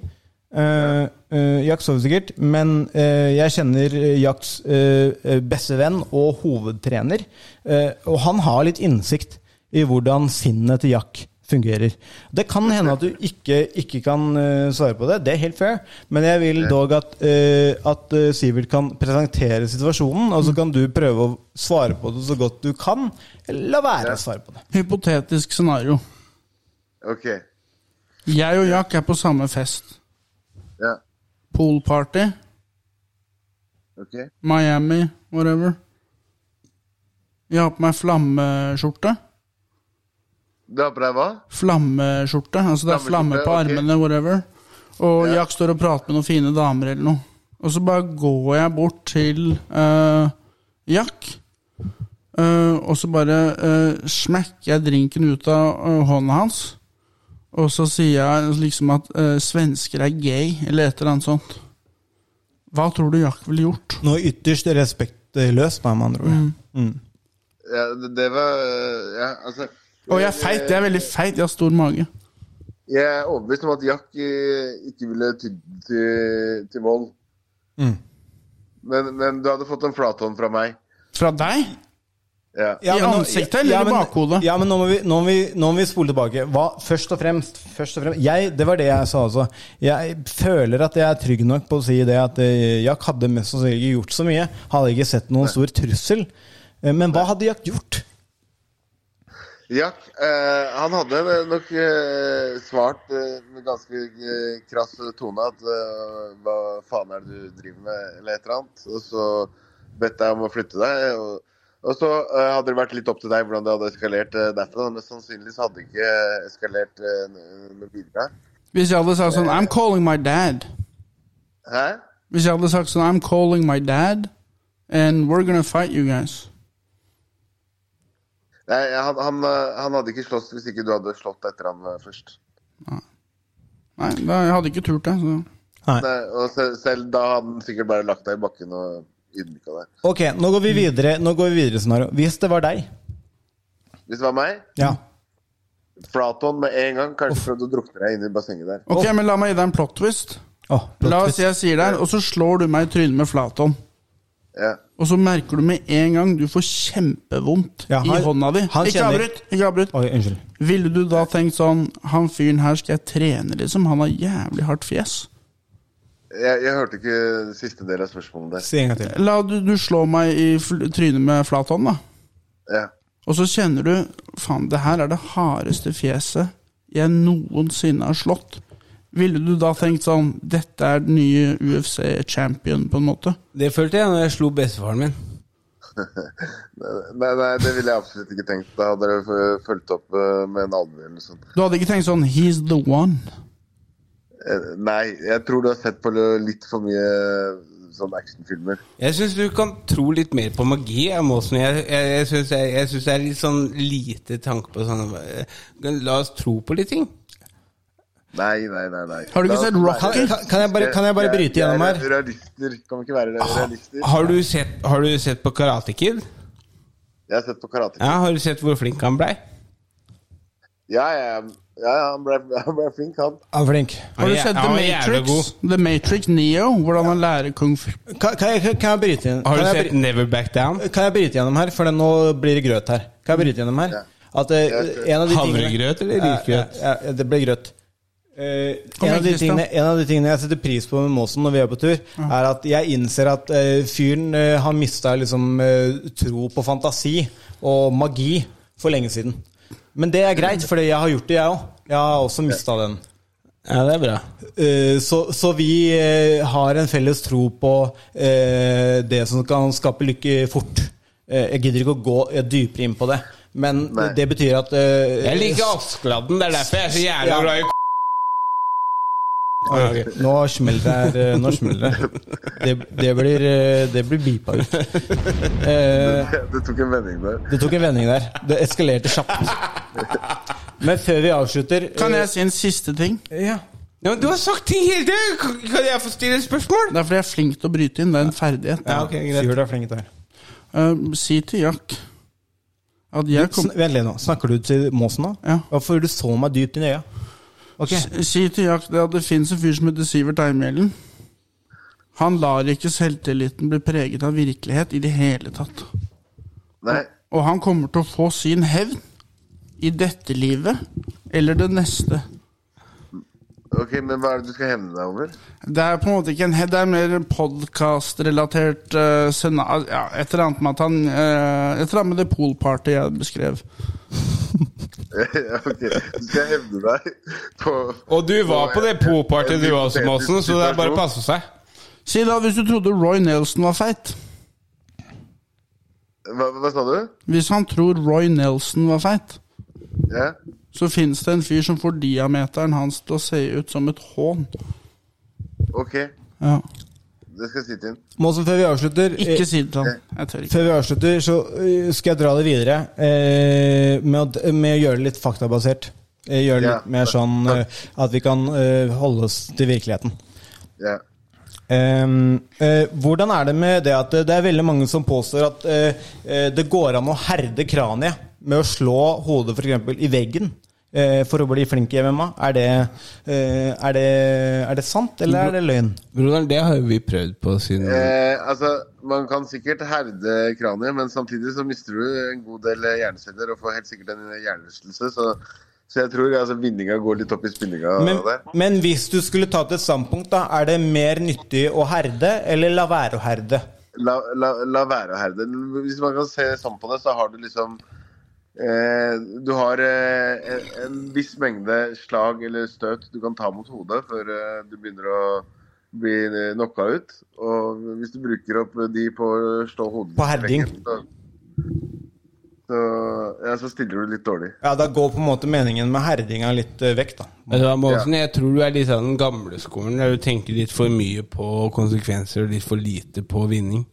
S3: Eh, eh, Jack sover sikkert, men eh, jeg kjenner eh, Jacks eh, eh, beste venn og hovedtrener. eh, og han har litt innsikt i hvordan sinnet til Jack fungerer. Det kan hende at du ikke, ikke kan eh, svare på det, det er helt fair. Men jeg vil dog at, eh, at eh, Sivert kan presentere situasjonen, og så kan du prøve å svare på det så godt du kan. Eller la være å svare på det.
S10: Hypotetisk scenario.
S8: Ok.
S10: Jeg og Jack er på samme fest.
S8: Ja.
S10: Poolparty,
S8: Ok.
S10: Miami, whatever. Jeg har på meg flammeskjorte.
S8: Du har på deg hva?
S10: Flammeskjorte. Altså det er flamme på
S8: Flammeskjorte, ok.
S10: armene, whatever. Og Jack står og prater med noen fine damer eller noe. Og så bare går jeg bort til eh, Jack. Eh, og så bare eh, smekker jeg drinken ut av eh, hånda hans. Og så sier jeg liksom at eh, svensker er gay, eller et eller annet sånt. Hva tror du Jack ville gjort?
S3: Noe ytterst respektløst, da, med andre ord. Mm.
S8: Ja, det, det var eh, Ja, altså
S10: Og jeg er feit. Jeg er veldig feit. Jeg har stor mage.
S8: Jeg er overbevist om at Jack eh, ikke ville tydd til, til vold.
S3: Mm.
S8: Men, men du hadde fått en flathånd fra meg.
S10: Fra deg?
S8: Ja.
S3: Ja, men nå- ja, men- Ja, men nå må, vi, nå, må vi, nå må vi spole tilbake. Hva, først og fremst, først og fremst jeg, Det var det jeg sa også. Jeg føler at jeg er trygg nok på å si det at eh, Jack hadde mest sannsynlig ikke gjort så mye. Hadde ikke sett noen stor trussel. Eh, Men hva hadde Jack gjort?
S8: Jack, eh, han hadde nok eh, svart eh, med ganske eh, krass tone at eh, hva faen er det du driver med, eller et eller annet. Og så bedt deg om å flytte deg. Og, og så eh, hadde det vært litt opp til deg hvordan det hadde eskalert eh, derfra. Men sannsynligvis hadde det ikke eskalert eh, med bidrag.
S10: Hvis jeg hadde sagt sånn I'm calling my dad.
S8: Hæ?
S10: Hvis jeg hadde sagt sånn I'm calling my dad, and we're gonna fight you guys.
S8: Nei, han, han, eh, han hadde ikke slåss hvis ikke du hadde slått etter han eh, først.
S10: Nei, da, jeg hadde ikke turt det. Så.
S8: Nei, og selv, selv da hadde han sikkert bare lagt deg i bakken og ydmyka deg.
S2: Mm.
S3: Ok, nå går vi videre. Nå går vi videre scenario. Hvis det var deg,
S8: Hvis det var meg
S3: Ja.
S8: Flaton med en gang. Kanskje prøvde å drukne deg inne i bassenget der.
S10: Ok, men la meg gi deg en plot twist. la oss si jeg sier det her, og så slår du meg i trynet med Flaton.
S8: Ja.
S10: Og så merker du med en gang du får kjempevondt
S3: Ja, han-
S10: i hånda di.
S3: han
S10: Ikke
S3: kjenner-
S10: avbryt! Ikke avbryt.
S3: Oi, unnskyld.
S10: Ville du da tenkt sånn Han fyren her skal jeg trene, liksom. Han har jævlig hardt fjes.
S8: Jeg, jeg hørte ikke siste del av spørsmålet der.
S10: La du, du slå meg i fl trynet med flat hånd, da.
S8: Ja.
S10: Og så kjenner du Faen, det her er det hardeste fjeset jeg noensinne har slått. Ville du da tenkt sånn Dette er den nye UFC-champion, på en måte?
S2: Det følte jeg når jeg slo bestefaren min.
S8: Nei, nei, det ville jeg absolutt ikke tenkt. Da hadde dere f- fulgt opp eh, med en albue eller noe sånt.
S10: Du hadde ikke tenkt sånn He's the one.
S8: Eh, Nei, jeg tror du har sett på litt for mye sånne actionfilmer.
S2: Jeg syns du kan tro litt mer på magi. Jeg, Måsen. jeg, jeg, jeg syns jeg, jeg, synes jeg er litt sånn lite tanke på sånn eh, La oss tro på litt ting.
S8: Nei, nei, nei. nei.
S2: Har du ikke
S8: La oss
S2: sett
S8: være-
S2: Rocky? Kan- kan jeg bare- kan jeg bare bryte
S8: vi er
S2: gjennom her? Ah,
S8: Realister. Kan vi ikke være realister?
S2: Har du sett, har du sett på Karate Kid?
S8: Jeg har sett på karate.
S2: Ja, har du sett hvor flink han blei?
S8: Ja, ja, ja, ja han, ble, han ble flink, han.
S3: Han er flink.
S10: Har du
S2: Ja,
S10: sett
S2: han
S10: The
S2: var jævlig
S10: Matrix? The Matrix Neo, hvordan han lærer kung fu.
S3: Kan, kan, jeg, kan jeg bryte inn?
S2: Har du
S3: kan jeg
S2: sett
S3: bry-
S2: Never Back Down?
S3: Kan jeg bryte gjennom her, for det- nå blir det grøt her. Kan jeg bryte gjennom her? At eh, en av de tingene-
S2: Havregrøt eller risgrøt?
S3: Ja, ja, det ble grøt. Eh,
S2: Kom
S3: en,
S2: igjen,
S3: av de
S2: Christian.
S3: tingene, en av de tingene jeg setter pris på med Måsen når vi er på tur, er at jeg innser at eh, fyren eh, har mista liksom, eh, tro på fantasi og magi for lenge siden. Men det er greit, for jeg har gjort det, jeg òg. Jeg har også mista den.
S2: Ja, det er bra.
S3: Eh, Så, så vi eh, har en felles tro på eh, det som kan skape lykke fort. Eh, Jeg gidder ikke å gå eh, dypere inn på det, men det betyr at eh,
S2: Jeg liker Askeladden. Det er derfor jeg er så jævla
S3: Ja.
S2: glad i Ah,
S3: Oi, Nå smeller det her. eh, Nå smeller det. Det, det blir, eh, det blir beepa
S8: <laughs>
S3: ut. Eh,
S8: Det, det tok en vending der.
S3: Det tok en vending der. Det eskalerte kjapt. Men før vi avslutter
S10: Kan jeg si en siste ting?
S2: Ja. men Du har sagt ting hele tiden! Kan- Kan jeg få stille et spørsmål?
S10: Det er fordi jeg er flink til å bryte inn. Det er en ferdighet.
S3: Ja, ok, greit. Sigurd er flink til det.
S10: Eh, si til Jack at jeg kom...
S3: Vent litt nå. Snakker du til Måsen nå?
S10: Ja.
S3: Hvorfor du så meg dypt inn i øya?
S10: S- Si til Jack det at det fins en fyr som heter Sivert Eimhjellen. Han lar ikke selvtilliten bli preget av virkelighet i det hele tatt.
S8: Nei.
S10: Og han kommer til å få sin hevn i dette livet eller det neste.
S8: Ok, men hva er det du skal hevne deg over? <laughs>
S10: Det er på en måte ikke en head, det er mer podkast-relatert uh, ja, Et eller annet med at han eh, Et eller annet med det poolparty jeg beskrev.
S8: ok, du skal hevne deg på
S2: Og du var på det popartyet du også, Måsen, så det er bare å passe seg.
S10: Si da hvis du trodde Roy Nelson var feit.
S8: Hva, hva sa du?
S10: Hvis han tror Roy Nelson var feit,
S8: Ja?
S10: så fins det en fyr som får diameteren hans til å se ut som et hån.
S8: Ok,
S10: Ja.
S8: det skal jeg si til ham.
S3: eh, Måsen, før vi avslutter eh,
S10: Ikke si det til han. Jeg tør ikke.
S3: Før vi avslutter, så eh, skal jeg dra det videre eh, med, å, med å gjøre det litt faktabasert. Eh, Gjøre det
S8: Ja.
S3: litt mer sånn eh, at vi kan eh, holde oss til virkeligheten.
S8: Ja.
S3: Ehm, eh, hvordan er det med det at eh, det er veldig mange som påstår at eh, eh, det går an å herde kraniet med å slå hodet for eksempel i veggen eh, for å bli flink i MMA? Er det, eh, er det, er det sant, eller er det løgn?
S2: Broderen, det har jo vi prøvd på siden
S8: Eh, altså, Man kan sikkert herde kraniet, men samtidig så mister du en god del eh, hjerneceller og får helt sikkert en hjernerystelse. Så, så jeg tror altså, vinninga går litt opp i spinninga
S3: Men,
S8: der.
S3: men hvis du skulle tatt et standpunkt, da, er det mer nyttig å herde eller la være å herde?
S8: La, la, la være å herde. Hvis man kan se sånn på det, så har du liksom eh, Du har eh, en, en viss mengde slag eller støt du kan ta mot hodet før eh, du begynner å bli eh, knocka ut. Og hvis du bruker opp de på å slå hodet
S3: På herding.
S8: Så, så, ja, så stiller du litt dårlig.
S3: Ja, da går på en måte meningen med herdinga litt eh, vekk, da.
S2: Vet du hva, Måsen, jeg tror du er litt av den gamle skolen, der du tenker litt for mye på konsekvenser og litt for lite på vinning.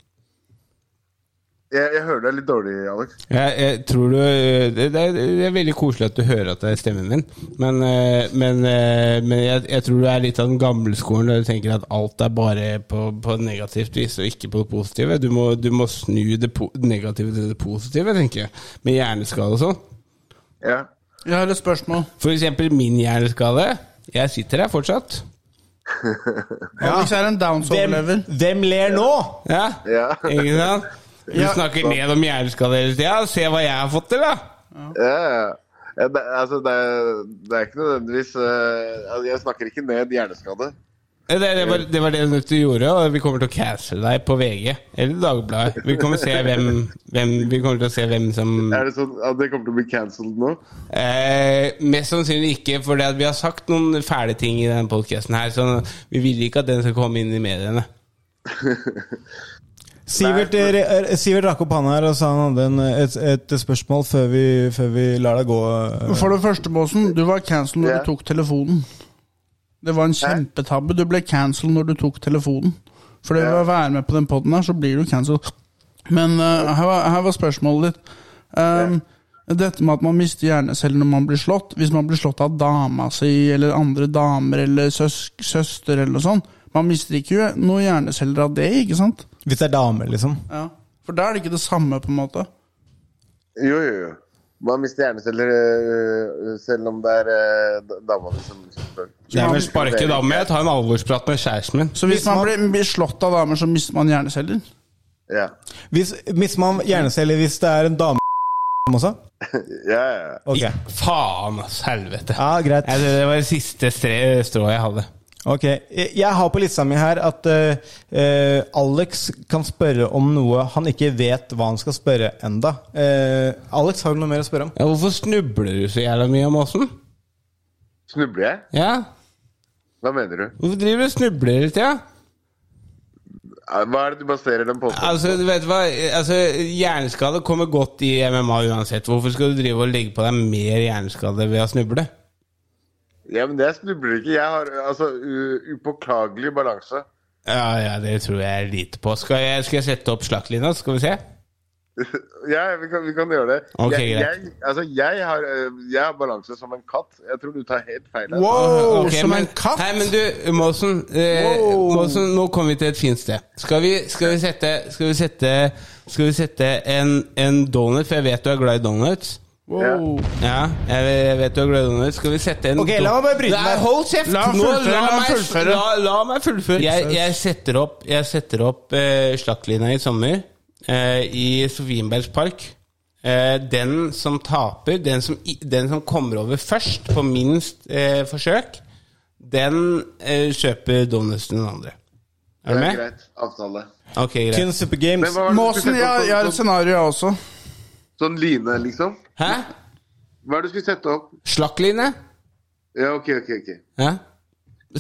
S8: Jeg, jeg hører deg litt dårlig, Alex.
S2: Jeg, jeg tror du eh, det, det, er, det er veldig koselig at du hører at det er stemmen min, men, eh, men, eh, men jeg, jeg tror du er litt av den gamle skolen der du tenker at alt er bare på, på negativt vis og ikke på det positive. Du må, du må snu det po negative til det positive, tenker jeg, med hjerneskade og sånn.
S8: Ja.
S10: Jeg har et spørsmål.
S2: For eksempel min hjerneskade. Jeg sitter her fortsatt.
S10: Alex er en Downs-overlever.
S3: Hvem ler nå?
S2: Ja, ikke sant? Du
S10: Ja.
S2: snakker ned om hjerneskade hele tida. Se hva jeg har fått til, da!
S8: Ja, ja. Ja, Det, altså, det, er- det er ikke nødvendigvis eh, altså, Jeg snakker ikke ned hjerneskade.
S2: Det, det, var, det var det du gjorde, og vi kommer til å cancele deg på VG eller Dagbladet. Vi kommer, se hvem, hvem, vi kommer til å se hvem som
S8: Er det sånn at det kommer til å bli cancelled nå? <laughs>
S2: Eh, mest sannsynlig ikke, for vi har sagt noen fæle ting i denne podkasten her. Så vi vil ikke at den skal komme inn i mediene.
S3: Sivert, eh, eh, Sivert rakk opp hånda her og sa han hadde en, eh, et, et spørsmål før vi, før vi lar deg gå. eh.
S10: For det første, Båsen, du var cancelled når du tok telefonen. Det var en kjempetabbe. Du ble cancelled når du tok telefonen. For det å være med på den poden her, så blir du cancelled. Men eh, her, var, her var spørsmålet ditt. Um, Dette med at man mister hjerneceller når man blir slått. Hvis man blir slått av dama si eller andre damer eller søs søster eller noe sånt. Man mister ikke noen hjerneceller av det, ikke sant?
S3: Hvis det er dame, liksom.
S10: Ja. For da er det ikke det samme, på en måte.
S8: Jo, jo, jo. Man mister hjerneceller eh, selv om det er eh, d- dama di som
S2: Jeg vil sparke da med, ta en alvorsprat med kjæresten min.
S10: Så hvis man blir, blir slått av damer, så mister man hjerneceller?
S8: Ja.
S3: Hvis, mister man hjerneceller hvis det er en dame også?
S8: ja, ja.
S3: Ok.
S2: Faen, ass. Helvete.
S3: Ja, greit.
S2: Nei, det, det var det siste stre- strået jeg hadde.
S3: Ok, Jeg jeg har på lista mi her at eh, eh, Alex kan spørre om noe han ikke vet hva han skal spørre enda. Eh, Alex, har du noe mer å spørre om?
S2: Ja, hvorfor snubler du så jævla mye om åssen?
S8: Snubler jeg?
S2: Ja?
S8: Hva mener du?
S2: Hvorfor driver du og snubler hele tida?
S8: Eh, Hva er det du baserer den på?
S2: Altså, du vet hva? Altså, hjerneskade kommer godt i MMA uansett. Hvorfor skal du drive og legge på deg mer hjerneskade ved å snuble?
S8: Ja, men jeg snubler ikke. Jeg har altså u- upåklagelig balanse.
S2: Ja, ja, det tror jeg er lite på. Skal jeg, skal jeg sette opp slaktlinja, skal vi se?
S8: ja, vi kan, vi kan gjøre det.
S2: Ok,
S8: jeg,
S2: greit.
S8: jeg, altså, jeg har, eh, jeg har balanse som en katt. Jeg tror du tar helt feil. her.
S2: Ok, men, Nei, men du, Måsen, eh, Måsen, nå kom vi til et fint sted. Skal vi, skal vi sette Skal vi sette, skal vi sette en, en donut, for jeg vet du er glad i donuts.
S10: Wow.
S2: Ja, jeg vet- jeg vet du er glad i donuts. Skal vi sette en
S3: Ok, la meg bare bryte
S2: Nei,
S3: meg.
S2: Hold kjeft!
S3: La han
S2: Nå,
S3: fullføre, la han
S2: meg-
S3: fullføre.
S2: La, la meg fullføre. Jeg, jeg setter opp, jeg setter opp eh, slaktlinja i sommer eh, i Sofienbergs park. Eh, den som taper, den som, i- den som kommer over først på minst eh, forsøk, den eh, kjøper donuts til den andre. Er du
S8: Det er
S2: med?
S8: greit. Avtale.
S2: Ok, greit.
S8: Kun Super Games. Men hva var det du
S10: Måsen,
S8: skulle
S10: jeg,
S8: sette opp
S10: jeg har et
S8: som-
S10: scenario, jeg også.
S8: Sånn line, liksom?
S2: Hæ?
S8: Hva er det du skulle sette opp?
S2: Slakkline?
S8: Ja, ok, ok. ok.
S2: Ja?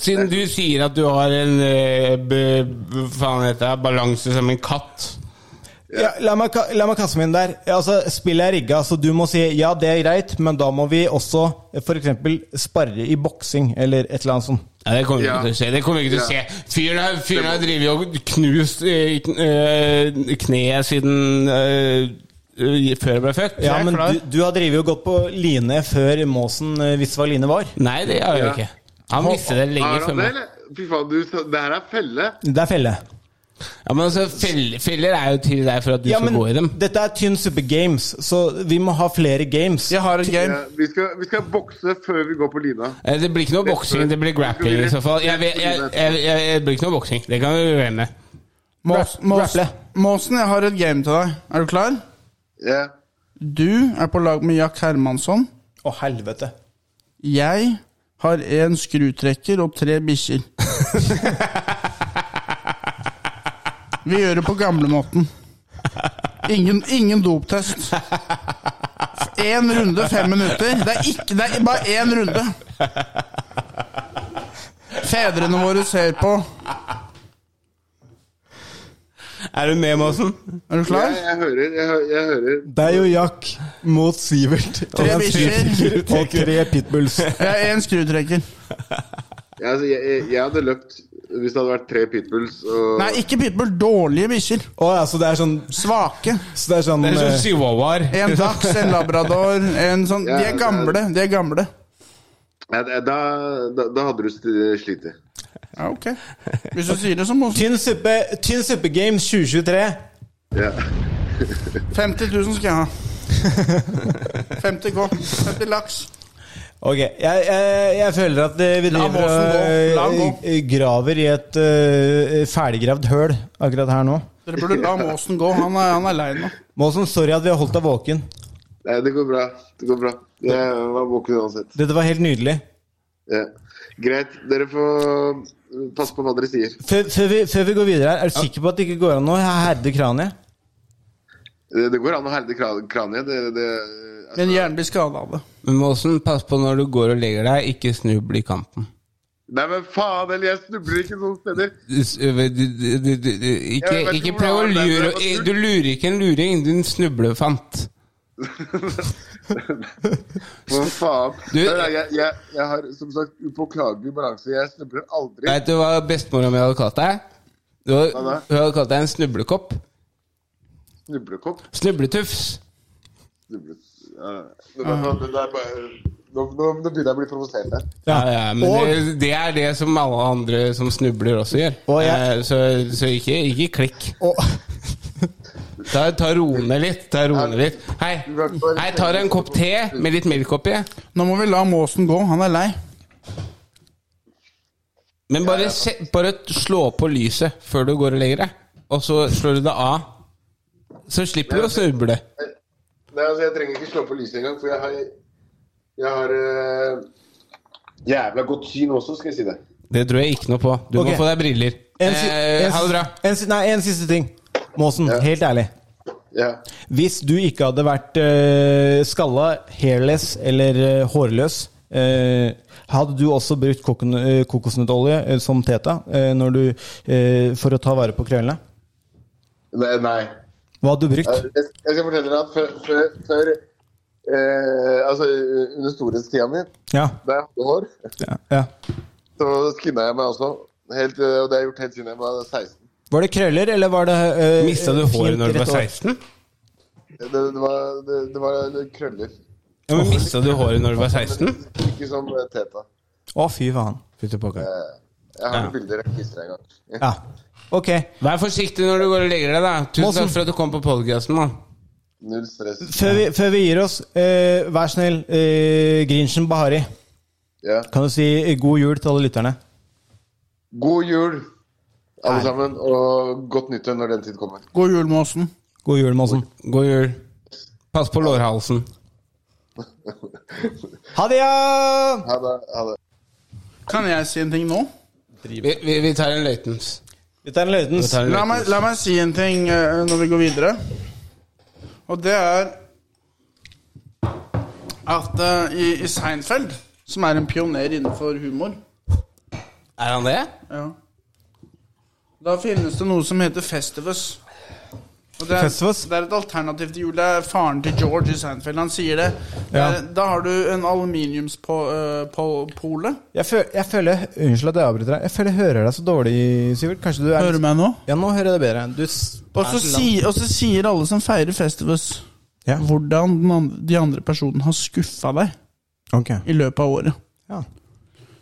S2: Siden du sier at du har en eh, b- b- faen heter det, balanse som en katt.
S3: Ja, la, meg, ka- la meg kaste meg inn der. Ja, Altså, Spillet er rigga, så du må si ja, det er greit, men da må vi også f.eks. sparre i boksing eller et eller annet sånt.
S2: Ja, det kommer vi ikke til å se. Det kommer vi ikke til å
S3: Ja.
S2: se. Fyren har, fyren har drevet og knust eh, kn- eh, kneet siden eh, eh, før jeg ble født.
S3: Ja, men du, du har drevet og gått på line før Måsen eh, visste hva line var.
S2: Nei, det gjør jeg jo
S3: Ja.
S2: ikke. Han visste det lenge
S8: Har han
S2: før
S8: det,
S2: meg.
S8: eller? Fy faen, du, sa- det her er felle.
S3: Det er felle.
S2: Ja, men altså, fell- Feller er jo til deg for at du
S3: Ja,
S2: skal
S3: men
S2: gå i dem.
S3: dette er tynn suppe games, så vi må ha flere games. Jeg
S10: har
S8: Ja, vi, skal, vi skal bokse før vi går på lina.
S2: Eh, Det blir ikke noe boksing, det blir grappling i så fall. Jeg, vet- jeg, jeg, jeg, jeg, det blir ikke noe boksing, det kan vi glemme.
S10: Mås, mås, Måsen, jeg har et game til deg. Er du klar?
S8: Ja.
S10: Du er på lag med Jack Hermansson.
S3: Å, helvete.
S10: Jeg har en skrutrekker og tre <laughs> bikkjer. Vi gjør det på gamlemåten. Ingen, ingen doptest. Én runde, fem minutter. Det er, ikke, det er bare én runde. Fedrene våre ser på.
S2: Er du med, Måsen?
S10: Er du
S8: Jeg, jeg hører. Jeg, hø- jeg hører.
S3: Det er jo Jack mot Sivert.
S10: Tre
S3: Og en
S2: <laughs>
S10: bikkjer.
S3: skrutrekker Og tre pitbulls.
S10: Jeg er en skrutrekker.
S8: Jeg, altså, jeg, jeg, jeg hadde løpt hvis det hadde vært tre pitbulls og
S10: Nei, ikke pitbull. Dårlige bikkjer.
S3: Å ja, så det er sånn
S10: Svake.
S3: Så det er sånn
S2: Det er
S3: eh,
S2: sånn chihuahuaer.
S10: En dachs, en labrador en sånn, De er gamle. De er gamle.
S8: Nei, da, da, da hadde du st- slitt.
S10: Ja, ok. Hvis du sier det, så må
S3: Tynn suppe, tynn suppe games 2023.
S8: Ja. <laughs>
S10: 50 000 skal jeg ha. 50 K. 50 laks.
S3: Ok, jeg, jeg, jeg føler at eh, vi
S10: La
S3: driver
S10: måsen gå, la den
S3: og eh, graver i et eh, ferdiggravd høl akkurat her nå.
S10: Dere burde la Måsen gå. Han er, han er lei nå.
S3: Måsen, sorry at vi har holdt deg våken.
S8: Nei, det går bra. Det går bra. Jeg var våken uansett.
S3: Dette var helt nydelig.
S8: Ja. Greit. Dere får eh, passe på hva dere sier.
S3: Før, før, vi, før vi går videre her, er du sikker på at det ikke går an å herde kraniet?
S8: Det, det går an å herde kra- kraniet. Det, det,
S10: Men hjernen blir skada av det.
S2: Men Måsen, pass på når du går og legger deg, ikke snubl i kanten.
S8: nei, men faen eller jeg snubler ikke sånne steder.
S2: Du- du- du- du- du- Ikke,
S8: Jeg vet
S2: ikke
S8: ikke
S2: prøv å
S8: hvordan det er,
S2: lure
S8: men jeg var
S2: Du lurer ikke en luring, din snublefant.
S8: <laughs> Hva faen?
S2: Du-
S8: Nei, nei, jeg, jeg, jeg har som sagt upåklagelig balanse. Jeg snubler aldri.
S2: Vet du hva bestemora mi hadde kalt deg? Du, hun
S8: Hva da?
S2: hadde kalt deg en snublekopp.
S8: Snublekopp.
S2: Snubletufs.
S8: Snublet. Ja. Det var- det er bare, nå, nå, nå begynner jeg å bli provosert her.
S2: Ja, ja, men
S8: Og-
S2: det, det er det som alle andre som snubler, også gjør. Eh, så så ikke, ikke klikk. Ta, ta roe ned litt. Ta roe ned litt. Hei, hei tar deg en kopp te med litt melk oppi.
S10: Nå må vi la Måsen gå. Han er lei.
S2: Men bare, se, bare slå på lyset før du går og legger deg. Og så slår du det av. Så slipper du å snuble.
S8: Nei, altså, jeg trenger ikke slå på lyset engang, for jeg har, jeg har eh, jævla godt syn også, skal jeg si det.
S2: Det tror jeg ikke noe på. Du
S3: Ok.
S2: må få deg briller.
S3: En, si-
S2: Eh,
S3: en,
S2: ha det bra.
S3: En, si- nei, en siste ting. Måsen, helt ærlig. Hvis du ikke hadde vært eh, skalla, hairless eller eh, hårløs, eh, hadde du også brukt kokon, eh, kokosnøttolje eh, som teta eh, når du, eh, for å ta vare på krøllene?
S8: Nei. nei.
S3: Hva hadde du brukt?
S8: Jeg, jeg skal fortelle deg at før, før, før eh, Altså under storhetstida mi,
S3: Ja.
S8: da jeg hadde hår,
S3: ja, ja.
S8: så skinna jeg meg også. Helt, eh, og det har jeg gjort helt siden jeg var 16.
S3: Var det krøller, eller var det uh,
S2: Mista du håret når du var 16?
S8: Det, det, var, det, det var krøller.
S2: Ja, men Mista du håret når du var 16?
S8: Ikke som eh, teta.
S3: Å, fy faen.
S2: Fytte pokker.
S8: Eh, jeg har
S2: Ja.
S8: bilder jeg viser deg en gang.
S3: Ja. Ok.
S2: Vær forsiktig når du går og legger deg, da. Tusen
S3: Måsen.
S2: takk for at du kom på podcasten, mann.
S8: Null stress.
S3: Før vi, før vi gir oss, eh, vær snill, eh, Grinchen Bahari,
S8: Ja.
S3: kan du si eh, god jul til alle lytterne?
S8: God jul, alle sammen, og godt nyttår når den tid kommer.
S10: God jul, Måsen.
S3: God jul, Måsen.
S2: God jul. Pass på lårhalsen.
S3: Ha det, ja!
S8: Ha det. Ha det.
S10: Kan jeg si en ting nå?
S2: Vi, vi, vi tar en løytens.
S3: Vi tar en
S2: Vi tar en
S10: La meg, la meg si en ting eh, når vi går videre. Og det er at eh, i, i Seinfeld, som er en pioner innenfor humor
S2: Er han det?
S10: ja, Da finnes det noe som heter Festivus. Og det, er,
S3: Festivus?
S10: det er et alternativ til jul. Det er faren til George i Seinfeld. Han sier det.
S3: Ja.
S10: Det er- Da har du en eh, aluminiumspole.
S3: Jeg, føl, jeg føler Unnskyld at jeg avbryter deg. Jeg føler jeg hører deg så dårlig, Sivert. Kanskje du er
S10: Hører du meg nå?
S3: Ja, nå hører jeg deg bedre. Du s-
S10: Og så, si, og så sier alle som feirer Festivus, hvordan den andre, de andre personene har skuffa deg
S3: Ok.
S10: i løpet av året.
S3: Ja.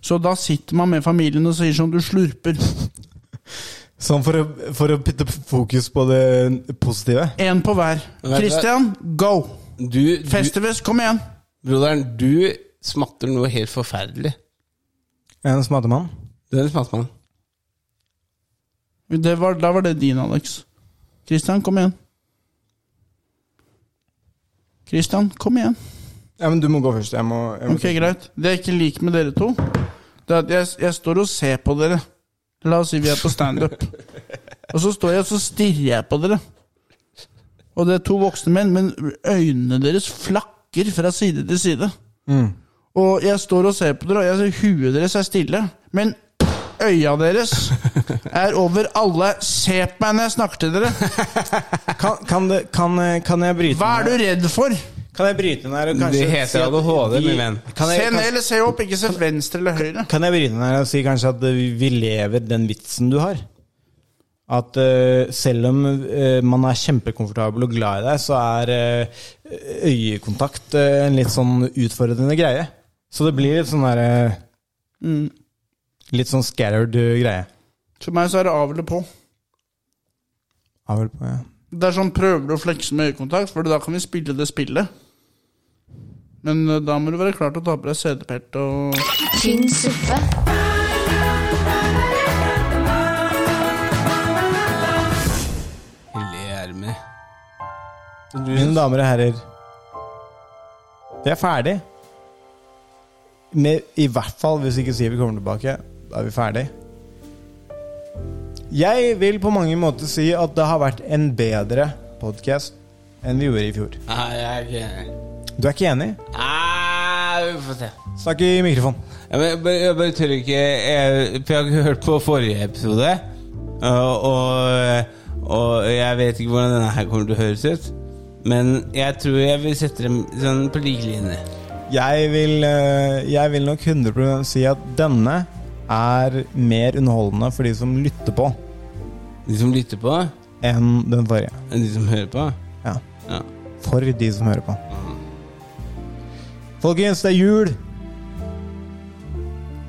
S10: Så da sitter man med familien og sier sånn du slurper.
S3: Sånn for å, for å putte fokus på det positive.
S10: Én på hver.
S2: Men vet du hva?
S10: Christian, go!
S2: Du, du
S10: Festivus, kom igjen!
S2: broderen, du smatter noe helt forferdelig.
S3: En smatemann.
S2: Du er en smattemann.
S10: Det var, da var det din, Alex. Christian, kom igjen. Christian, kom igjen.
S3: Ja, men du må gå først. Jeg må, jeg må
S10: Ok, greit. Det jeg ikke liker med dere to, det er at jeg, jeg står og ser på dere. La oss si vi er på standup. og så står jeg og så stirrer jeg på dere. Og det er to voksne menn, men øynene deres flakker fra side til side.
S3: Mm.
S10: Og jeg står og ser på dere, og jeg ser huet deres er stille. Men øya deres er over alle. Se på meg når jeg snakker til dere!
S3: Kan, kan, det, kan, eh, kan jeg bryte
S10: Hva er du redd for?
S3: Kan jeg bryte ned her og kanskje
S2: Det heter
S3: si at
S2: ADHD,
S3: vi-
S2: min venn.
S3: Kan
S10: Se
S3: jeg,
S10: ned
S3: kan,
S10: eller se opp, ikke se venstre eller høyre.
S3: kan jeg bryte ned her og si kanskje at vi vi lever den vitsen du har? At eh, selv om eh, man er kjempekomfortabel og glad i deg, så er eh, øyekontakt eh, en litt sånn utfordrende greie. Så det blir litt sånn derre
S10: Mm.
S3: Litt sånn scared eh, greie.
S10: For meg så er det av eller på.
S3: Ja, vel på, ja.
S10: Det er sånn prøver du å flekse med øyekontakt, for da kan vi spille det spillet. Men eh, da må du være klar til å ta på deg CD-pelte og
S1: Tynn suppe.
S3: Mine damer og herrer, vi er ferdig. Med, I hvert fall hvis ikke Sivert kommer tilbake, da er vi ferdig. Jeg vil på mange måter si at det har vært en bedre podkast enn vi gjorde i fjor.
S2: Nei, jeg er ikke enig.
S3: Du er ikke enig?
S2: Nei, vi får se.
S3: Snakk i mikrofon.
S2: Jeg bare, jeg bare- jeg bare tør ikke jeg, For jeg har ikke hørt på forrige episode, og, og, og jeg vet ikke hvordan denne her kommer til å høres ut. Men jeg tror jeg vil sette dem sånn på like linje.
S3: Jeg vil, eh, jeg vil nok 100 si at denne er mer underholdende for de som lytter på.
S2: De som lytter på?
S3: Enn den forrige.
S2: Enn de som hører på?
S3: Ja.
S2: Ja.
S3: For de som hører på. Folkens, det er jul!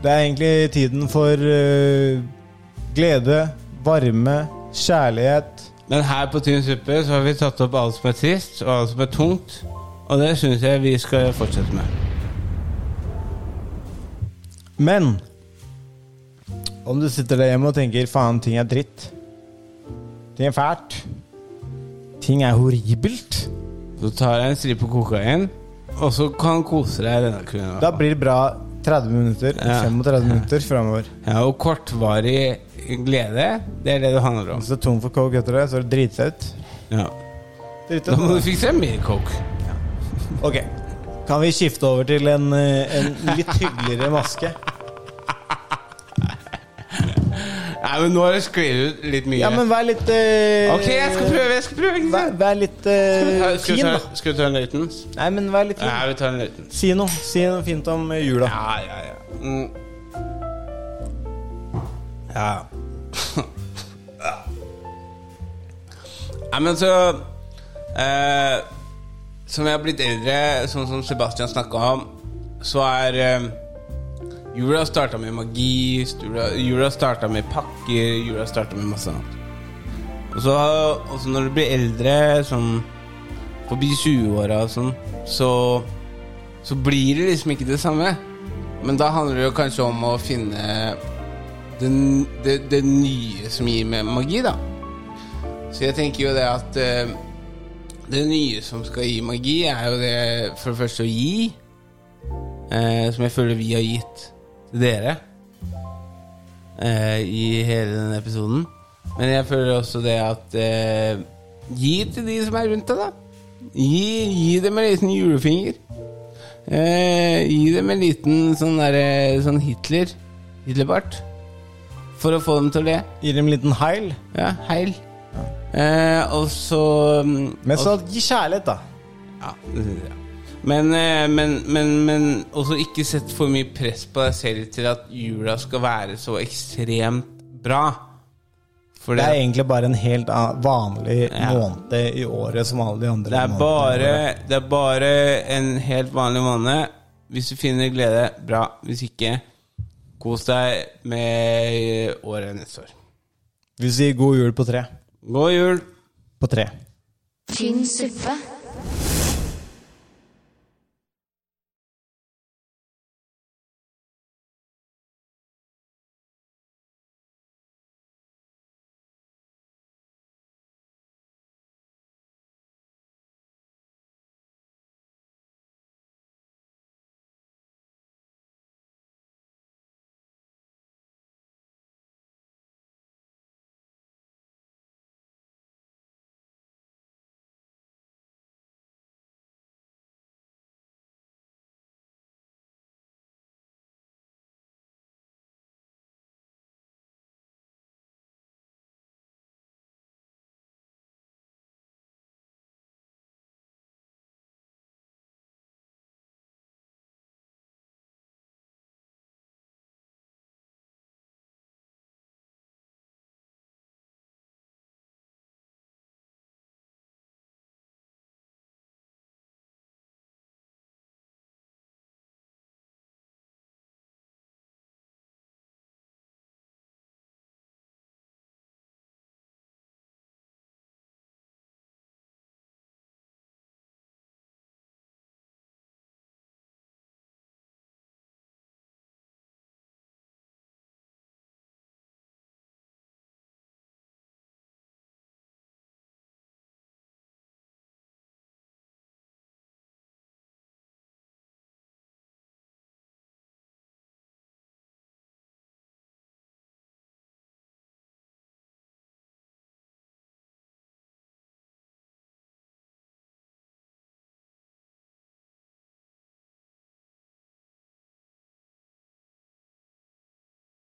S3: Det er egentlig tiden for eh, glede, varme, kjærlighet.
S2: Men her på Tynn suppe så har vi tatt opp alt som er trist, og alt som er tungt. Og det syns jeg vi skal fortsette med.
S3: Men om du sitter der hjemme og tenker faen, ting er dritt. Ting er fælt. Ting er horribelt.
S2: Så tar jeg en stripe kokain, og så kan kose deg denne kvelden.
S3: Da blir det bra 30 minutter.
S2: Ja.
S3: 35 minutter framover.
S2: Ja, og kortvarig glede, det er det det handler om.
S3: Hvis du er tom for coke etter det, så er du drita ut.
S2: Ja.
S3: Drita
S2: Da må du
S3: ut.
S2: fikse mer coke.
S3: Ok. Kan vi skifte over til en, eh, en litt hyggeligere maske?
S2: Nei, men nå har det sklidd ut litt mye.
S3: Ja, men vær litt eh,
S2: Ok, jeg skal prøve. jeg skal prøve ikke
S3: Vær,
S2: sant?
S3: vær litt eh,
S2: Skal vi
S3: fin,
S2: ta-
S3: da.
S2: Skal vi ta en løytens?
S3: Nei, men vær litt
S2: Nei,
S3: fin.
S2: vi tar en løytens.
S3: Si noe. Si noe fint om eh, jula.
S2: Ja, ja, ja. Mm. Ja. Nei, men så eh, Som jeg har blitt eldre, sånn som Sebastian snakka om, så er eh, jula starta med magi, jula, jula starta med pakker, jula starta med masse annet. Og så og så når du blir eldre, sånn forbi 20-åra og sånn, så så blir det liksom ikke det samme. Men da handler det jo kanskje om å finne det, det, det nye som gir meg magi, da. Så jeg tenker jo det at eh, det nye som skal gi magi, er jo det for det første å gi, eh, som jeg føler vi har gitt til dere eh, i hele denne episoden. Men jeg føler også det at eh, gi til de som er rundt deg, da. Gi, gi dem en liten julefinger. Eh, gi dem en liten sånn, der, eh, sånn Hitler Hitlerbart. For å få dem til å le.
S3: Gi dem en liten heil.
S2: Ja, heil. Eh, og så mm,
S3: Men så
S2: og-
S3: gi kjærlighet, da.
S2: ja, det synes jeg. Men, eh, men, men, men også ikke sett for mye press på deg selv til at jula skal være så ekstremt bra. For
S3: Det er egentlig bare en helt annen- vanlig
S2: Ja.
S3: måned i året som alle de andre.
S2: Det er
S3: månedene i
S2: bare,
S3: året.
S2: det er bare en helt vanlig måned. Hvis du finner glede, bra. Hvis ikke, kos deg med året neste år.
S3: Vi sier god jul på tre.
S2: God jul!
S3: På tre.
S1: Tynn suppe.